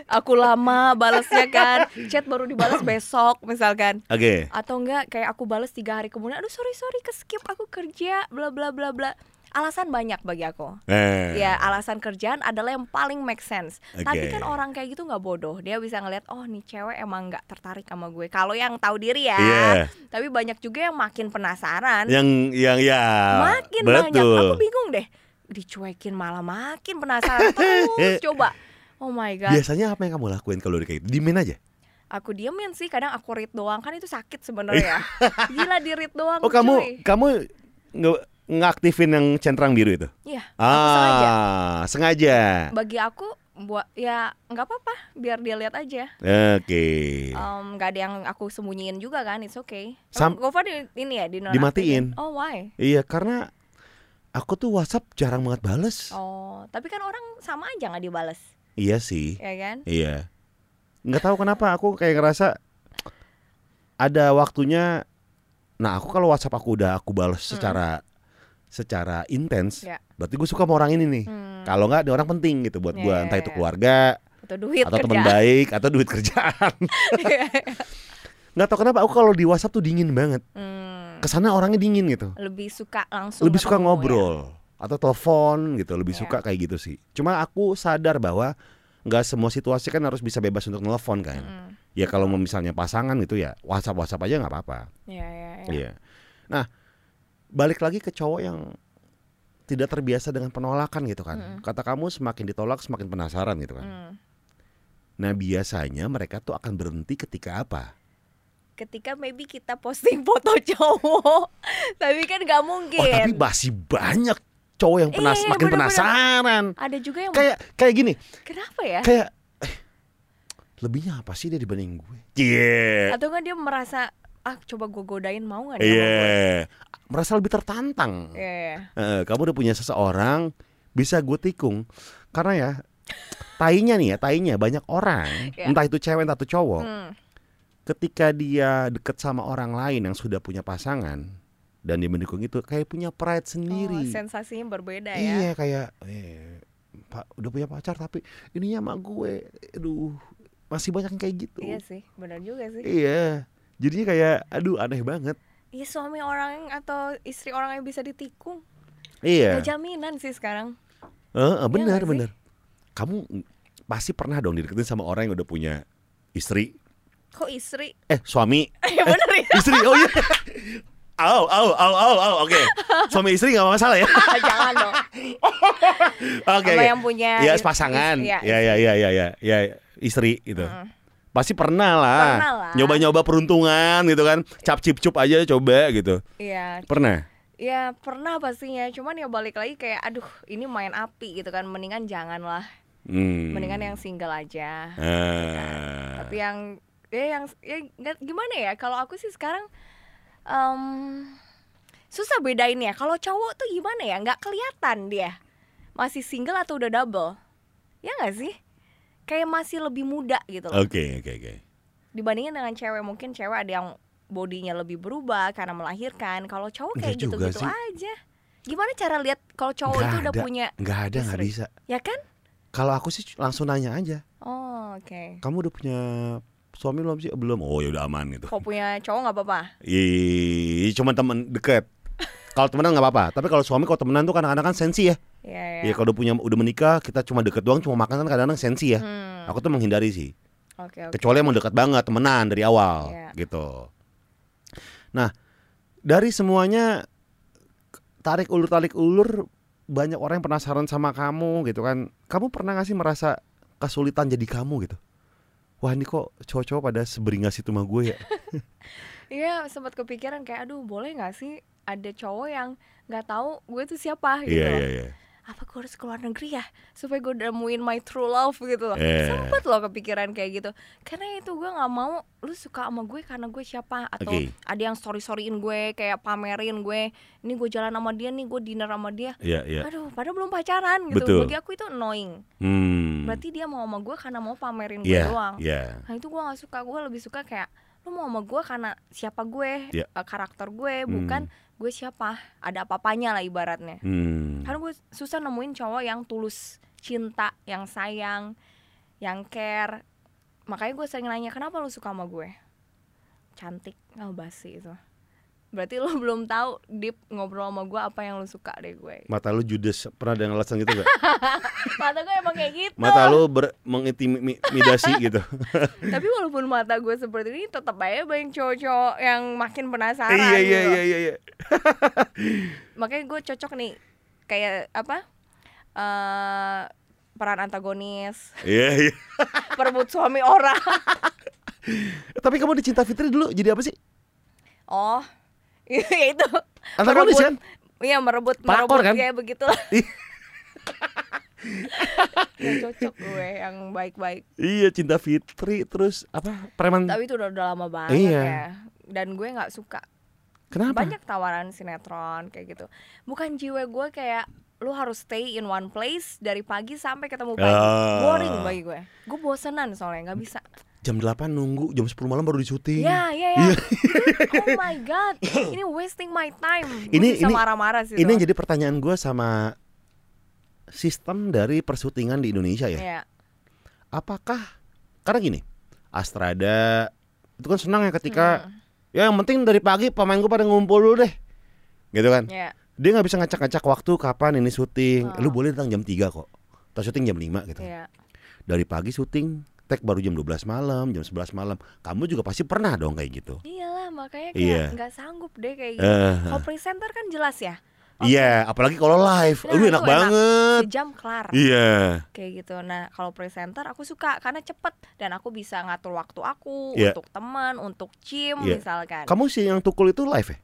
Aku lama balesnya kan. Chat baru
[laughs]
dibalas besok misalkan.
Oke.
Atau enggak kayak aku balas tiga hari kemudian, aduh sorry sorry keskip aku kerja bla bla bla bla. Alasan banyak bagi aku.
Eh.
Ya, alasan kerjaan adalah yang paling make sense. Tapi
Oke.
kan orang kayak gitu nggak bodoh. Dia bisa ngeliat, oh nih cewek emang nggak tertarik sama gue. Kalau yang tahu diri ya.
Iya.
Tapi banyak juga yang makin penasaran.
Yang yang ya.
kan? makin banyak.
betul.
Aku bingung deh. Dicuekin malah makin penasaran
[laughs]
terus coba. Oh my
Iya.
god.
Biasanya apa yang kamu lakuin kalau udah kayak gitu? Dimin aja.
Aku diemin sih kadang aku read doang kan itu sakit
[laughs]
sebenarnya. Gila di read doang.
Oh kamu
cuy.
kamu nge ngaktifin yang centrang biru itu?
Iya. aku sengaja.
Ah, sengaja.
Bagi aku buat ya nggak apa-apa biar dia lihat aja.
Oke.
Em, nggak ada yang aku sembunyiin juga kan, it's okay.
Iya. Sam-
Sam Gofar di, ini ya di
Dimatiin.
Oh why?
Iya karena aku tuh WhatsApp jarang banget bales.
Oh tapi kan orang sama aja nggak dibales,
Iya sih.
ya kan?
Iya. Nggak tahu kenapa aku kayak ngerasa ada waktunya. Nah aku kalau WhatsApp aku udah aku bales secara secara intens.
Iya.
Berarti gue suka sama orang ini nih.
Hmm,
Kalau nggak ada orang penting gitu buat
Iya,
gue,
iya,
entah itu
iya.
keluarga
atau duit
atau teman
kerjaan.
baik atau duit kerjaan. Nggak tahu kenapa aku kalau di WhatsApp tuh dingin banget.
[laughs] Hmm,
Kesana orangnya dingin gitu.
lebih suka langsung
lebih suka
ketemu ya.
ngobrol atau telepon gitu lebih
Iya.
suka kayak gitu sih cuma aku sadar bahwa nggak semua situasi kan harus bisa bebas untuk telepon kan
Mm,
ya kalau mau misalnya pasangan gitu ya whatsapp whatsapp aja nggak apa-apa
Iya, iya, iya.
iya nah balik lagi ke cowok yang tidak terbiasa dengan penolakan gitu kan
Mm-mm.
kata kamu semakin ditolak semakin penasaran gitu kan
Mm.
nah biasanya mereka tuh akan berhenti ketika apa
Ketika maybe kita posting foto [laughs] cowok, tapi kan nggak mungkin.
oh tapi masih banyak cowok yang penas
Iya,
makin
bener-bener.
penasaran
Ada juga yang
kayak kayak gini
kenapa ya?
kayak eh, lebihnya apa sih dia dibanding gue? Iya.
Atau kan dia merasa ah coba gue godain mau nggak dia? sama
Iya.
gue?
Merasa lebih tertantang.
Iya, iya.
Eh, kamu udah punya seseorang bisa gue tikung karena ya tainya nih ya tainya banyak orang
Iya.
entah itu cewek entah itu cowok
Hmm,
ketika dia deket sama orang lain yang sudah punya pasangan dan dia mendukung itu kayak punya pride
Oh,
sendiri
sensasinya berbeda ya.
iya kayak eh, pak udah punya pacar tapi ininya sama gue aduh masih banyak yang kayak gitu
Iya sih, benar juga sih.
Iya. Jadinya kayak aduh aneh banget.
Iya suami orang atau istri orang yang bisa ditikung.
Iya.
Gak jaminan sih sekarang.
Heeh, benar
iya nggak sih?
benar. Kamu n- pasti pernah dong dideketin sama orang yang udah punya istri.
Kok istri? [laughs]
Eh, suami.
Ya bener
[laughs]
ya.
Istri. Oh iya. Au, au, au, au, au. Oke. Suami istri gak masalah ya.
Jangan dong.
Oke.
Sama
oke.
yang punya
Iya,
is-
pasangan.
istri,
Iya,
ya,
iya, iya, iya, iya. Ya, istri gitu.
Mm.
Pasti pernah lah.
Pernah lah.
Nyoba-nyoba peruntungan gitu kan. Cap cip cup aja coba gitu.
Iya,
Pernah.
Ya pernah pastinya, cuman ya balik lagi kayak aduh ini main api gitu kan, mendingan janganlah,
Hmm.
mendingan yang single aja.
Ah.
Tapi yang ya yang ya nggak- gimana ya kalau aku sih sekarang em, susah bedain ya. Kalau cowok tuh gimana ya, nggak kelihatan dia masih single atau udah double, ya nggak sih? Kayak masih lebih muda gitu loh.
Oke, oke, oke.
Dibandingin dengan cewek mungkin cewek ada yang bodinya lebih berubah karena melahirkan. Kalau cowok
Nggak
kayak
juga
gitu-gitu
sih.
aja. Gimana cara lihat kalau cowok
Nggak
itu udah
ada.
punya
Nggak ada, nggak
Istri.
bisa.
ya kan?
Kalau aku sih langsung nanya aja.
Oh, oke.
Kamu udah punya suami belum sih? Belum. Oh, ya udah aman gitu.
Kalau punya cowok nggak apa-apa.
Ih, cuma teman dekat. Kalau temenan nggak apa-apa, tapi kalau suami kalau temenan tuh kadang-kadang kan sensi ya.
Iya, iya.
Ya kalau udah punya udah menikah kita cuma deket doang, cuma makan kan kadang-kadang sensi ya.
Hmm,
Aku tuh menghindari sih.
Oke, oke.
Kecuali emang dekat banget temenan dari awal
Iya.
gitu. Nah, dari semuanya tarik ulur tarik ulur banyak orang yang penasaran sama kamu gitu kan. Kamu pernah gak sih merasa kesulitan jadi kamu gitu? Wah ini kok cowok-cowok pada seberingas itu sama gue ya
Iya, sempat kepikiran kayak aduh, boleh nggak sih ada cowok yang nggak tahu gue tuh siapa [laughs] gitu. loh.
iya
Apa gue harus keluar negeri ya supaya gue nemuin my true love gitu loh.
Iya.
Sempat loh kepikiran kayak gitu. Karena itu gue nggak mau lu suka sama gue karena gue siapa atau
Oke.
ada yang story-storyin gue kayak pamerin gue. Ini gue jalan sama dia nih, gue dinner sama dia.
Iya iya
Aduh, padahal belum pacaran gitu.
Betul.
Bagi aku itu annoying.
Hmm
Berarti dia mau sama gue karena mau pamerin gue
Iya
doang.
Iya
Nah itu gue gak suka, gue lebih suka kayak lu mau sama gue karena siapa gue
Iya.
eh, karakter gue bukan gue siapa ada apa-apanya lah ibaratnya
Hmm.
karena gue susah nemuin cowok yang tulus cinta yang sayang yang care makanya gue sering nanya kenapa lu suka sama gue cantik nggak basi itu berarti lu [laughs] belum tahu deep ngobrol sama gue apa yang lu suka deh gue
Mata lu judes pernah ada yang alasan gitu gak?
mata gue emang kayak gitu
Mata lu ber- mengintimidasi
[laughs]
gitu.
tapi walaupun mata gue seperti ini tetap aja banyak cowok-cowok yang makin penasaran
[laughs]
iya iya
gitu.
iya iya. iya.
makanya gue cocok nih kayak apa eh peran antagonis
Iya iya.
perebut suami orang
Tapi kamu di Cinta Fitri dulu jadi apa sih?
oh [laughs] ya itu
Antagonis kan?
iya merebut
Pelakor
merebut
kan?
ya
[laughs]
begitulah Gak cocok gue yang baik-baik
Iya cinta Fitri terus
Apa? Preman.
tapi itu udah, udah lama banget
Iya.
ya dan gue nggak suka
Kenapa?
banyak tawaran sinetron kayak gitu bukan jiwa gue kayak lu harus stay in one place dari pagi sampai ketemu pagi
Ah.
boring bagi gue gue bosenan soalnya nggak bisa
jam 8 nunggu jam 10 malam baru disyuting.
Iya.
ya ya ya Itu, oh my god ini wasting my time Gue
Ini-
bisa
ini-
marah-marah sih
Ini yang
tuh.
jadi pertanyaan gue sama sistem dari persyutingan di Indonesia ya.
Iya.
Apakah karena gini, Astrada itu kan senang ya ketika
Hmm.
ya yang penting dari pagi pemain gue pada ngumpul dulu deh. Gitu kan.
Hmm, iya.
Dia nggak bisa ngacak-ngacak waktu kapan ini syuting.
Ah.
Lu boleh datang jam 3 kok. Atau syuting jam 5 gitu.
Iya.
Dari pagi syuting, tag baru jam 12 malam, jam 11 malam. Kamu juga pasti pernah dong kayak gitu.
iyalah makanya
Iya.
kayak nggak sanggup deh kayak gitu
Eh,
kalau presenter kan jelas ya Oke,
Iya, apalagi kalau live.
Nah,
Aduh
itu
enak
enak.
banget.
sejam kelar
Iya.
kayak gitu. Nah, kalau presenter aku suka karena cepet dan aku bisa ngatur waktu aku
Iya.
untuk teman, untuk gym
Iya.
misalkan.
Kamu sih yang tukul itu live ya?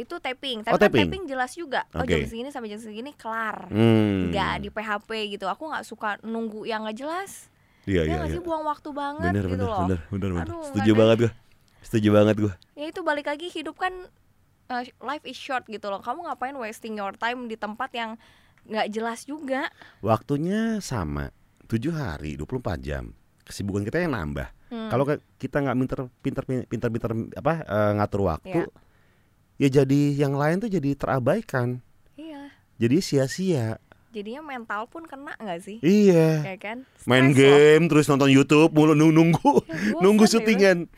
Itu taping, tapi
Oh,
kan
taping.
taping jelas juga. Oh,
Oke.
jam segini sampai jam segini kelar.
Hmm.
Nggak di PHP gitu. Aku nggak suka nunggu yang nggak jelas.
Iya
ya
iya
nggak
iya.
sih buang waktu banget
Bener
gitu
bener
loh.
bener bener bener.
Aduh,
Setuju
nggak
banget gue. Setuju banget gue.
Ya itu balik lagi hidup kan eh, life is short gitu loh. Kamu ngapain wasting your time di tempat yang nggak jelas juga.
Waktunya sama, 7 hari, 24 jam. Kesibukan kita yang nambah.
Hmm.
Kalau ke- kita nggak pinter pinter pinter pinter apa eh, ngatur waktu,
Iya.
ya jadi yang lain tuh jadi terabaikan.
Iya.
Jadi sia-sia.
Jadinya mental pun kena nggak sih?
Iya.
Ya kan?
Main
Stres loh.
game terus nonton YouTube mulu nung- nunggu [laughs]
Ya, bosen
nunggu
gitu.
syutingan.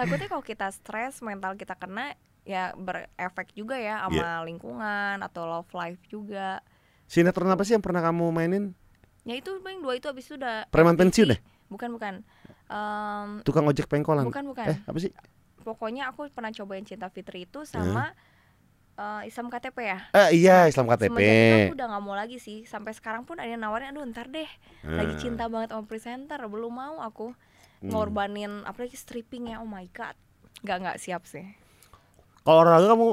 Takutnya kalau kita stres, mental kita kena ya berefek juga ya sama
Iya.
lingkungan atau love life juga.
Sinetron apa sih yang pernah kamu mainin?
Ya itu paling dua itu abis itu udah
Preman pensiun ya? deh,
bukan bukan. Em,
tukang ojek pengkolan.
bukan bukan.
Eh, apa sih?
Pokoknya aku pernah cobain Cinta Fitri itu sama eh, Islam KTP ya.
Eh, iya, Islam KTP.
Semenjak itu aku udah nggak mau lagi sih. Sampai sekarang pun ada yang nawarin, aduh ntar deh. Lagi
Hmm.
cinta banget sama presenter, belum mau aku ngorbanin apalagi stripping ya. Oh my god. Nggak nggak siap sih.
Kalau olahraga kamu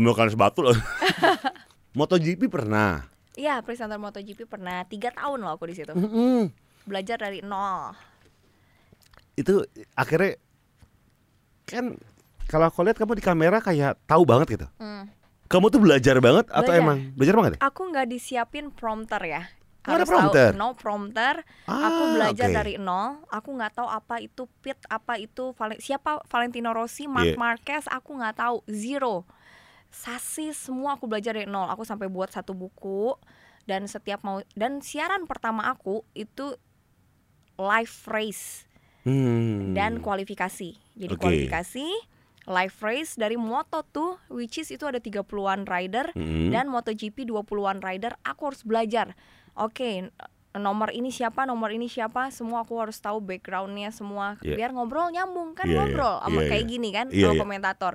memiliki sebatu loh. [laughs] MotoGP pernah.
Iya, presenter MotoGP pernah tiga tahun loh aku di
Hmm?
situ.
Mm-mm.
Belajar dari nol.
Itu akhirnya kan kalau aku lihat kamu di kamera kayak tahu banget gitu.
Hmm.
Kamu tuh belajar banget atau
Belajar.
emang belajar banget ya?
Aku nggak disiapin prompter ya.
Nggak ada
Harus
prompter?
Tahu, no prompter. aku
Ah,
belajar
oke.
dari nol. Aku nggak tahu apa itu pit, apa itu Valen- siapa Valentino Rossi, Marc
Iya.
Marquez. Aku nggak tahu zero. Sasi semua aku belajar dari nol. Aku sampai buat satu buku dan setiap mau dan siaran pertama aku itu live race.
Hmm.
dan kualifikasi. Jadi
Oke.
kualifikasi, live race dari moto tuh which is itu ada 30-an rider
Mm.
dan MotoGP 20-an rider aku harus belajar. Oke, n- nomor ini siapa, nomor ini siapa, semua aku harus tahu backgroundnya semua
Iya.
biar ngobrol nyambung kan
Iya, iya.
ngobrol sama
Iya,
kayak
iya.
gini kan
Iya,
sama
iya.
komentator.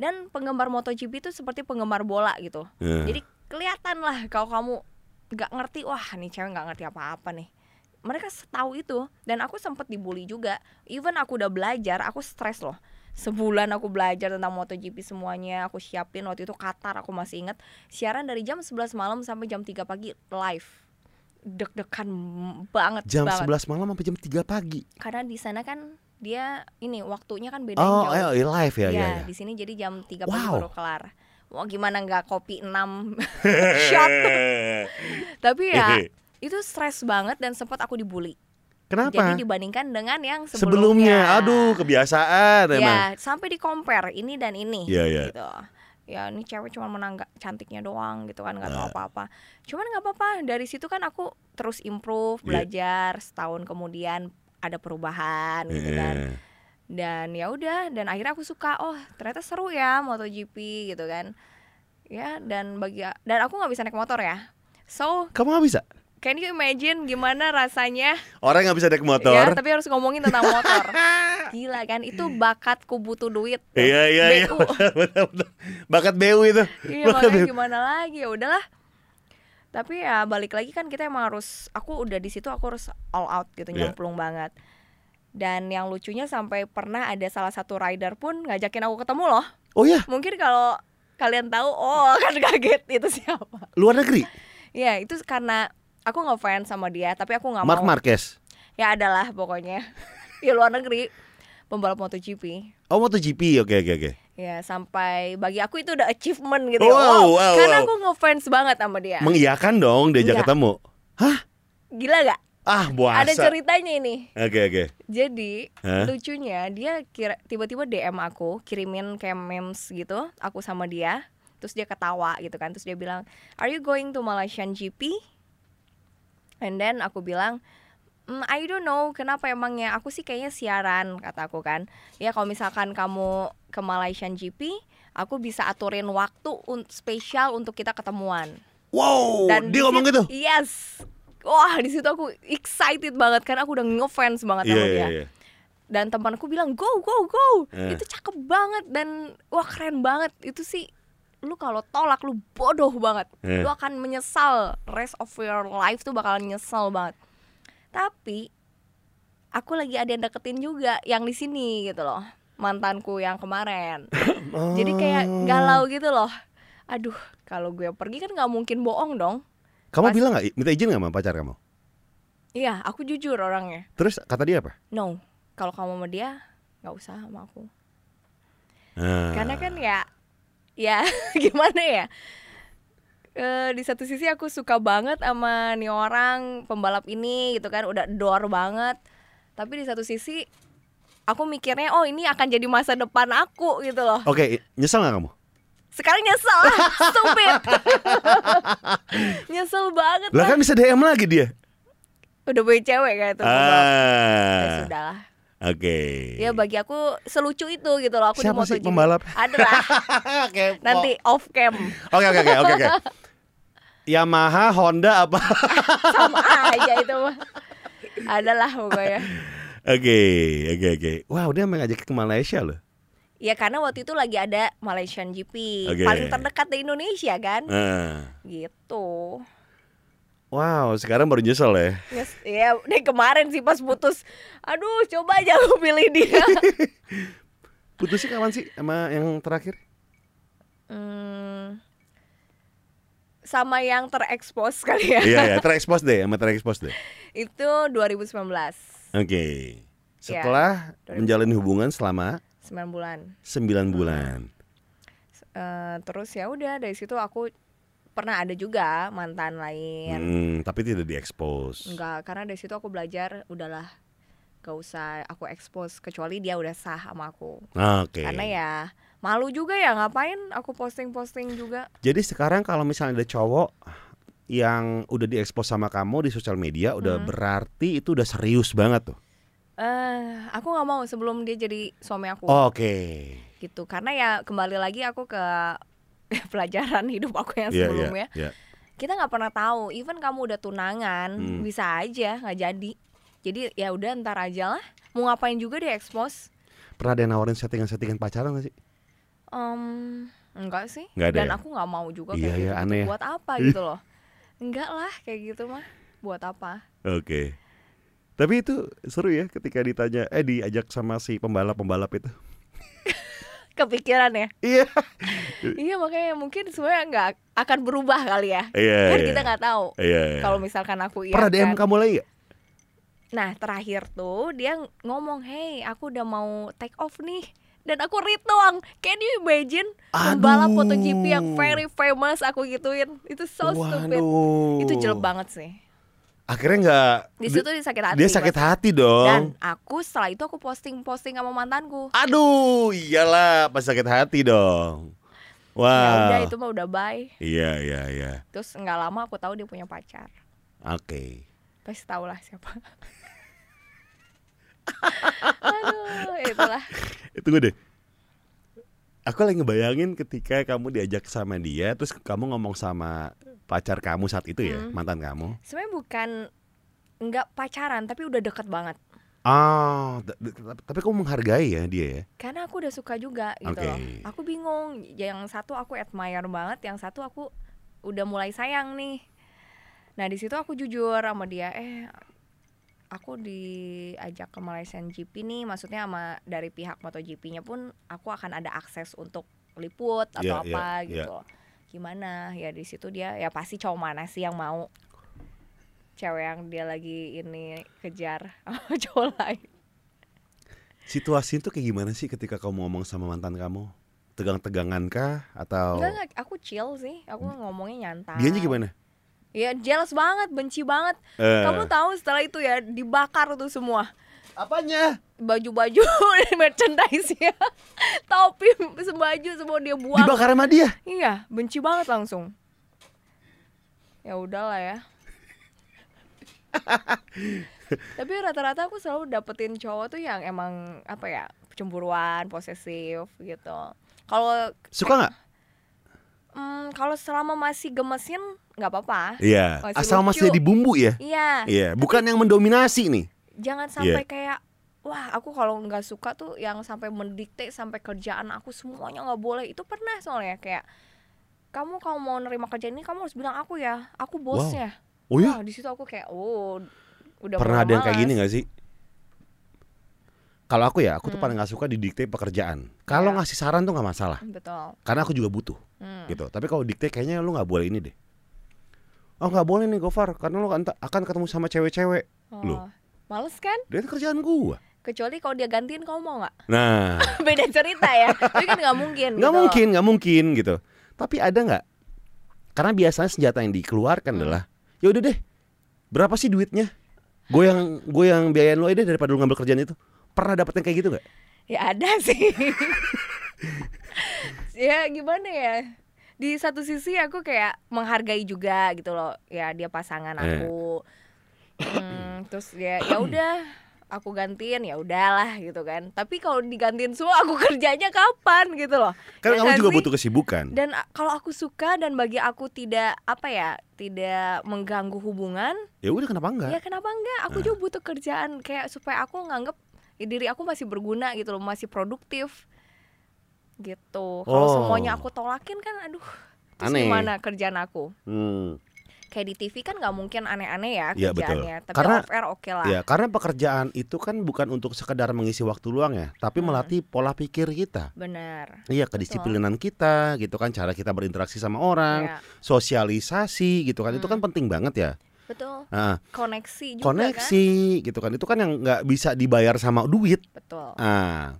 Dan penggemar MotoGP itu seperti penggemar bola gitu.
Eh.
Jadi kelihatan lah kalau kamu nggak ngerti, wah nih cewek nggak ngerti apa-apa nih. Mereka setahu itu dan aku sempet dibully juga. Even aku udah belajar, aku stres loh. Sebulan aku belajar tentang MotoGP semuanya, aku siapin waktu itu Qatar aku masih inget siaran dari jam 11 malam sampai jam 3 pagi live. Deg-degan banget
jam
banget.
11 malam sampai jam 3 pagi.
Karena di sana kan dia ini waktunya kan beda
Oh,
jauh.
eh, live ya,
Ya,
ya, ya.
di sini jadi jam 3 pagi
Wow.
baru kelar. Mau gimana nggak kopi
[laughs]
6 shot. Tapi ya itu stres banget dan sempat aku dibully.
Kenapa?
Jadi dibandingkan dengan yang
sebelumnya.
sebelumnya.
Aduh, kebiasaan emang.
Ya, sampai di compare ini dan ini.
Iya, iya.
Gitu. Ya, ini cewek cuma menang nggak- cantiknya doang gitu kan, nggak tahu
Nah.
apa-apa. Cuman nggak apa-apa. Dari situ kan aku terus improve,
Iya.
belajar. Setahun kemudian ada perubahan gitu kan.
Eh,
Dan ya udah, dan akhirnya aku suka. Oh, ternyata seru ya MotoGP gitu kan. Ya, dan bagi dan aku nggak bisa naik motor ya. So,
Kamu nggak bisa?
can you imagine gimana rasanya
Orang nggak bisa naik
Ya,
motor.
tapi harus ngomongin tentang
[laughs]
motor. Gila kan, itu bakatku butuh duit.
Iya iya iya.
BU.
Benar, [laughs] benar, benar. Bakat BU itu.
[laughs] Iya,
Bakat
makanya
BU.
gimana lagi ya udahlah. Tapi ya balik lagi kan kita emang harus aku udah di situ aku harus all out gitu,
Iya.
nyemplung banget. Dan yang lucunya sampai pernah ada salah satu rider pun ngajakin aku ketemu loh.
Oh ya,
Mungkin kalau kalian tahu, oh [laughs] kan kaget itu siapa.
luar negeri.
Ya, itu karena aku ngefans sama dia, tapi aku nggak
Mark
mau.
Marquez.
Ya adalah pokoknya. ya luar negeri pembalap MotoGP.
Oh MotoGP, oke oke oke.
Ya sampai bagi aku itu udah achievement gitu ya.
Wow, wow, wow.
karena aku ngefans banget sama dia.
Mengiyakan dong diajak
Enggak.
ketemu.
Gila gak?
Ah
Iya. Ada
puasa.
ceritanya ini.
Oke oke.
Jadi
Hah?
lucunya dia kira- tiba-tiba DM aku, kirimin kayak memes gitu, aku sama dia. Terus dia ketawa gitu kan. Terus dia bilang, "Are you going to Malaysian GP?" And then aku bilang, "Mm, I don't know kenapa emangnya aku sih kayaknya siaran kata aku kan ya kalau misalkan kamu ke Malaysian GP aku bisa aturin waktu un- spesial untuk kita ketemuan
Wow,
di
dia ngomong gitu.
situ- Yes. Wah, di situ aku excited banget karena aku udah ngefans banget
Iya
sama dia.
iya iya.
Dan temanku bilang, "Go, go, go."
Eh.
Itu cakep banget dan wah keren banget. Itu sih lu kalau tolak lu bodoh banget.
Eh.
Lu akan menyesal. Rest of your life tuh bakalan nyesel banget. Tapi aku lagi ada yang deketin juga yang di sini gitu loh. Mantanku yang kemarin. Jadi kayak
Oh.
galau gitu loh. Aduh, kalau gue pergi kan nggak mungkin bohong dong.
Kamu
pas-
bilang nggak? Minta izin nggak sama pacar kamu?
Iya, aku jujur orangnya.
Terus kata dia apa?
No, kalau kamu sama dia nggak usah sama aku.
Ah.
Karena kan ya, ya [laughs] gimana ya? Eh, di satu sisi aku suka banget sama nih orang pembalap ini gitu kan, udah adore banget. Tapi di satu sisi aku mikirnya oh ini akan jadi masa depan aku gitu loh.
Oke, nyesel nggak kamu?
Sekarang nyesel, lah,
[laughs]
stupid. nyesel banget
Lah
lah.
kan bisa DM lagi dia.
Udah punya cewek kayak itu. pembalap. Ya
Ah,
sudah lah.
oke.
Ya bagi aku selucu itu gitu loh aku di
Siapa sih
MotoGP.
pembalap? Oh.
Ada
[laughs]
lah
Kepo.
nanti off cam
Oke oke oke oke
[laughs]
oke. Yamaha, Honda apa?
sama aja itu mah. Ada lah pokoknya.
Oke oke oke. Wow dia emang ngajak ke Malaysia loh.
Ya karena waktu itu lagi ada Malaysian GP
Oke.
paling terdekat di Indonesia kan,
Ah.
gitu.
Wow sekarang baru nyesel ya.
Yes, ya dari kemarin sih pas putus, aduh coba aja aku pilih dia.
[laughs] Putusnya kapan sih sama yang terakhir?
Hmm, sama yang terekspos kali ya.
Iya ya terekspos deh sama terekspos deh.
[laughs] Itu 2019,
Oke. [laughs] Setelah
Iya.
menjalin hubungan selama
9 bulan.
9 bulan.
Eh, terus ya udah dari situ aku pernah ada juga mantan lain
Hmm, tapi tidak diekspos.
Iya. enggak karena dari situ aku belajar udahlah gak usah aku expose kecuali dia udah sah sama aku
Oke.
karena ya malu juga ya ngapain aku posting posting juga
Jadi sekarang kalau misalnya ada cowok yang udah diekspos sama kamu di sosial media udah
Hmm.
berarti itu udah serius banget tuh.
eh aku nggak mau sebelum dia jadi suami aku
Oh. Oke.
gitu karena ya kembali lagi aku ke [laughs] pelajaran hidup aku yang ya.
Iya,
sebelumnya
iya, iya.
kita nggak pernah tahu even kamu udah tunangan
Hmm.
bisa aja nggak jadi jadi ya udah ntar aja lah mau ngapain juga di expose
Pernah ada yang nawarin settingan-settingan pacaran gak sih?
Em, enggak sih
Nggak ada
dan
ya?
aku nggak mau juga
Iya,
kayak
iya,
gitu,
aneh ya.
buat
[laughs]
apa gitu loh enggak lah kayak gitu mah buat apa
Oke. Tapi itu seru ya ketika ditanya eh diajak sama si pembalap-pembalap itu.
kepikiran ya
Iya.
iya makanya mungkin semuanya nggak akan berubah kali ya
Iya.
kan
iya.
kita nggak tahu
Iya. iya.
kalau misalkan aku iya
Pernah DM kamu lagi gak?
Nah terakhir tuh dia ngomong Hey aku udah mau take off nih Dan aku read doang Can you imagine Pembalap
Aduh.
MotoGP yang very famous aku gituin Itu so stupid
Waduh.
Itu jelek banget sih
akhirnya nggak
Di situ dia sakit hati.
dia sakit hati
Dan
dong
aku setelah itu aku posting-posting sama mantanku.
aduh iyalah pas sakit hati dong
Ya udah
wah
itu mah udah bye.
iya iya iya
Terus nggak lama aku tahu dia punya pacar.
oke
Pasti tau lah siapa. [laughs] Aduh, itulah.
itu gue deh aku lagi ngebayangin ketika kamu diajak sama dia terus kamu ngomong sama pacar kamu saat itu ya
Hmm.
mantan kamu
Sebenarnya bukan nggak pacaran tapi udah deket banget.
ah t- t- tapi kamu menghargai ya dia ya
Karena aku udah suka juga gitu
Oke.
loh. Aku bingung. Yang satu aku admire banget, yang satu aku udah mulai sayang nih. Nah di situ aku jujur sama dia. Eh, aku diajak ke Malaysian GP nih. Maksudnya sama dari pihak MotoGP-nya pun aku akan ada akses untuk liput
Iya,
atau
iya,
apa gitu. loh. Gimana? Ya di situ dia ya pasti cowok mana sih yang mau cewek yang dia lagi ini kejar [laughs] sama cowok lain.
situasi itu kayak gimana sih ketika kamu ngomong sama mantan kamu tegang-tegangan kah atau
Enggak, enggak, aku chill sih. Aku ngomongnya nyantai.
Oh. Hmm. dianya gimana
Ya jealous banget, benci banget.
Eh.
Kamu tahu setelah itu ya dibakar tuh semua
apanya
baju-baju [laughs] merchandise-nya, [laughs] topi, baju semua dia buang.
dibakar sama dia
Iya, benci banget langsung. Ya udahlah
[laughs]
ya. Tapi rata-rata aku selalu dapetin cowok tuh yang emang apa ya cemburuan, posesif gitu. Kalau
suka nggak
mm, kalau selama masih gemesin nggak apa-apa.
iya
Masih
asal
lucu.
masih di bumbu ya
Iya.
iya bukan yang mendominasi nih Iya.
jangan sampai kayak wah aku kalau nggak suka tuh yang sampai mendikte sampai kerjaan aku semuanya nggak boleh itu pernah soalnya kayak kamu kalau mau nerima kerjaan ini kamu harus bilang aku ya aku bosnya
oh ya
Wah, di situ aku kayak oh udah
pernah
mulai
ada yang kayak
males.
gini gak sih kalau aku ya aku tuh
Hmm.
paling gak suka didikte pekerjaan kalau
Ya.
ngasih saran tuh nggak masalah
betul
karena aku juga butuh
Hmm.
gitu tapi kalau dikte kayaknya lu nggak boleh ini deh oh nggak boleh nih Gofar karena lu kan- akan ketemu sama cewek-cewek
Oh,
Loh.
males kan
dia itu kerjaan gua
kecuali kalau dia gantiin kamu mau nggak [laughs]
nah
beda cerita ya tapi kan nggak mungkin
nggak
gitu.
mungkin nggak mungkin gitu tapi ada nggak karena biasanya senjata yang dikeluarkan
Hmm.
adalah ya udah deh berapa sih duitnya gue yang gue yang biayain lo aja deh daripada lu ngambil kerjaan itu pernah dapet yang kayak gitu nggak
Ya ada [laughs] sih. ya gimana ya? Di satu sisi aku kayak menghargai juga gitu loh. Ya dia pasangan
Eh.
aku. Hmm, terus ya ya udah aku gantiin ya udahlah gitu kan. Tapi kalau digantiin semua aku [laughs] kerjanya kapan gitu loh.
kan
Ya
kamu
nggak
juga
sih?
butuh kesibukan
Dan a- kalau aku suka dan bagi aku tidak apa ya, tidak mengganggu hubungan,
ya udah kenapa enggak
Ya kenapa enggak?
Nah.
Aku juga butuh kerjaan kayak supaya aku nganggep ya, diri aku masih berguna gitu loh, masih produktif. Gitu. Kalau
Oh.
semuanya aku tolakin kan aduh. Terus
Aneh.
gimana kerjaan aku?
hmm.
Kayak di TV kan nggak mungkin aneh-aneh ya
Iya, betul.
kerjaannya, tapi
Karena-
off air oke lah.
ya karena pekerjaan itu kan bukan untuk sekedar mengisi waktu luang ya tapi
Hmm.
melatih pola pikir kita
Benar.
Iya kedisiplinan kita gitu kan cara kita berinteraksi sama orang
Ya,
sosialisasi gitu kan itu
Hmm.
kan penting banget ya
betul.
Nah,
Koneksi juga kan? Oh.
koneksi gitu kan itu kan yang nggak bisa dibayar sama duit
Betul.
ah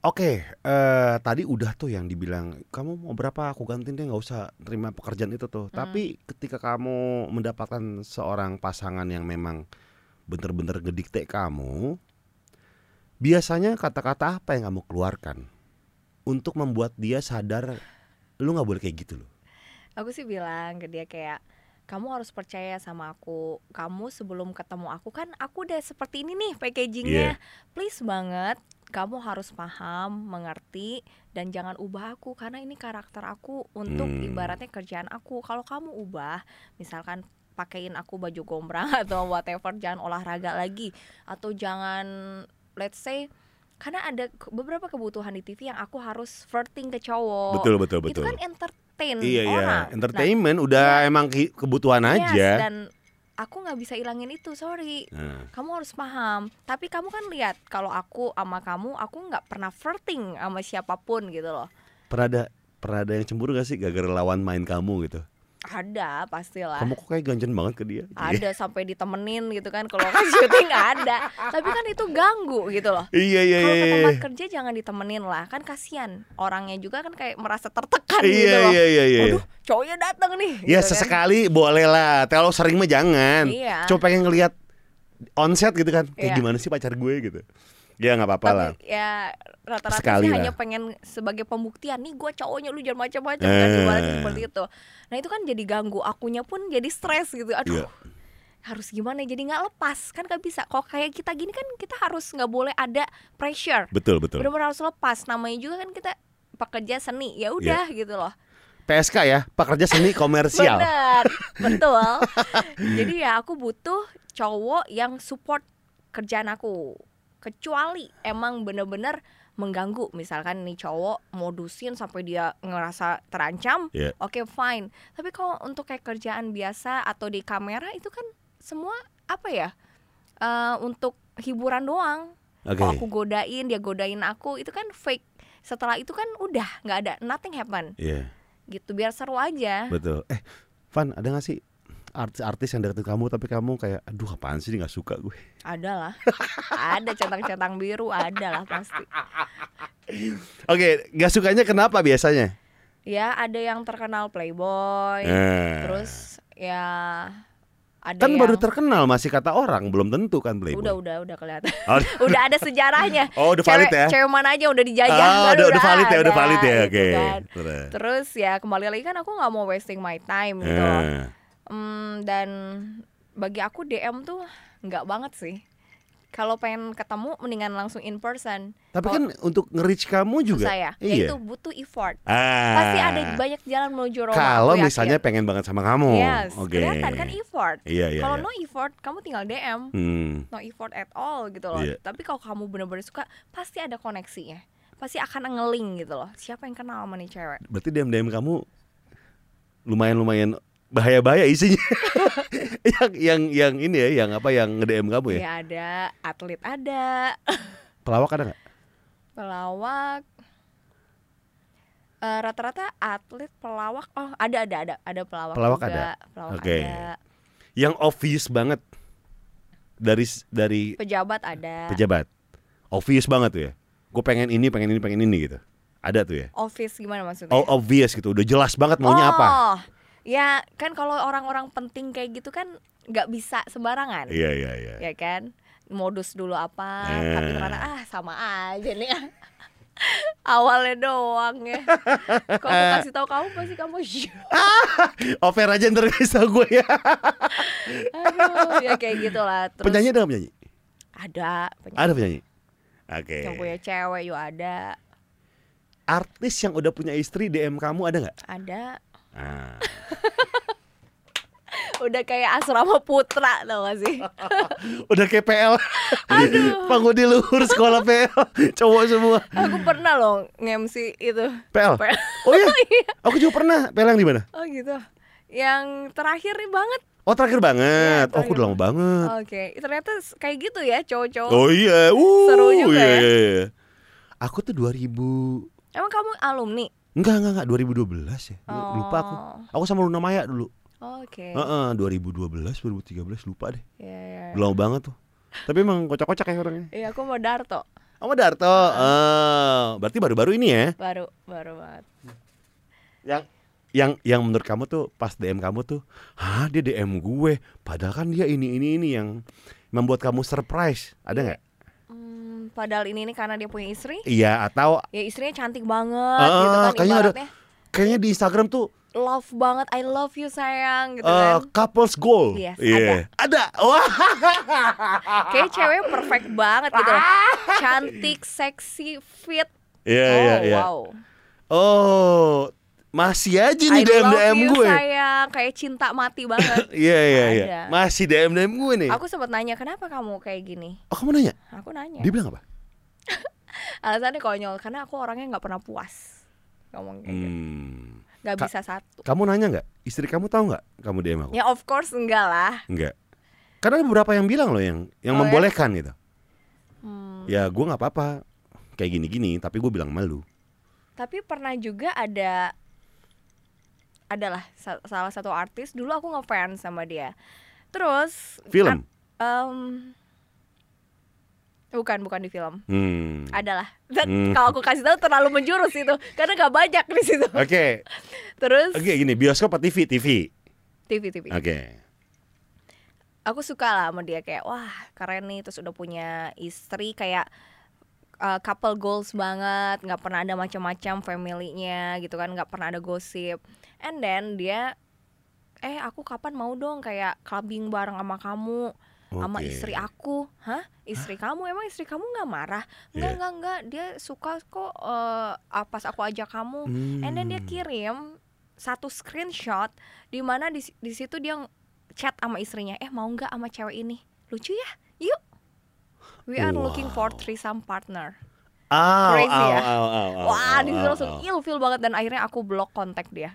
oke eh, tadi udah tuh yang dibilang kamu mau berapa aku gantiin deh nggak usah terima pekerjaan itu
Hmm.
tuh tapi ketika kamu mendapatkan seorang pasangan yang memang bener-bener ngedikte kamu biasanya kata-kata apa yang kamu keluarkan untuk membuat dia sadar lu nggak boleh kayak gitu loh
Aku sih bilang ke dia kayak kamu harus percaya sama aku. Kamu sebelum ketemu aku kan aku udah seperti ini nih
Iya.
packagingnya. Please banget, kamu harus paham, mengerti dan jangan ubah aku karena ini karakter aku untuk
Hmm.
ibaratnya kerjaan aku. Kalau kamu ubah, misalkan pakein aku baju gombrang [laughs] atau whatever, jangan olahraga lagi atau jangan let's say karena ada ke- beberapa kebutuhan di TV yang aku harus flirting ke cowok
betul
itu kan entertain
iya iya
orang. iya.
entertainment udah emang ki- kebutuhan
Nah, yes,
aja
dan aku nggak bisa ilangin itu, sorry.
Nah,
Kamu harus paham. Tapi kamu kan lihat kalau aku sama kamu, aku nggak pernah flirting sama siapapun gitu loh.
pernah ada pernah ada yang cemburu gak sih gara-gara lawan main kamu gitu
ada pastilah
Kamu kok kayak ganjen banget ke dia. Iya.
ada sampai ditemenin gitu kan kalau kan syuting ada tapi kan itu ganggu gitu loh
Iya iya iya.
kalau ke
iya.
tempat kerja jangan ditemenin lah kan kasihan orangnya juga kan kayak merasa tertekan gitu
Iya
loh
iya iya iya.
Aduh, cowoknya datang nih
Ya
gitu kan.
sesekali boleh lah. Kalau sering mah jangan.
Iya.
Coba pengen ngelihat onset gitu kan. Kayak
Iya.
gimana sih pacar gue gitu. Ya nggak apa-apa lah.
Tapi ya rata-rata
Sekali
sih
lah.
hanya pengen sebagai pembuktian nih gue cowoknya lu jangan macam-macam
Eh.
kan ibaratnya seperti itu. Nah itu kan jadi ganggu akunya pun jadi stres gitu. Aduh.
Iya.
Harus gimana jadi nggak lepas kan nggak bisa. Kok kayak kita gini kan kita harus nggak boleh ada pressure.
Betul betul.
Benar-benar harus lepas. Namanya juga kan kita pekerja seni ya udah
Iya.
gitu loh.
PSK ya, pekerja seni komersial. [laughs]
Bener, betul. Jadi ya aku butuh cowok yang support kerjaan aku. Kecuali emang bener-bener mengganggu. Misalkan nih cowok modusin sampai dia ngerasa terancam,
Iya.
oke fine. Tapi kalau untuk kayak kerjaan biasa atau di kamera itu kan semua apa ya? Eh, untuk hiburan doang.
Oke.
Kalau aku godain, dia godain aku, itu kan fake. Setelah itu kan udah nggak ada nothing happen
Iya,
gitu biar seru aja.
betul. Eh, Van, ada gak sih artis-artis yang deketin kamu tapi kamu kayak aduh apaan sih dia nggak suka gue.
Ada lah. ada centang-centang biru, ada lah pasti.
Oke, nggak sukanya kenapa biasanya?
Ya, ada yang terkenal playboy.
Eh.
Oh, iya. Terus ya ada
kan
yang
baru terkenal masih kata orang, belum tentu kan Playboy.
Iya. udah udah udah kelihatan. [laughs]
Oh,
udah ada sejarahnya.
oh, udah valid
cewek,
ya.
cewek mana aja udah dijajah.
Ah,
kan
udah, udah valid ya, udah
ada,
valid ya.
gitu
Oke.
kan.
Terus.
Terus ya kembali lagi kan aku nggak mau wasting my time gitu. loh.
Eh.
Hmm, dan bagi aku DM tuh nggak banget sih. Kalau pengen ketemu mendingan langsung in person.
Tapi
Oh.
kan untuk nge-reach kamu juga.
Saya,
Iya.
yaitu butuh effort.
Ah.
pasti ada banyak jalan menuju Roma.
Kalau
aku yakin.
misalnya pengen banget sama kamu.
yes,
Oke.
kelihatan kan effort.
Iya, iya.
kalau
iya.
no effort, kamu tinggal DM,
Hmm.
no effort at all gitu loh.
Iya.
Tapi kalau kamu benar-benar suka, pasti ada koneksinya. Pasti akan ngeling gitu loh. Siapa yang kenal sama nih cewek?
Berarti DM-DM kamu lumayan-lumayan bahaya-bahaya isinya. [laughs] yang yang yang ini ya, yang apa yang nge-DM kamu ya?
Ya ada atlet ada,
Pelawak ada nggak?
pelawak. Eh, rata-rata atlet pelawak oh ada ada ada ada pelawak
Pelawak
juga.
ada?
pelawak
Oke.
ada
Yang obvious banget dari dari
pejabat ada
pejabat. Obvious banget tuh ya. Gue pengen ini, pengen ini, pengen ini gitu. Ada tuh ya.
office gimana maksudnya
Oh, obvious gitu. Udah jelas banget maunya apa.
Oh, Ya kan kalau orang-orang penting kayak gitu kan nggak bisa sembarangan,
Iya, iya, iya.
ya kan? Modus dulu apa?
Eh.
Tapi ternyata ah sama aja nih. [laughs] Awalnya doang ya. Kok aku kasih tahu kamu pasti kamu [laughs]
Over Oh, aja ntar kisah gue ya.
Aduh, ya kayak gitulah. Terus
Penyanyi ada nggak penyanyi?
ada penyanyi
Ada penyanyi. Oke.
yang punya cewek juga ada,
Artis yang udah punya istri DM kamu ada nggak?
ada.
Ah.
Udah kayak asrama putra tau gak
[laughs]
sih?
udah kayak PL. Pangudi luhur sekolah PL, cowok semua.
Aku pernah loh nge-MC itu. [laughs]
PL. Oh iya. Aku juga pernah PL yang di mana?
Oh gitu. Yang terakhir nih banget.
Oh terakhir banget.
Iya,
oh, aku udah lama banget.
Oke, ternyata s- kayak gitu ya cowok-cowok.
Oh iya. Uh,
Seru juga
iya,
ya.
iya, iya. Aku tuh 2000
Emang kamu alumni?
Enggak, enggak, enggak 2012 ya.
Oh.
Lupa aku. Aku sama Luna Maya dulu.
Oke.
Heeh, 2012, 2013 lupa deh.
Iya, iya.
Udah Lama banget tuh. Tapi emang kocak-kocak ya orangnya.
Iya, aku mau Darto.
Sama Darto. eh, berarti baru-baru ini ya.
Baru baru banget.
Yang yang yang menurut kamu tuh pas DM kamu tuh, "Hah, dia DM gue." Padahal kan dia ini ini ini yang membuat kamu surprise. Ada nggak?
Hmm, padahal ini nih karena dia punya istri.
Iya, atau
Ya istrinya cantik banget
Ah,
gitu kan
kayaknya ada-
ibaratnya.
kayaknya di Instagram tuh
Love banget, I love you sayang gitu
eh,
kan.
couples goal.
Yes, Oh,
Iya. Ada. Wah.
Kayaknya cewek perfect banget gitu.
[laughs]
loh. Cantik, seksi, fit.
Iya,
oh,
iya, iya.
wow.
Oh, masih aja
I
nih DM
love
DM
you
gue.
sayang, kayak cinta mati
[laughs]
banget.
Iya, iya, iya.
Ada.
Masih DM DM gue nih.
Aku Iya. sempat nanya, "Kenapa kamu kayak gini?"
Oh, kamu nanya?
Aku nanya.
Dia bilang apa?
Alasannya konyol karena aku orangnya nggak pernah puas ngomong kayak gitu.
Hmm.
Nggak
Ka-
bisa satu.
Kamu nanya nggak? Istri kamu tahu nggak kamu DM aku?
Ya of course enggak lah.
Enggak. Karena ada beberapa yang bilang loh yang yang
Oh, ya?
membolehkan gitu.
Hmm,
Ya gue nggak apa-apa kayak gini-gini, tapi gue bilang malu.
Tapi pernah juga ada adalah sa- salah satu artis dulu aku ngefans sama dia terus
Film.
a- em, bukan bukan di film
Hmm.
adalah Dan
Hmm.
[laughs] kalau aku kasih tahu terlalu menjurus itu karena gak banyak di
[laughs]
situ
Oke,
terus
oke gini bioskop atau TV? TV.
TV TV
Oke.
aku suka lah sama dia kayak wah keren nih terus udah punya istri kayak uh, couple goals banget nggak pernah ada macam-macam family-nya gitu kan nggak pernah ada gosip and then dia eh aku kapan mau dong kayak clubbing bareng sama kamu sama
Oke.
istri aku hah istri kamu emang istri kamu nggak marah nggak
Iya.
nggak nggak dia suka kok eh, ah, pas aku ajak kamu And then dia
Hmm.
kirim satu screenshot di mana di, di situ dia chat sama istrinya, "Eh, mau nggak sama cewek ini? Lucu ya? Yuk." We are looking for
Wow.
threesome partner.
Au,
Crazy
au,
ya?
au, au, au,
Wah,
au,
di situ
au,
langsung
au.
ilfeel banget dan akhirnya aku blok kontak dia.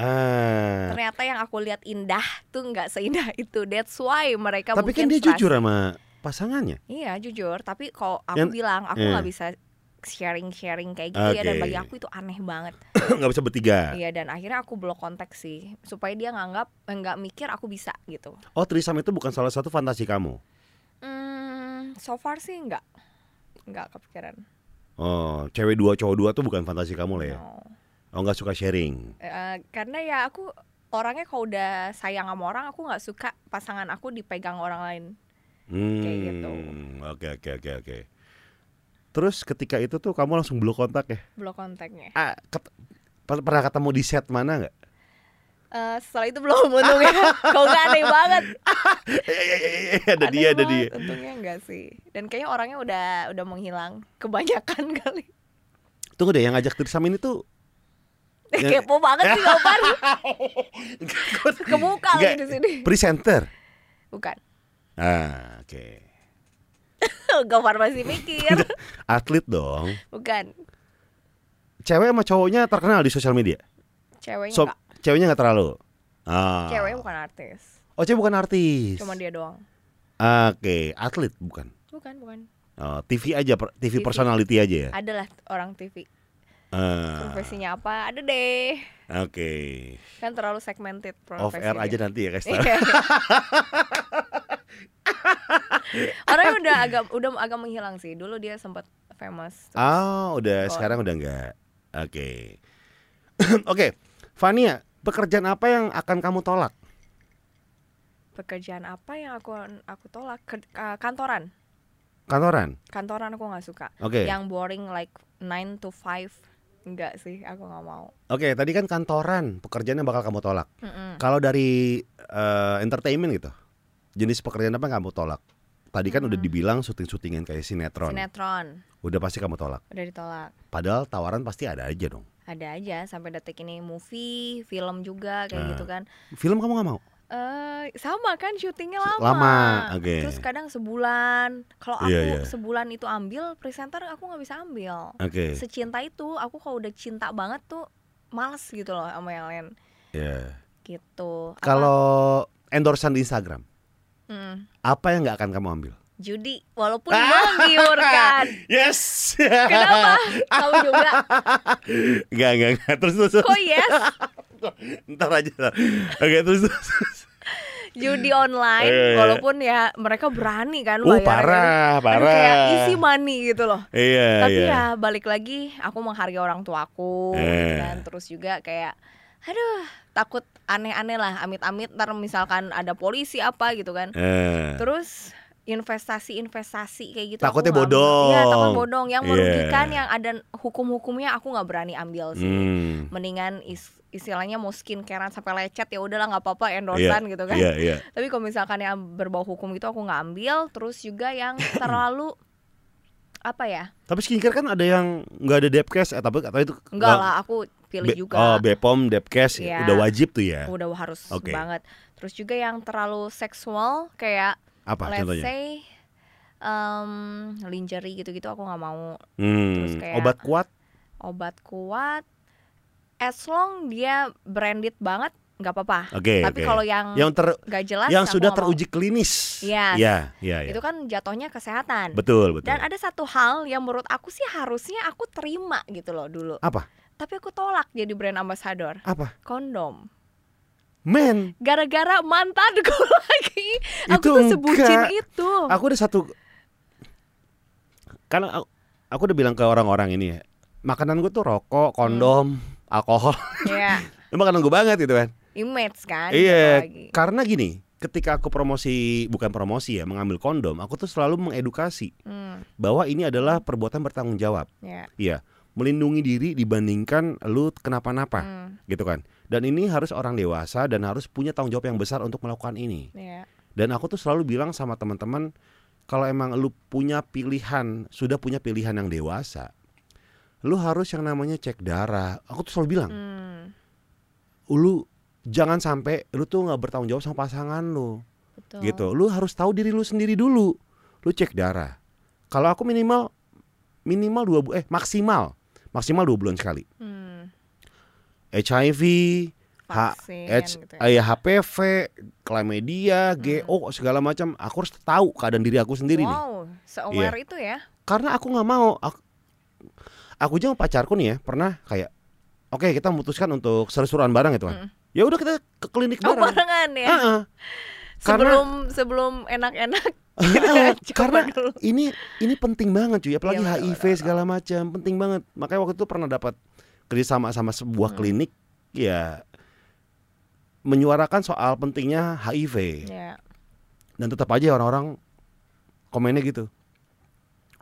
Ah.
Ternyata yang aku lihat indah tuh nggak seindah [laughs] itu. That's why mereka
Tapi kan
mungkin
dia
frust-
jujur sama pasangannya.
Iya, jujur, tapi kalau aku
Yang-
bilang aku
iya.
nggak bisa sharing-sharing kayak gitu ya
Oke.
dan
Nah.
bagi aku itu aneh banget.
[laughs] Nggak bisa bertiga.
Iya dan akhirnya aku blok kontak sih supaya dia nganggap eh, nggak mikir aku bisa gitu.
Oh, Trisam itu bukan salah satu fantasi kamu.
Hmm, so far sih nggak nggak kepikiran.
Oh, cewek dua cowok dua tuh bukan fantasi kamu lah ya.
No.
Oh, nggak suka sharing.
Eh, karena ya aku orangnya kalau udah sayang sama orang aku nggak suka pasangan aku dipegang orang lain.
Hmm.
Kayak gitu.
Oke, oke, oke, oke. Terus ketika itu tuh kamu langsung blok kontak ya?
Blok kontaknya.
Ah, ket- per- pernah ketemu di set mana nggak? [laughs]
Eh, setelah itu belum untungnya. Kau nggak aneh banget.
Iya, ada
Aneh
dia, ada
banget,
dia.
Untungnya nggak sih. Dan kayaknya orangnya udah udah menghilang kebanyakan [laughs] kali.
Tunggu deh, yang ngajak Trisam ini
[laughs]
tuh Ya.
Kepo banget sih
[laughs]
Gopar. Kebuka gitu lagi
Nggak.
di sini.
presenter.
Bukan. [laughs]
Ah, oke.
Gopar masih mikir.
Atlet dong.
Bukan.
Cewek sama cowoknya terkenal di sosial media.
Ceweknya
So,
nggak.
ceweknya nggak terlalu. Ah.
Ceweknya bukan artis.
Oh, cewek bukan artis.
Cuma dia doang.
Ah, Oke, atlet bukan.
Bukan, bukan.
Oh, TV aja, per- TV,
TV.
personality aja ya.
Adalah orang TV.
Ah,
Profesinya apa? Ada deh.
Oke.
Kan terlalu segmented
Off
profesinya.
air aja nanti ya guys.
[laughs] Iya. Orangnya udah agak udah agak menghilang sih. Dulu dia sempat famous.
Ah, udah
Oh.
sekarang udah enggak. Oke. [clears throat] Oke. Fania, pekerjaan apa yang akan kamu tolak?
Pekerjaan apa yang aku aku tolak? Ke- eh, kantoran.
Kantoran.
Kantoran aku nggak suka.
Oke.
Yang boring like 9 to 5 enggak sih, aku nggak mau.
Oke, tadi kan kantoran, pekerjaan yang bakal kamu tolak.
Mm-mm.
Kalau dari eh, entertainment gitu. Jenis pekerjaan apa yang kamu tolak? Tadi kan udah dibilang syuting-syutingan kayak sinetron.
Hmm. Sinetron
udah pasti kamu tolak.
udah ditolak.
Padahal tawaran pasti ada aja dong.
Ada aja sampai detik ini movie, film juga kayak
Nah.
gitu kan.
Film kamu nggak mau?
eh sama kan syutingnya lama.
Lama, oke.
Terus kadang sebulan. Kalau aku
Iya, iya.
sebulan itu ambil presenter aku nggak bisa ambil.
Oke.
Secinta itu aku kalau udah cinta banget tuh males gitu loh sama yang lain
Ya.
gitu. Apa-
Kalau endorsean di Instagram,
Hmm,
apa yang nggak akan kamu ambil?
judi
[laughs]
walaupun menggiurkan.
Yes.
Kenapa? Kamu juga.
Gak, gak, gak. Terus, terus, terus.
Kok yes?
Ntar aja. ntar. Oke, terus, terus. Iya,
Judi
iya,
online
iya.
walaupun ya mereka berani kan
Uh,
bayarin.
parah,
Aduh,
parah.
kayak isi money gitu loh.
Iya,
tapi
iya.
ya balik lagi aku menghargai orang tuaku
Eh.
dan terus juga kayak aduh takut aneh-aneh lah amit-amit ntar misalkan ada polisi apa gitu kan
Eh,
terus investasi-investasi kayak gitu
Takutnya
aku nggak ambil.
bodong.
Iya, takut bodong yang
Iya.
merugikan yang ada hukum-hukumnya aku nggak berani ambil sih
hmm.
mendingan is- istilahnya mau skincarean sampai lecet ya udahlah nggak apa-apa endorsean gitu kan
Iya, iya.
tapi kalau misalkan yang berbau hukum itu aku nggak ambil terus juga
[coughs]
yang terlalu apa ya
Tapi skincare kan ada yang nggak ada depkes, eh, tapi atau itu
Enggak lah, aku pilih
Be-
juga.
Oh, Bepom, Depkes
Iya.
udah wajib tuh ya.
Udah harus
Oke.
banget. Terus juga yang terlalu seksual kayak
Apa
let's
contohnya?
say em, lingerie gitu-gitu aku nggak mau. terus
Hmm,
kayak-
obat kuat.
Obat kuat as long dia branded banget nggak apa-apa.
Oke,
Tapi
oke.
kalau yang
yang ter
nggak jelas
yang
aku
sudah
nggak mau.
teruji klinis.
Yes.
Iya, iya, iya.
Itu kan jatuhnya kesehatan.
Betul, betul.
Dan ada satu hal yang menurut aku sih harusnya aku terima gitu loh dulu.
Apa?
tapi aku tolak jadi brand ambassador
Apa?
kondom
Men,
gara-gara mantanku [laughs] lagi aku
Itu
tuh sebucin
enggak.
itu
aku udah satu kan aku, aku udah bilang ke orang-orang ini ya. Makanan gue tuh
Hmm.
rokok, kondom,
[laughs]
alkohol.
ya
Itu makanan gue banget gitu kan.
image kan
Iya,
jatuh lagi.
karena gini, ketika aku promosi bukan promosi ya, mengambil kondom, aku tuh selalu mengedukasi
Hmm,
bahwa ini adalah perbuatan bertanggung jawab.
ya.
Iya, melindungi diri dibandingkan lu kenapa-napa,
Hmm,
gitu kan. Dan ini harus orang dewasa dan harus punya tanggung jawab yang besar untuk melakukan ini.
ya.
Dan aku tuh selalu bilang sama teman-teman, kalau emang lu punya pilihan, sudah punya pilihan yang dewasa, lu harus yang namanya cek darah. Aku tuh selalu bilang,
Hmm,
lu jangan sampai lu tuh nggak bertanggung jawab sama pasangan lu.
betul.
gitu. Lu harus tahu diri lu sendiri dulu. Lu cek darah. Kalau aku minimal minimal dua bu eh maksimal maksimal dua bulan sekali.
Hmm,
HIV, H,
vaksin
AIDS,
gitu ya. Hmm.
eh, HPV, chlamydia, GO segala macam. Aku harus tahu keadaan diri aku sendiri nih. Iya.
wow seaware itu ya
Karena aku nggak mau. Aku, aku aja sama pacarku nih ya pernah kayak oke kita memutuskan untuk seru-seruan bareng gitu kan. Ya udah kita ke klinik
Hmm. oh
bareng.
barengan ya [laughs]
Ah, ah.
sebelum sebelum enak-enak
[laughs] Heeh,
Coba
Ah, karena
dulu.
ini ini penting banget cuy apalagi
Iya, betul,
HIV
betul,
segala macam penting banget makanya waktu itu pernah dapat kerjasama sama sebuah
Hmm.
klinik ya menyuarakan soal pentingnya HIV
ya
dan tetap aja orang-orang komennya gitu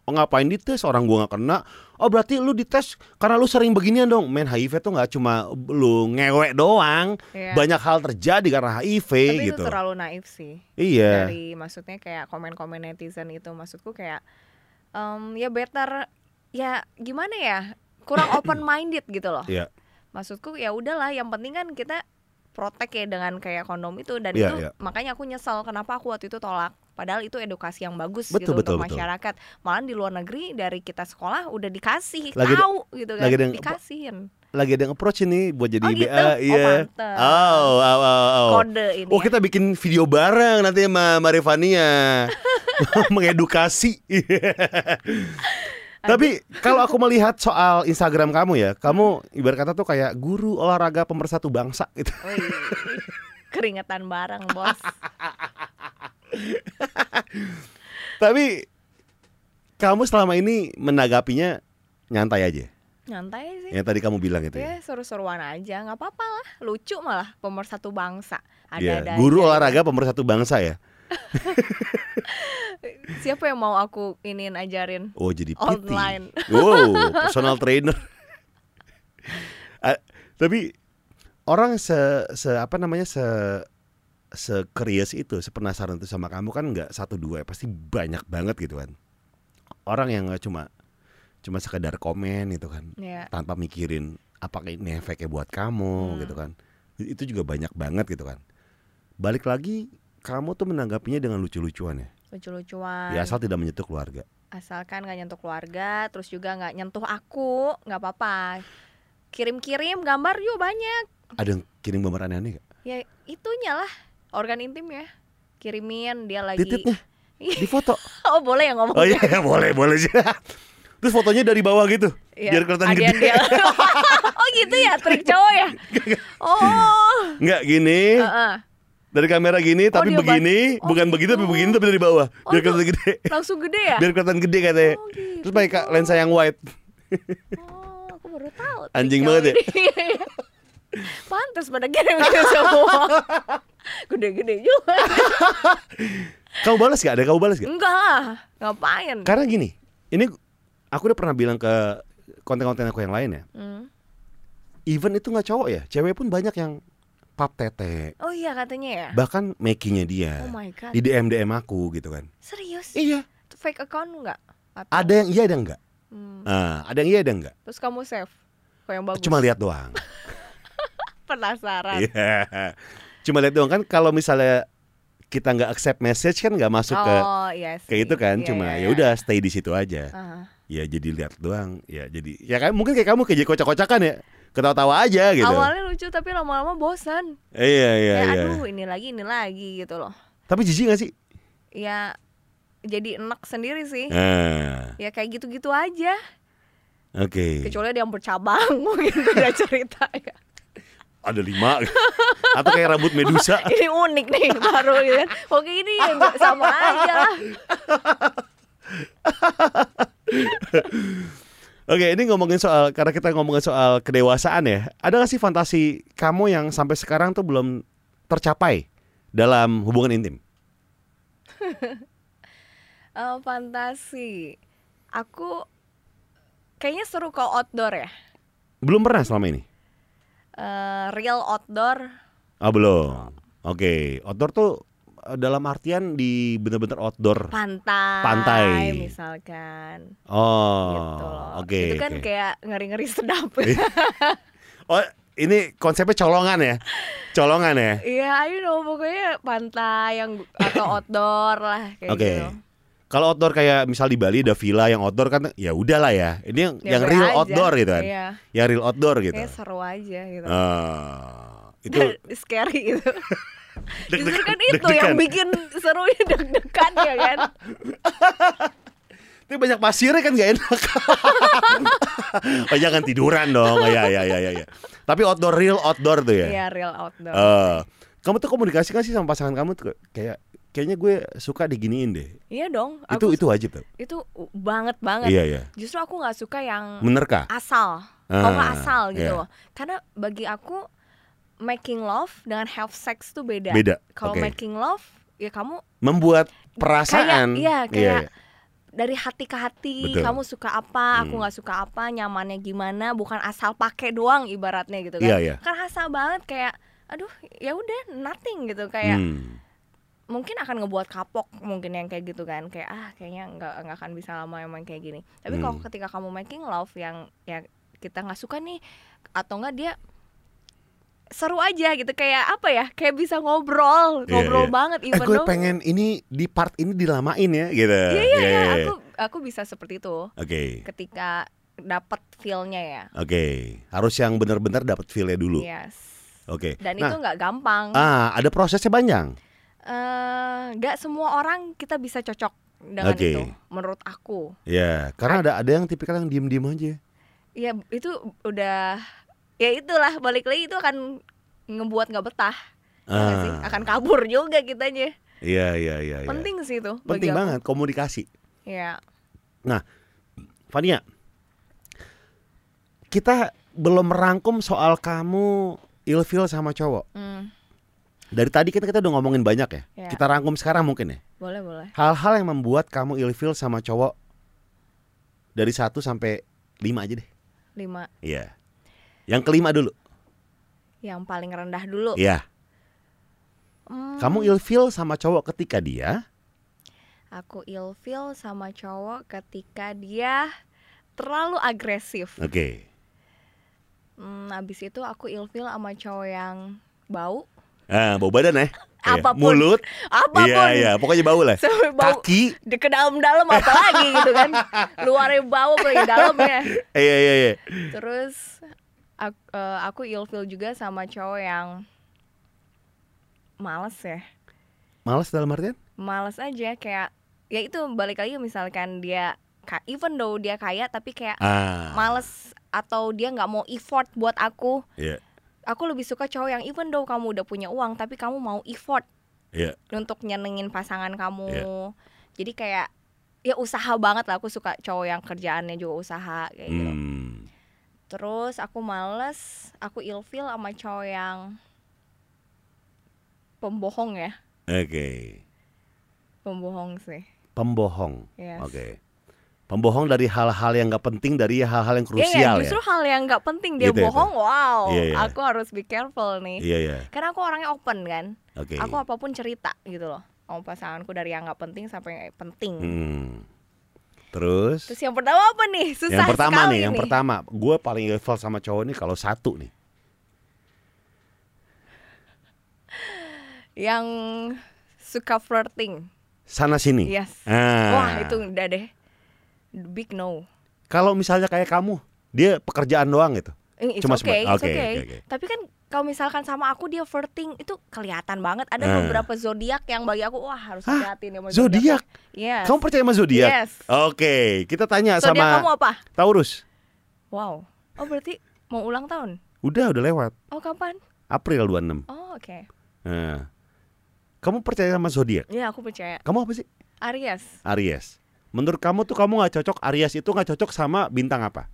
oh ngapain dites orang gua nggak kena oh berarti lu dites karena lu sering beginian dong men HIV tuh nggak cuma lu ngewek doang
ya.
banyak hal terjadi karena HIV
tapi
gitu
itu terlalu naif sih
iya
dari maksudnya kayak komen-komen netizen itu maksudku kayak em, ya better ya gimana ya
[coughs]
kurang open minded gitu loh
Iya.
maksudku ya udahlah yang penting kan kita protek ya dengan kayak kondom itu dan
Iya,
itu
iya.
makanya aku nyesel kenapa aku waktu itu tolak padahal itu edukasi yang bagus
Betul,
gitu
betul,
untuk
betul.
masyarakat malah di luar negeri dari kita sekolah udah dikasih
Lagi ada-
tahu gitu kan
lagi ada yang-
dikasihin
lagi ada yang approach ini buat jadi
oh
IBA
gitu
iya
oh mantep
Oh, oh, oh, oh.
kode ini
Oh
ya.
kita bikin video bareng nanti sama
[laughs]
Marifania mengedukasi. Tapi kalau aku melihat soal Instagram kamu ya, kamu ibarat kata tuh kayak guru olahraga pemersatu bangsa gitu. [laughs]
Wih, keringetan bareng bos
Tapi kamu selama ini menanggapinya nyantai aja.
nyantai sih
Yang tadi kamu bilang itu. Ya.
Ya seru-seruan aja, nggak apa-apa lah, lucu malah pemersatu bangsa.
Iya,
Ada-ada.
guru
aja.
olahraga pemersatu bangsa ya.
Siapa yang mau aku iniin ajarin
Oh jadi PT.
online?
[laughs] Wow, personal
[laughs]
trainer. Ah, tapi orang se, se apa namanya se se curious itu, sepenasaran itu sama kamu kan nggak satu dua, ya, pasti banyak banget gitu kan. Orang yang nggak cuma cuma sekedar komen gitu kan,
ya,
tanpa mikirin apakah ini efeknya buat kamu
Hmm.
gitu kan. Itu juga banyak banget gitu kan. Balik lagi kamu tuh menanggapinya dengan lucu-lucuan ya.
lucu-lucuan.
Ya asal tidak menyentuh keluarga.
Asalkan nggak nyentuh keluarga, terus juga nggak nyentuh aku, nggak apa-apa. Kirim-kirim gambar juga banyak.
Ada yang kirim gambar aneh-aneh nggak?
Ya itunya lah, organ intim ya. Kirimin dia lagi.
Tititnya di foto.
[laughs] Oh boleh ya ngomong.
Oh iya, [laughs] boleh, boleh sih. Terus fotonya dari bawah gitu.
Ya,
Biar kelihatan
ada
gede.
yang dia.
[laughs]
[laughs] oh gitu ya trik cowok ya. Oh.
Enggak gini,
Heeh.
dari kamera gini tapi
dia
begini,
balik. Oh,
bukan begitu tapi
gitu.
begini tapi dari bawah.
Oh,
Biar
itu-
kelihatan gede.
Langsung gede ya?
[laughs] Biar kelihatan gede katanya.
Oh, gitu.
Terus pakai ka- lensa yang wide.
Oh, aku baru tahu.
Anjing
Tinggal
banget ya?
ini. [laughs] Pantas pada kirim itu
[laughs]
semua. Gede-gede juga.
Kamu balas gak? Ada kamu balas gak?
Enggak lah, ngapain?
Karena gini, ini aku udah pernah bilang ke konten-konten aku yang lain ya.
Hmm.
Even itu nggak cowok ya, cewek pun banyak yang pap tete.
Oh iya katanya ya.
Bahkan makingnya dia.
Oh my god.
Di DM DM aku gitu kan.
Serius?
Iya.
Itu fake account enggak? Atau-
Ada yang iya ada yang enggak?
Hmm.
Ah, ada yang iya ada yang enggak?
Terus kamu save kok yang bagus.
Cuma lihat
[laughs]
doang.
penasaran.
Iya. Cuma lihat doang kan kalau misalnya kita nggak accept message kan nggak masuk ke
Oh, yes. iya,
ke itu kan cuma ya udah stay di situ aja.
Ah,
Ya jadi lihat doang. Ya jadi ya kan mungkin kayak kamu kayak kocak-kocakan ya. Ketawa-tawa aja gitu.
Awalnya lucu tapi lama-lama bosan.
Iya iya
Ya,
iya.
aduh ini lagi ini lagi gitu loh.
Tapi jijik gak sih?
Ya jadi enak sendiri sih.
Nah,
Ya kayak gitu-gitu aja.
Oke.
kecuali ada yang bercabang [laughs] mungkin beda cerita ya
Ada lima. [laughs] Atau kayak rambut medusa.
ini unik nih baru gitu kan oke ini
[laughs]
ya nggak sama aja lah
Oke, ini ngomongin soal karena kita ngomongin soal kedewasaan ya. Ada gak sih fantasi kamu yang sampai sekarang tuh belum tercapai dalam hubungan intim?
Eh, fantasi aku kayaknya seru kalau outdoor ya
Belum pernah selama ini?
Eh, real outdoor
Ah, belum. Oke, outdoor tuh eh, dalam artian di bener-bener outdoor.
pantai
Pantai.
misalkan
Oh,
gitu loh.
oke.
itu kan
oke.
kayak ngeri-ngeri
[laughs]
sedap ya.
Oh, ini konsepnya colongan ya? Colongan ya?
Iya, I know pokoknya pantai yang atau outdoor lah [laughs] kayak
Oke.
gitu.
Kalau outdoor kayak misal di Bali ada villa yang outdoor kan ya udahlah ya. Ini yang,
Ya,
yang
boleh
real
aja.
outdoor gitu kan.
Iya,
Yang real outdoor gitu.
kayak seru aja gitu.
Ah, Eh, itu
Dan [laughs] scary gitu. Justru kan itu
deg-degan.
yang bikin serunya deg-degan ya
[laughs]
kan.
Tapi banyak pasirnya kan gak enak. [laughs] oh, jangan tiduran dong. Oh, ya, ya, ya, ya, ya. Tapi outdoor real outdoor tuh ya.
Iya, real outdoor.
Eh, kamu tuh komunikasi gak sih sama pasangan kamu tuh kayak kayaknya gue suka diginiin deh.
Iya dong.
itu
Aku, itu
itu wajib tuh.
itu banget banget.
Iya, iya.
Justru aku nggak suka yang
Menerka.
asal.
Ah,
Kalau nggak asal gitu
iya.
loh. Karena bagi aku making love dengan have sex tuh beda.
Beda.
Kalau
Oke.
making love ya kamu
Membuat perasaan.
Kayak- iya, kayak
iya.
dari hati ke hati
Betul.
kamu suka apa aku
Hmm.
nggak suka apa nyamannya gimana bukan asal pakai doang ibaratnya gitu
Iya,
kan
iya.
kan asal banget kayak aduh ya udah nothing gitu kayak
Hmm.
mungkin akan ngebuat kapok mungkin yang kayak gitu kan kayak ah kayaknya nggak nggak akan bisa lama emang kayak gini tapi kalau
Hmm.
ketika kamu making love yang ya kita nggak suka nih atau nggak dia seru aja gitu kayak apa ya kayak bisa ngobrol
Iya,
ngobrol
iya.
banget
eh
even
gue
though-
pengen ini di part ini dilamain ya gitu.
iya iya
Iya,
iya
iya, iya.
aku aku bisa seperti itu
Oke.
ketika dapat feel-nya ya.
Oke, harus yang benar-benar dapat feel-nya dulu.
Yes.
Oke.
Iya. Dan itu
Nah,
nggak gampang.
ah ada prosesnya panjang.
Eh, Nggak semua orang kita bisa cocok dengan
Oke.
itu, menurut aku.
Ya, karena ada ada yang tipikal yang diem-diem aja.
Ya itu udah, ya itulah balik lagi itu akan ngebuat nggak betah, ya nggak sih?
Ah,
akan kabur juga kitanya.
iya iya iya. iya.
Penting sih itu. bagi
Penting
aku.
banget komunikasi.
Ya.
Fania, kita belum merangkum soal kamu ilfil sama cowok.
Hmm,
Dari tadi kita kita udah ngomongin banyak ya.
Iya.
Kita rangkum sekarang mungkin ya.
boleh boleh.
Hal-hal yang membuat kamu ilfil sama cowok dari 1 sampai 5 aja deh.
Lima.
Iya. Yang kelima dulu.
Yang paling rendah dulu.
Iya.
Oh. Hmm,
Kamu ilfil sama cowok ketika dia
Aku ilfeel sama cowok ketika dia terlalu agresif.
Oke.
Hmm, abis itu aku ilfil sama cowok yang bau
Ah, bau badan ya. Iya.
Apapun.
Mulut.
apapun
Iya, iya, pokoknya bau lah.
sampai bau
Kaki.
de ke dalam-dalam apa lagi gitu kan luarnya bau apalagi dalamnya
Iya, iya, iya.
terus aku, eh, aku ilfil juga sama cowok yang males ya
Males dalam artian?
males aja kayak ya itu balik lagi misalkan dia ka- even though dia kaya tapi kayak
Ah.
males atau dia nggak mau effort buat aku
Iya.
aku lebih suka cowok yang even though kamu udah punya uang tapi kamu mau effort
Iya.
untuk nyenengin pasangan kamu jadi kayak ya usaha banget lah aku suka cowok yang kerjaannya juga usaha kayak gitu
Hmm.
terus aku males aku ilfil sama cowok yang pembohong ya
Oke.
pembohong sih iya.
Pembohong.
Yes.
Oke. Pembohong dari hal-hal yang nggak penting dari hal-hal yang
Iya,
krusial ya.
justru hal yang nggak penting dia
Gitu ya,
bohong wow
Iya, iya.
aku harus be careful nih
Iya ya.
karena aku orangnya open kan
Oke.
aku apapun cerita gitu loh sama pasanganku dari yang nggak penting sampai yang penting
Hmm. Terus,
terus yang pertama apa nih susah
yang pertama
sekali
nih, yang pertama, gue paling level sama cowok nih kalau satu nih.
yang suka flirting
Sana sini.
yes
Ah.
wah itu udah deh big no
Kalau misalnya kayak kamu, dia pekerjaan doang gitu.
Eh, It's
Cuma
okay,
sebe-
it's
oke,
okay.
oke, oke.
Tapi kan kalau misalkan sama aku dia flirting itu kelihatan banget. Ada
Ah.
beberapa zodiak yang bagi aku wah harus
Hah?
hati-hati nih sama
Zodiak.
Yes.
Kamu percaya sama zodiak?
Yes.
Oke, kita tanya
Zodiak
sama
kamu apa?
Taurus.
Wow. Oh berarti mau ulang tahun?
Udah, udah lewat.
Oh kapan?
April 26.
Oh oke.
Nah. Kamu percaya sama zodiak?
Ya aku percaya.
Kamu apa sih?
Aries.
Aries. Menurut kamu tuh kamu nggak cocok Aries itu nggak cocok sama bintang apa?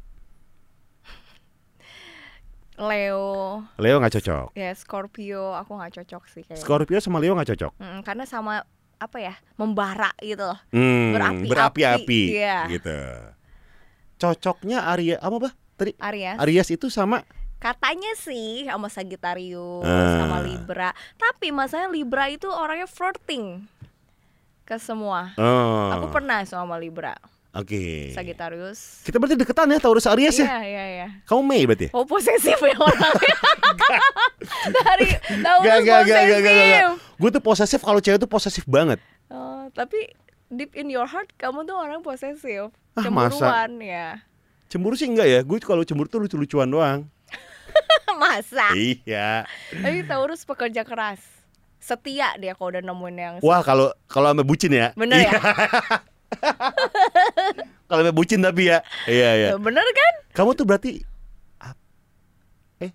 Leo,
Leo nggak cocok.
ya Scorpio, aku nggak cocok sih kayaknya.
Scorpio sama Leo nggak cocok.
Mm, karena sama apa ya membara gitu loh.
Hmm,
Berapi-api.
berapi-api.
Iya.
Gitu. Cocoknya Aries apa bah? Tadi
Aries.
Aries itu sama
Katanya sih sama Sagittarius,
Ah.
sama Libra. Tapi masalahnya Libra itu orangnya flirting ke semua.
oh,
Aku pernah sama Libra,
Oke.
Sagittarius.
Kita berarti deketan ya Taurus Aries ya?
Iya, iya, iya.
Kamu Mei berarti? ya?
Oh posesif ya
[laughs]
orangnya Dari tahu
Gak, gak, gak, gak, gak, gak,
posesif
Gue tuh posesif kalau cewek tuh posesif banget.
Oh, Tapi deep in your heart kamu tuh orang posesif
Ah, masa?
Cemburuan
[laughs]
ya
Cemburu sih enggak ya? Gue kalau cemburu tuh lucu-lucuan doang.
Masa?
Iya.
Tapi Taurus pekerja keras Setia dia kalau udah nemuin yang
Wah, kalau kalau sama bucin ya.
Bener ya?
[laughs] Kalau sama bucin tapi ya. Iya, iya.
Loh, Bener kan?
Kamu tuh berarti Ap- Eh,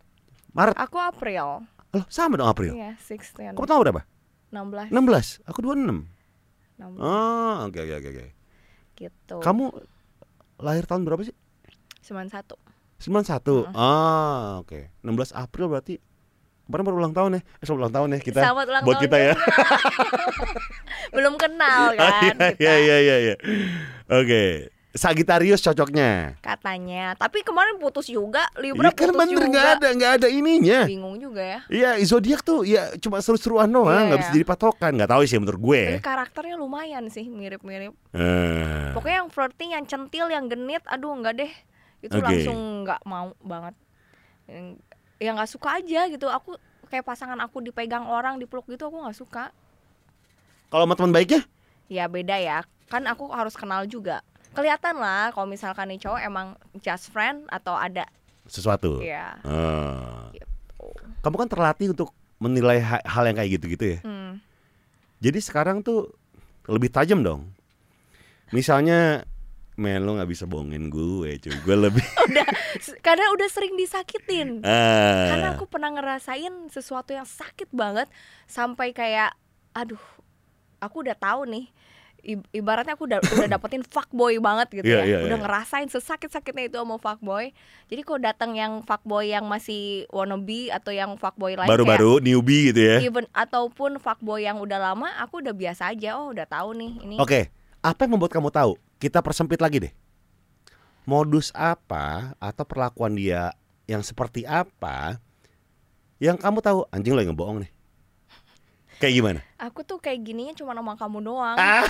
Maret.
Aku April
Loh, sama dong April.
Iya, 16
Kamu Nah, tahu berapa?
16
16. Aku 26.
16
Oh, oke oke oke oke.
gitu
Kamu lahir tahun berapa sih?
Cuman satu
91. Ah, oke. 16 April berarti kemarin baru ulang tahun ya. Eh, selamat ulang tahun ya kita.
Selamat ulang
buat
tahun
kita ya.
Belum kenal kan
Ah,
kita.
[laughs] Iya iya iya iya. Oke. Sagitarius cocoknya.
Katanya Tapi kemarin putus juga Libra
Ini kan
putus
bener
juga
nggak ada nggak ada ininya.
Bingung juga ya
Iya zodiak tuh ya cuma seru-seruan doang
Iya,
nggak
iya.
bisa jadi patokan nggak tahu sih menurut gue.
Tapi karakternya lumayan sih mirip-mirip.
Eh,
Pokoknya yang flirting, yang centil, yang genit, aduh enggak deh. Itu
Oke.
langsung nggak mau banget. Yang- Ya nggak suka aja gitu. Aku kayak pasangan aku dipegang orang, dipeluk gitu aku nggak suka.
Kalau sama teman baiknya?
Ya beda ya. Kan aku harus kenal juga. Kelihatan lah kalau misalkan nih cowok emang just friend atau ada
sesuatu.
ya.
Eh,
Oh.
kamu kan terlatih untuk menilai ha- hal yang kayak gitu-gitu ya.
Hmm.
Jadi sekarang tuh lebih tajam dong. Misalnya, men lo nggak bisa bohongin gue, cuy. Gue
[laughs]
lebih.
S- Karena udah sering disakitin.
Ah.
Karena aku pernah ngerasain sesuatu yang sakit banget sampai kayak aduh, aku udah tahu nih. i- Ibaratnya aku udah udah
[laughs]
dapetin fuckboy banget gitu
Iya,
ya.
iya,
udah
iya.
ngerasain sesakit-sakitnya itu sama fuckboy. Jadi kalau datang yang fuckboy yang masih wannabe atau yang fuckboy lain kayak Iya.
baru-baru newbie gitu ya.
even ataupun fuckboy yang udah lama, aku udah biasa aja. Oh, udah tahu nih ini.
Oke, apa yang membuat kamu tahu? Kita persempit lagi deh. Modus apa atau perlakuan dia yang seperti apa yang kamu tahu anjing lo yang ngebohong nih? Kayak gimana?
Aku tuh kayak gininya cuma sama kamu doang.
Ah.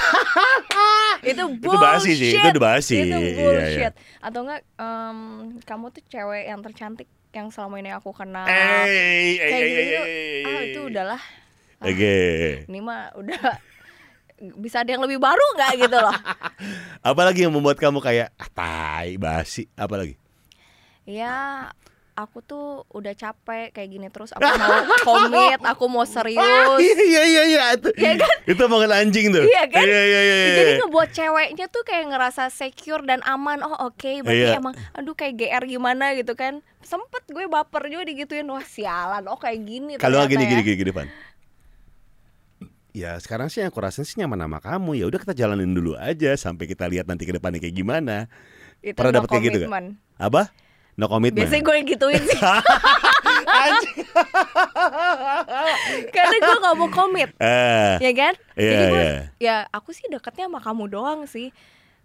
[laughs] itu bullshit.
Itu basi sih, itu udah basi. Iya,
Itu
iya.
bullshit. Atau enggak em, kamu tuh cewek yang tercantik yang selama ini aku kenal.
Eh, eh,
kayak
eh,
gitu
eh, eh,
Ah,
eh.
itu udahlah.
Oke.
Ini mah udah [laughs] bisa ada yang lebih baru nggak gitu loh.
[laughs] Apalagi yang membuat kamu kayak ah, tai basi, apalagi?
ya aku tuh udah capek kayak gini terus aku mau komit, aku mau serius.
[laughs] iya iya iya itu. Itu omongan anjing tuh.
Iya kan?
Iya iya iya. iya.
Jadi ngebuat ceweknya tuh kayak ngerasa secure dan aman. Oh oke, berarti
Iya.
emang aduh kayak GR gimana gitu kan. Sempet gue baper juga digituin. Wah sialan, oh kayak gini.
Kalau
ternyata
gini
ya.
gini gini gini Pan. Ya sekarang sih yang aku rasain sih nyaman sama kamu ya udah kita jalanin dulu aja sampai kita lihat nanti ke depannya kayak gimana.
Itu
Pernah
no
dapet kayak gitu nggak?
commitment.
Apa? No commitment. Ah,
Biasanya gue gituin
[laughs]
sih
Anjing.
karena gue gak mau komit,
Eh,
ya kan?
[laughs] Iya,
Jadi gue,
iya.
ya aku sih deketnya sama kamu doang sih.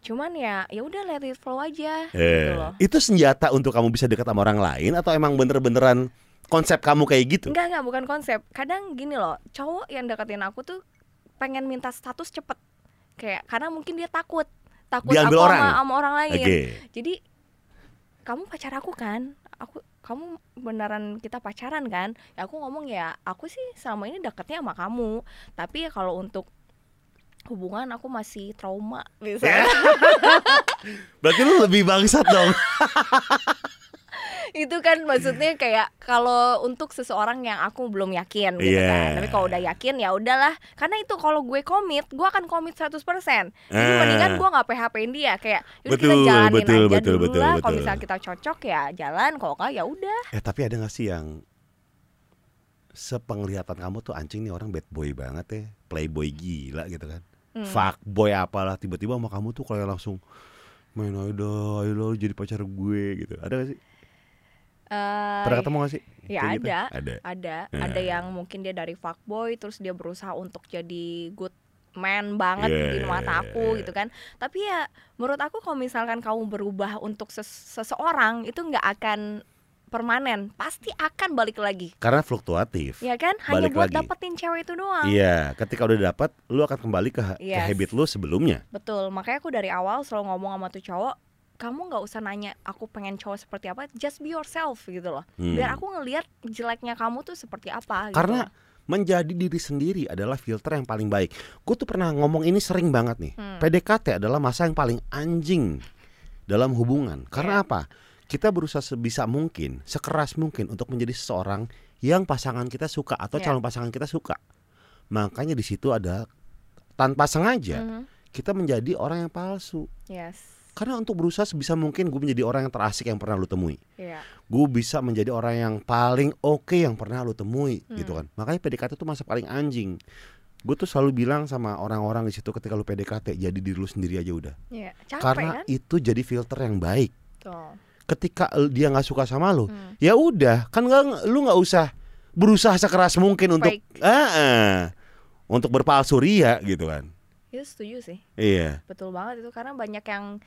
Cuman ya, ya udah let it flow aja
eh.
gitu loh.
Itu senjata untuk kamu bisa dekat sama orang lain atau emang bener-beneran konsep kamu kayak gitu?
Enggak enggak bukan konsep. Kadang gini loh, cowok yang deketin aku tuh pengen minta status cepet. Kayak karena mungkin dia takut, takut
Diambil
aku
orang.
Sama, sama orang lain.
Oke.
Jadi kamu pacar aku kan? Aku kamu beneran kita pacaran kan? Ya aku ngomong ya, aku sih selama ini deketnya sama kamu. Tapi ya kalau untuk hubungan aku masih trauma
Ya?
[laughs] Iya.
[laughs]
misalnya.
Berarti lu lebih bangsat dong.
itu kan maksudnya kayak kalau untuk seseorang yang aku belum yakin gitu
Iya.
kan tapi kalau udah yakin ya udahlah karena itu kalau gue komit gue akan komit 100% jadi
Ah.
mendingan gue nggak PHP-in dia kayak yaudah kita
Betul,
jalanin
betul,
aja
betul,
dulu
betul,
lah kalau
betul.
misalnya kita cocok ya jalan kalau nggak ya udah
Eh tapi ada gak sih yang sepenglihatan kamu tuh anjing nih orang bad boy banget ya, playboy gila gitu kan.
Hmm.
Fuckboy apalah tiba-tiba sama kamu tuh kayak langsung main ayo ayo lo jadi pacar gue gitu. Ada gak sih?
Eh,
Pernah ketemu gak sih?
Ya,
Kayak gitu?
ada.
Ada.
ada
Nah.
ada yang mungkin dia dari fuckboy terus dia berusaha untuk jadi good man banget
Yeah,
Iya,
di mata aku
yeah.
gitu kan tapi ya menurut aku kalau misalkan kamu berubah untuk ses- seseorang itu nggak akan permanen pasti akan balik lagi
Karena fluktuatif.
ya kan hanya
Balik
buat
lagi.
dapetin cewek itu doang
Iya, ketika udah dapat, lu akan kembali ke, ke
Yes.
habit lu sebelumnya.
betul makanya aku dari awal selalu ngomong sama tuh cowok kamu nggak usah nanya aku pengen cowok seperti apa just be yourself gitu loh
Hmm.
biar aku ngelihat jeleknya kamu tuh seperti apa gitu.
Karena menjadi diri sendiri adalah filter yang paling baik. Gue tuh pernah ngomong ini sering banget nih.
Hmm.
PDKT adalah masa yang paling anjing dalam hubungan. Karena
Iya.
apa? Kita berusaha sebisa mungkin, sekeras mungkin untuk menjadi seseorang yang pasangan kita suka atau
Yeah.
calon pasangan kita suka. Makanya di situ ada tanpa sengaja
Mhm.
kita menjadi orang yang palsu.
yes
Karena untuk berusaha sebisa mungkin gue menjadi orang yang terasik yang pernah lu temui
Iya.
gue bisa menjadi orang yang paling oke yang pernah lu temui
Hmm.
gitu kan makanya PDKT tuh masa paling anjing gue tuh selalu bilang sama orang-orang di situ ketika lu PDKT jadi diri lu sendiri aja udah
Iya, capek
karena
kan?
itu jadi filter yang baik
Tuh.
ketika el- dia nggak suka sama lu
Hmm.
ya udah kan nggak lu nggak usah berusaha sekeras mungkin untuk
Fake.
Ah, ah. untuk berpalsu ria gitu kan
Itu setuju sih.
iya
Betul banget itu karena banyak yang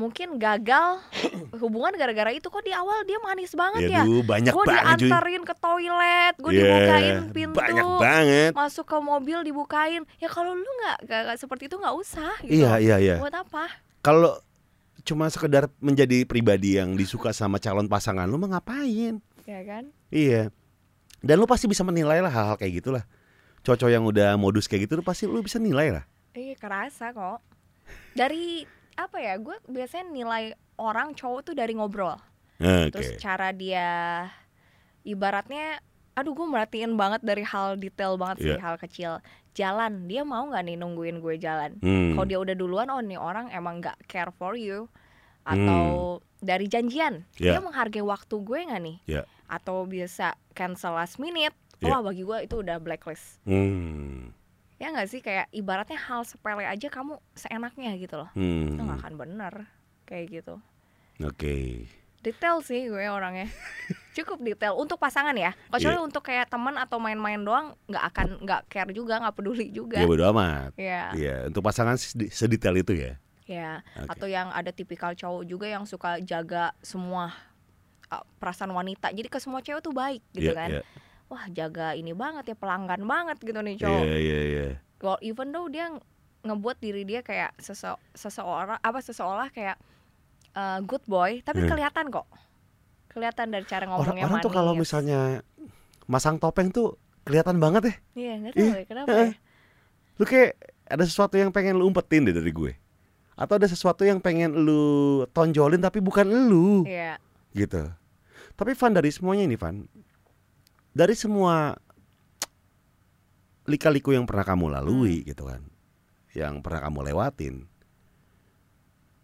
mungkin gagal [coughs] hubungan gara-gara itu kok di awal dia manis banget
ya
ya.
lu banyak
Gue
banget cuy
diantarin ke toilet, gue
Iya,
dibukain pintu. Oh,
banyak banget
Masuk ke mobil dibukain. Ya kalau lu nggak nggak- nggak seperti itu nggak usah gitu.
iya iya iya
Buat apa?
kalau cuma sekedar menjadi pribadi yang disuka sama calon pasangan lu mah ngapain
Ya kan?
iya dan lu pasti bisa menilai lah hal-hal kayak gitulah cocok yang udah modus kayak gitu lu pasti lu bisa nilai lah
Iya kerasa kok. Dari apa ya? Gue biasanya nilai orang cowok tuh dari ngobrol. Terus
Nah, oke
cara dia ibaratnya aduh gue merhatiin banget dari hal detail banget sih
Iya.
hal kecil. Jalan, dia mau nggak nih nungguin gue jalan?
Hmm.
Kalau dia udah duluan oh nih orang emang nggak care for you atau dari janjian,
Hmm. Iya.
dia menghargai waktu gue nggak nih?
Iya.
Atau bisa cancel last minute?
Iya.
Wah, bagi gue itu udah blacklist.
Hmm.
Ya nggak sih kayak ibaratnya hal sepele aja kamu seenaknya gitu loh.
Hmm.
Itu nggak akan bener kayak gitu.
oke
Detail sih gue
[laughs]
orangnya Cukup detail untuk pasangan ya
Iya.
Kecuali untuk kayak teman atau main-main doang nggak akan nggak care juga nggak
ya
peduli juga
bodo amat
Ya
Iya, untuk pasangan sedi- sedetail itu ya.
ya
Oke.
Atau yang ada tipikal cowok juga yang suka jaga semua uh, perasaan wanita Jadi ke semua cewek tuh baik gitu
Iya,
kan
iya.
Wah jaga ini banget ya pelanggan banget gitu nih cowok
Iya, iya, iya.
well, even though dia nge- ngebuat diri dia kayak sese- seseorang apa seseolah kayak uh, good boy tapi
Hmm.
kelihatan kok kelihatan dari cara ngomongnya
Orang-orang tuh kalau
manis.
misalnya masang topeng tuh kelihatan banget ya.
iya nggak tahu ya kenapa ya.
Lu kayak ada sesuatu yang pengen lu umpetin deh dari gue. Atau ada sesuatu yang pengen lu tonjolin tapi bukan lu
Iya,
gitu. Tapi Van dari semuanya ini Van, dari semua lika-liku yang pernah kamu lalui gitu kan, yang pernah kamu lewatin,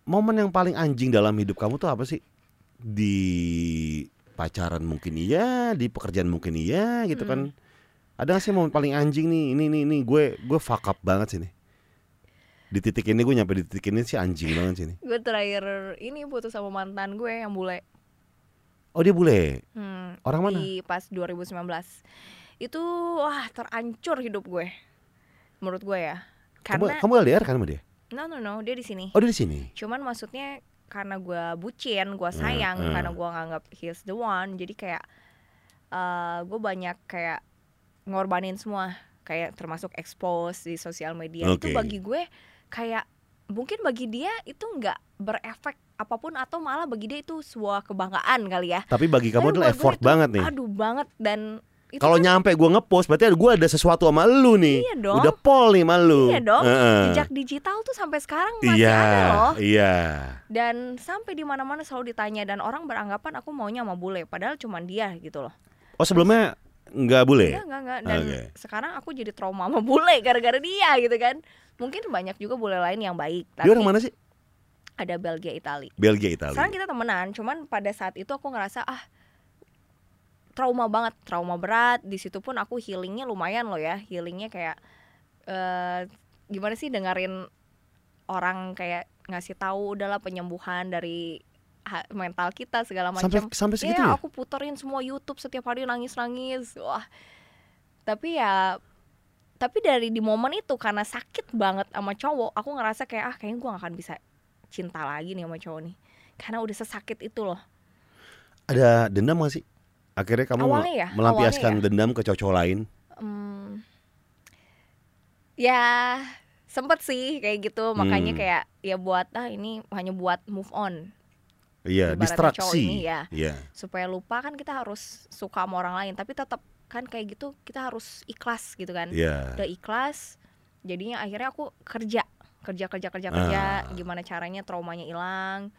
momen yang paling anjing dalam hidup kamu tuh apa sih? Di pacaran mungkin iya, di pekerjaan mungkin iya gitu kan. Ada gak sih momen paling anjing nih? Ini ini ini gue gue fuck up banget sih nih. Di titik ini gue nyampe di titik ini sih anjing banget sih nih.
gue terakhir ini putus sama mantan gue yang bule.
Oh dia bule.
Hmm,
Orang mana?
Di pas 2019. Itu wah terancur hidup gue. Menurut gue ya.
Kamu,
Karena
kamu LDR kan sama dia?
no no no, dia di sini.
Oh dia di sini.
Cuman maksudnya karena gue bucin, gue sayang,
eh.
karena gue nganggap he's the one, jadi kayak eh gue banyak kayak ngorbanin semua, kayak termasuk expose di sosial media
Oke.
itu bagi gue kayak mungkin bagi dia itu nggak berefek apapun atau malah bagi dia itu sebuah kebanggaan kali ya.
Tapi bagi kamu
Tapi
adalah
buat gue
effort
itu,
banget nih.
Aduh banget dan Itu
Kalau
kan
nyampe gua ngepost berarti gue ada sesuatu sama lu nih.
Iya dong.
Udah pol nih sama lu.
Iya dong,
Heeh.
jejak digital tuh sampai sekarang
eh.
masih
Iya,
ada loh.
iya.
Dan sampai di mana-mana selalu ditanya dan orang beranggapan aku maunya sama bule, padahal cuman dia gitu loh.
Oh sebelumnya nggak boleh. ya?
Enggak, enggak, enggak. Dan
Oke.
sekarang aku jadi trauma sama bule gara-gara dia gitu kan. Mungkin banyak juga bule lain yang baik, tapi
Dia orang mana sih?
ada Belgia, Itali.
Belgia, Italia.
Sekarang kita temenan, cuman pada saat itu aku ngerasa ah trauma banget, trauma berat. Di situ pun aku healingnya lumayan loh ya, healingnya kayak eh gimana sih dengerin orang kayak ngasih tahu udahlah penyembuhan dari ha- mental kita segala
sampai
macam.
sampai segitu
Iya,
ya?
aku puterin semua YouTube setiap hari nangis-nangis. Wah. Tapi ya tapi dari di momen itu karena sakit banget sama cowok, aku ngerasa kayak ah kayaknya gua gak akan bisa cinta lagi nih sama cowok nih. Karena udah sesakit itu loh.
Ada dendam gak sih? Akhirnya kamu
Awalnya ya,
melampiaskan dendam ke cowok lain.
Hmm, ya sempet sih kayak gitu makanya
Hmm.
kayak ya buat ah ini hanya buat move on
Iya,
Ibaratnya cowok ini
distraksi.
ya.
Iya.
supaya lupa kan kita harus suka sama orang lain tapi tetap kan kayak gitu kita harus ikhlas gitu kan
Iya.
udah ikhlas jadinya akhirnya aku kerja kerja kerja kerja kerja
Ah.
gimana caranya traumanya hilang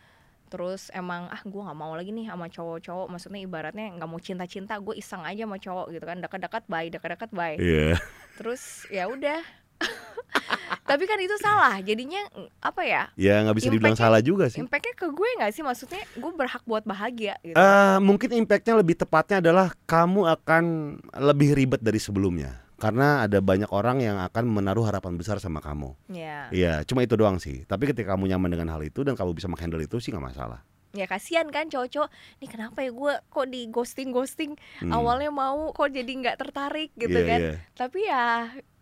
terus emang ah gua nggak mau lagi nih sama cowok-cowok maksudnya ibaratnya nggak mau cinta-cinta gue iseng aja sama cowok gitu kan dekat-dekat bye dekat-dekat bye
Iya.
terus ya udah [laughs] tapi kan itu salah jadinya apa ya
Ya nggak bisa dibilang
Impact-nya-
salah juga sih.
impactnya ke gue nggak sih maksudnya gue berhak buat bahagia gitu
Eh, mungkin impactnya lebih tepatnya adalah kamu akan lebih ribet dari sebelumnya karena ada banyak orang yang akan menaruh harapan besar sama kamu.
ya
Iya, cuma itu doang sih. Tapi ketika kamu nyaman dengan hal itu dan kamu bisa menghandle itu sih nggak masalah.
ya kasihan kan cowok-cowok nih kenapa ya gue kok di ghosting ghosting
Hmm.
awalnya mau kok jadi nggak tertarik gitu
Iya,
kan
iya.
tapi ya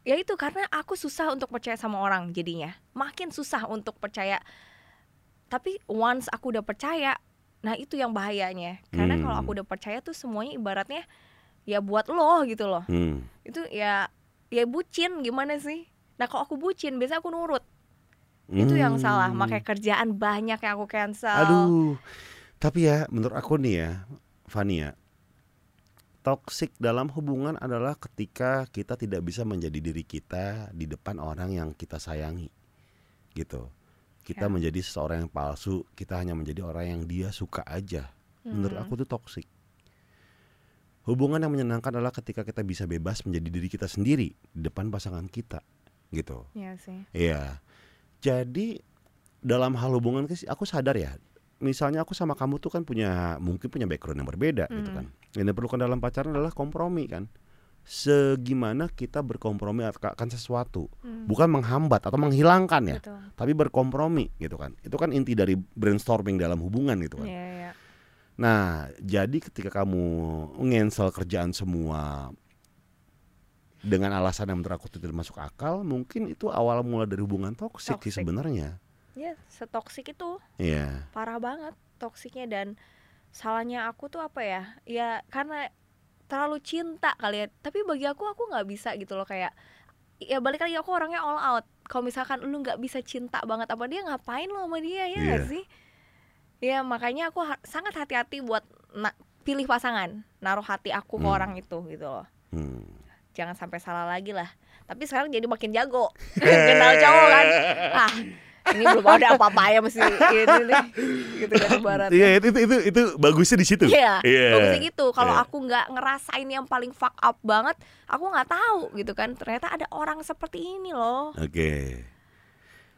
ya itu karena aku susah untuk percaya sama orang jadinya makin susah untuk percaya tapi once aku udah percaya nah itu yang bahayanya karena
Hmm.
kalau aku udah percaya tuh semuanya ibaratnya ya buat lo gitu loh
Hmm.
itu ya ya bucin gimana sih nah kalau aku bucin biasa aku nurut itu yang
Hmm.
salah makanya kerjaan banyak yang aku cancel
Aduh. Tapi ya menurut aku nih ya, Fania, toksik dalam hubungan adalah ketika kita tidak bisa menjadi diri kita di depan orang yang kita sayangi. Gitu. Kita
Ya.
menjadi seseorang yang palsu, kita hanya menjadi orang yang dia suka aja. Menurut
Hmm.
aku tuh toksik. Hubungan yang menyenangkan adalah ketika kita bisa bebas menjadi diri kita sendiri di depan pasangan kita. Gitu.
Iya sih
Iya. Jadi dalam hal hubungan ke- aku sadar ya. Misalnya aku sama kamu tuh kan punya mungkin punya background yang berbeda gitu kan.
Mm.
Yang diperlukan dalam pacaran adalah kompromi kan. Segimana kita berkompromi akan sesuatu,
Hmm,
bukan menghambat atau menghilangkan ya,
betul
tapi berkompromi gitu kan. Itu kan inti dari brainstorming dalam hubungan gitu kan.
Iya, iya.
Nah, jadi ketika kamu ngensel kerjaan semua dengan alasan yang menurut aku tidak masuk akal, mungkin itu awal mula dari hubungan toksik sih
Toksik.
sebenarnya.
ya setoksik itu
Iya.
parah banget toksiknya dan salahnya aku tuh apa ya ya karena terlalu cinta kali ya tapi bagi aku aku nggak bisa gitu loh kayak ya balik lagi aku orangnya all out kalau misalkan lu nggak bisa cinta banget apa dia ngapain lo sama dia ya nggak
Iya.
sih ya makanya aku ha- sangat hati-hati buat na- pilih pasangan naruh hati aku ke
Hmm.
orang itu gitu loh
Hmm.
jangan sampai salah lagi lah tapi sekarang jadi makin jago [laughs] kenal cowok
[laughs]
kan ah ini belum ada apa-apa ya mesti ini nih gitu kan barat
Iya, itu, itu itu itu bagusnya di situ.
Iya,
Iya.
bagusnya gitu. Kalau
Iya.
aku nggak ngerasain yang paling fuck up banget, aku nggak tahu gitu kan. Ternyata ada orang seperti ini loh.
Oke.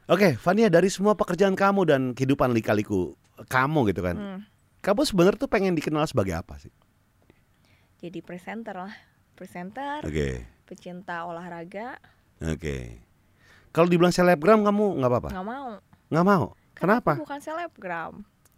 Oke, Fania dari semua pekerjaan kamu dan kehidupan lika-liku kamu gitu kan.
Hmm,
Kamu sebenarnya tuh pengen dikenal sebagai apa sih?
jadi presenter lah, presenter,
Oke.
pecinta olahraga,
Oke. Kalau dibilang selebgram kamu nggak apa-apa?
nggak mau.
Nggak mau.
Karena
Kenapa?
aku bukan selebgram.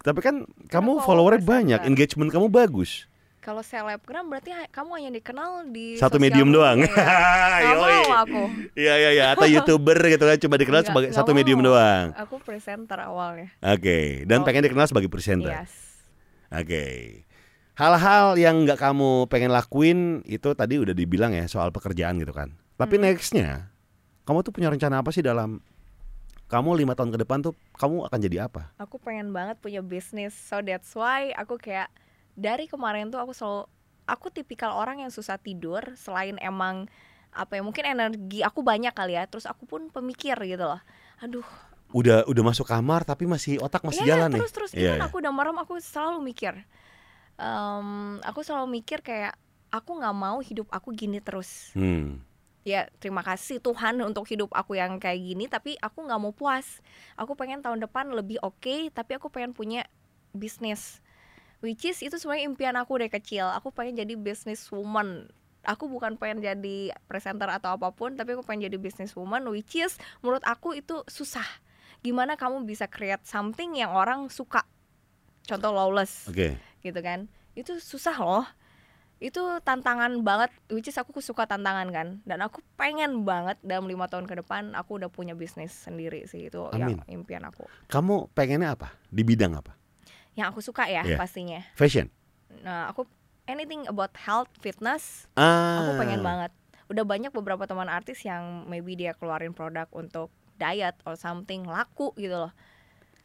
Tapi kan kamu
Kenapa
followernya
followersnya
banyak,
enggak?
engagement kamu bagus.
Kalau selebgram berarti ha- kamu hanya dikenal di
Satu
Iya, sosial
medium
media
doang. [laughs]
ya. Nggak
Yoi.
mau aku.
Iya iya iya, atau YouTuber gitu kan cuma dikenal
Nggak-
sebagai
nggak
satu medium
mau.
doang.
Aku presenter awalnya.
Oke, dan
Oh. Iya.
pengen dikenal sebagai presenter.
Yes.
Oke. Hal-hal yang nggak kamu pengen lakuin itu tadi udah dibilang ya soal pekerjaan gitu kan. Tapi
Hmm.
nextnya, kamu tuh punya rencana apa sih dalam kamu lima tahun ke depan tuh kamu akan jadi apa?
Aku pengen banget punya bisnis. So that's why aku kayak dari kemarin tuh aku selalu aku tipikal orang yang susah tidur selain emang apa ya mungkin energi aku banyak kali ya terus aku pun pemikir gitu loh aduh
Udah udah masuk kamar tapi masih otak masih
Iya,
jalan nih.
terus terus
Iya,
Even
iya.
aku udah merem aku selalu mikir Em, aku selalu mikir kayak aku nggak mau hidup aku gini terus
Hmm.
ya terima kasih Tuhan untuk hidup aku yang kayak gini tapi aku nggak mau puas aku pengen tahun depan lebih oke tapi aku pengen punya bisnis which is itu sebenarnya impian aku dari kecil aku pengen jadi businesswoman aku bukan pengen jadi presenter atau apapun tapi aku pengen jadi businesswoman which is menurut aku itu susah gimana kamu bisa create something yang orang suka contoh lawless
Oke.
gitu kan itu susah loh itu tantangan banget which is aku suka tantangan kan dan aku pengen banget dalam lima tahun ke depan aku udah punya bisnis sendiri sih itu yang impian aku
Kamu pengennya apa? Di bidang apa?
yang aku suka ya
Iya.
pastinya
Fashion.
nah aku anything about health fitness
Ah.
aku pengen banget udah banyak beberapa teman artis yang maybe dia keluarin produk untuk diet or something laku gitu loh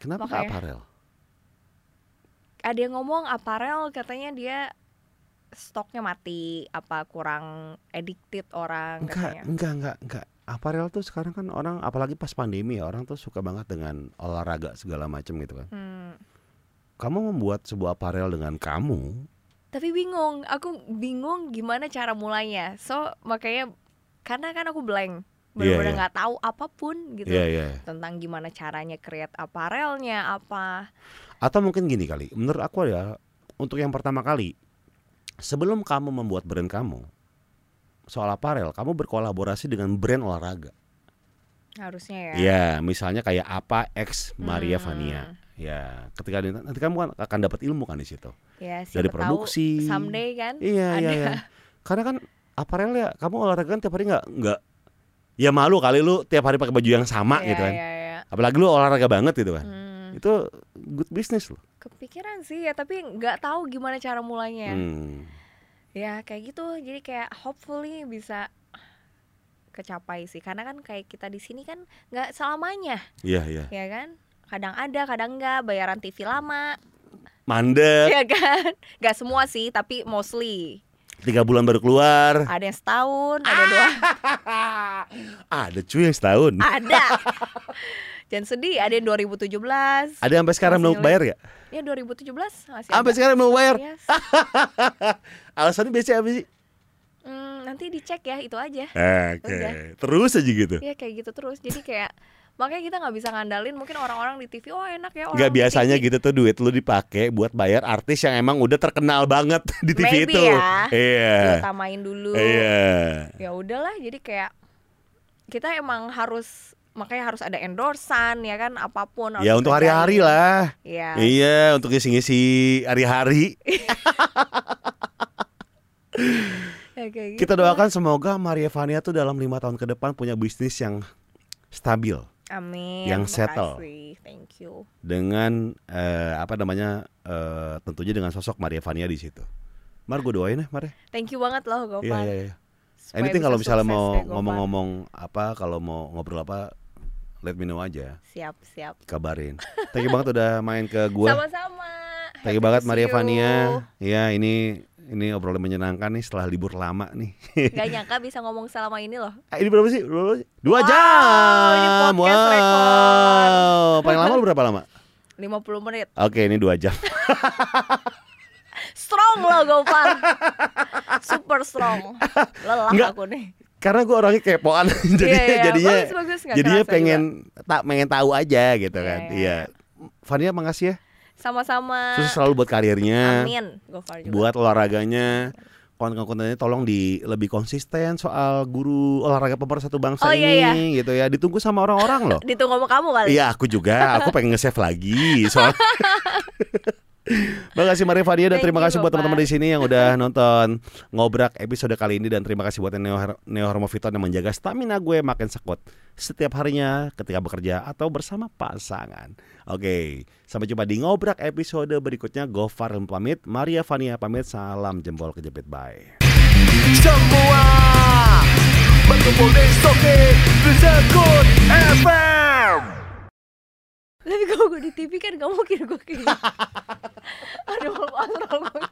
Kenapa nggak
Makanya.
aparel?
ada yang ngomong aparel katanya dia stoknya mati apa kurang addicted orang
Enggak,
katanya
enggak, enggak, enggak. Aparel tuh sekarang kan orang apalagi pas pandemi ya, orang tuh suka banget dengan olahraga segala macam gitu kan.
Hmm.
Kamu membuat sebuah aparel dengan kamu,
tapi bingung aku bingung gimana cara mulainya so makanya karena kan aku blank benar-benar
iya.
nggak tahu apapun gitu
Iya, iya.
tentang gimana caranya create aparelnya apa
Atau mungkin gini kali, menurut aku ya untuk yang pertama kali sebelum kamu membuat brand kamu soal aparel, kamu berkolaborasi dengan brand olahraga.
harusnya ya
Ya, misalnya kayak apa X Maria
Hmm.
Vania. Ya, ketika dia- nanti kamu kan akan dapat ilmu kan di situ.
ya siapa
Dari
tahu
produksi.
someday kan
Iya, iya,
ada.
iya. Karena kan aparel ya, kamu olahraga kan tiap hari nggak nggak ya malu kali lu tiap hari pakai baju yang sama
Iya,
gitu kan.
iya, iya.
Apalagi lu olahraga banget gitu kan.
Hmm,
Itu good business loh.
kepikiran sih ya tapi nggak tahu gimana cara mulainya
Hmm.
ya kayak gitu jadi kayak hopefully bisa kecapai sih karena kan kayak kita di sini kan nggak selamanya
Iya, iya.
ya kan kadang ada kadang nggak bayaran TV lama [laughs]
Mandek,
ya kan nggak semua sih tapi mostly
tiga bulan baru keluar.
ada yang setahun ada dua
Ah! Ada cuy yang setahun.
ada jangan sedih ada yang 2017
Ada yang sampai sekarang belum
Masih
bayar ya?
ya 2017
Sampai
masih ada. Iya
sekarang belum bayar.
Yes.
Alasannya biasanya apa sih?
Hmm, nanti dicek ya itu aja
Oke.
Udah.
Terus aja gitu.
ya kayak gitu terus jadi kayak makanya kita nggak bisa ngandalin mungkin orang-orang di TV oh enak ya orang
Gak
di
biasanya
TV."
gitu tuh duit lu dipakai buat bayar artis yang emang udah terkenal banget [laughs] di TV
Maybe
itu.
ya.
Iya.
diutamain dulu
Iya.
ya udahlah jadi kayak kita emang harus makanya harus ada endorsan ya kan apapun
Ya
harus
untuk
kerjain.
hari-hari lah.
ya
Iya, untuk ngisi-ngisi hari-hari.
Iya. ya kayak gitu.
Kita doakan semoga Maria Vania tuh dalam lima tahun ke depan punya bisnis yang stabil
amin
yang
makasih.
settle.
thank you
dengan eh, apa namanya eh, tentunya dengan sosok Maria Vania di situ. Mar gue doain ya, Mar. ya.
thank you banget loh Gopar
Iya, iya, iya.
Supaya
Anything
bisa
kalau misalnya
sukses ya,
mau
deh, Gopar.
ngomong-ngomong apa, kalau mau ngobrol apa, let me know aja,
siap siap
kabarin. Thank you banget udah main ke gua.
sama-sama
Thank you
Happy
banget
to
Maria
see
Vania.
you.
Iya, ini ini obrolan menyenangkan nih setelah libur lama
[laughs]
nih.
Gak nyangka bisa ngomong selama ini loh
Eh, ini berapa sih? Berapa sih? Dua
Wow, ini
jam.
podcast rekor.
Paling lama lu berapa lama?
50 menit
Oke, ini dua jam. [laughs]
Strong loh Gopar Super strong Lelah
Nggak.
aku nih
Karena gue orangnya kepoan, [laughs] jadi
Iya, iya.
jadinya
Bagus, bagus. Nggak
jadinya
kerasa
pengen tak pengen tahu aja gitu
Iya,
kan.
iya,
Iya. Vania makasih ya.
Sama-sama
Sukses selalu buat karirnya.
Amin Gopar juga
buat olahraganya konten-kontennya tolong di lebih konsisten soal guru olahraga pemersatu bangsa
Oh,
ini
iya,
gitu ya ditunggu sama orang-orang loh
Ditunggu sama kamu kali
iya aku juga aku pengen nge-save lagi soal
[laughs]
Terima kasih Maria Fadia dan
Thank
terima
you,
kasih buat
Bapak.
teman-teman di sini yang
[laughs]
udah nonton ngobrak episode kali ini dan terima kasih buat Neo, Neo Hermoviton yang menjaga stamina gue makin sekut setiap harinya ketika bekerja atau bersama pasangan. Oke, sampai jumpa di ngobrak episode berikutnya. Gofar yang pamit, Maria Fania pamit, salam jempol kejepit bye.
semua berkumpul di Soke Rizakun FM
[laughs]
Tapi kalau gue di TV kan gak mungkin gue kayak gitu. Aduh, maaf, maaf, maaf.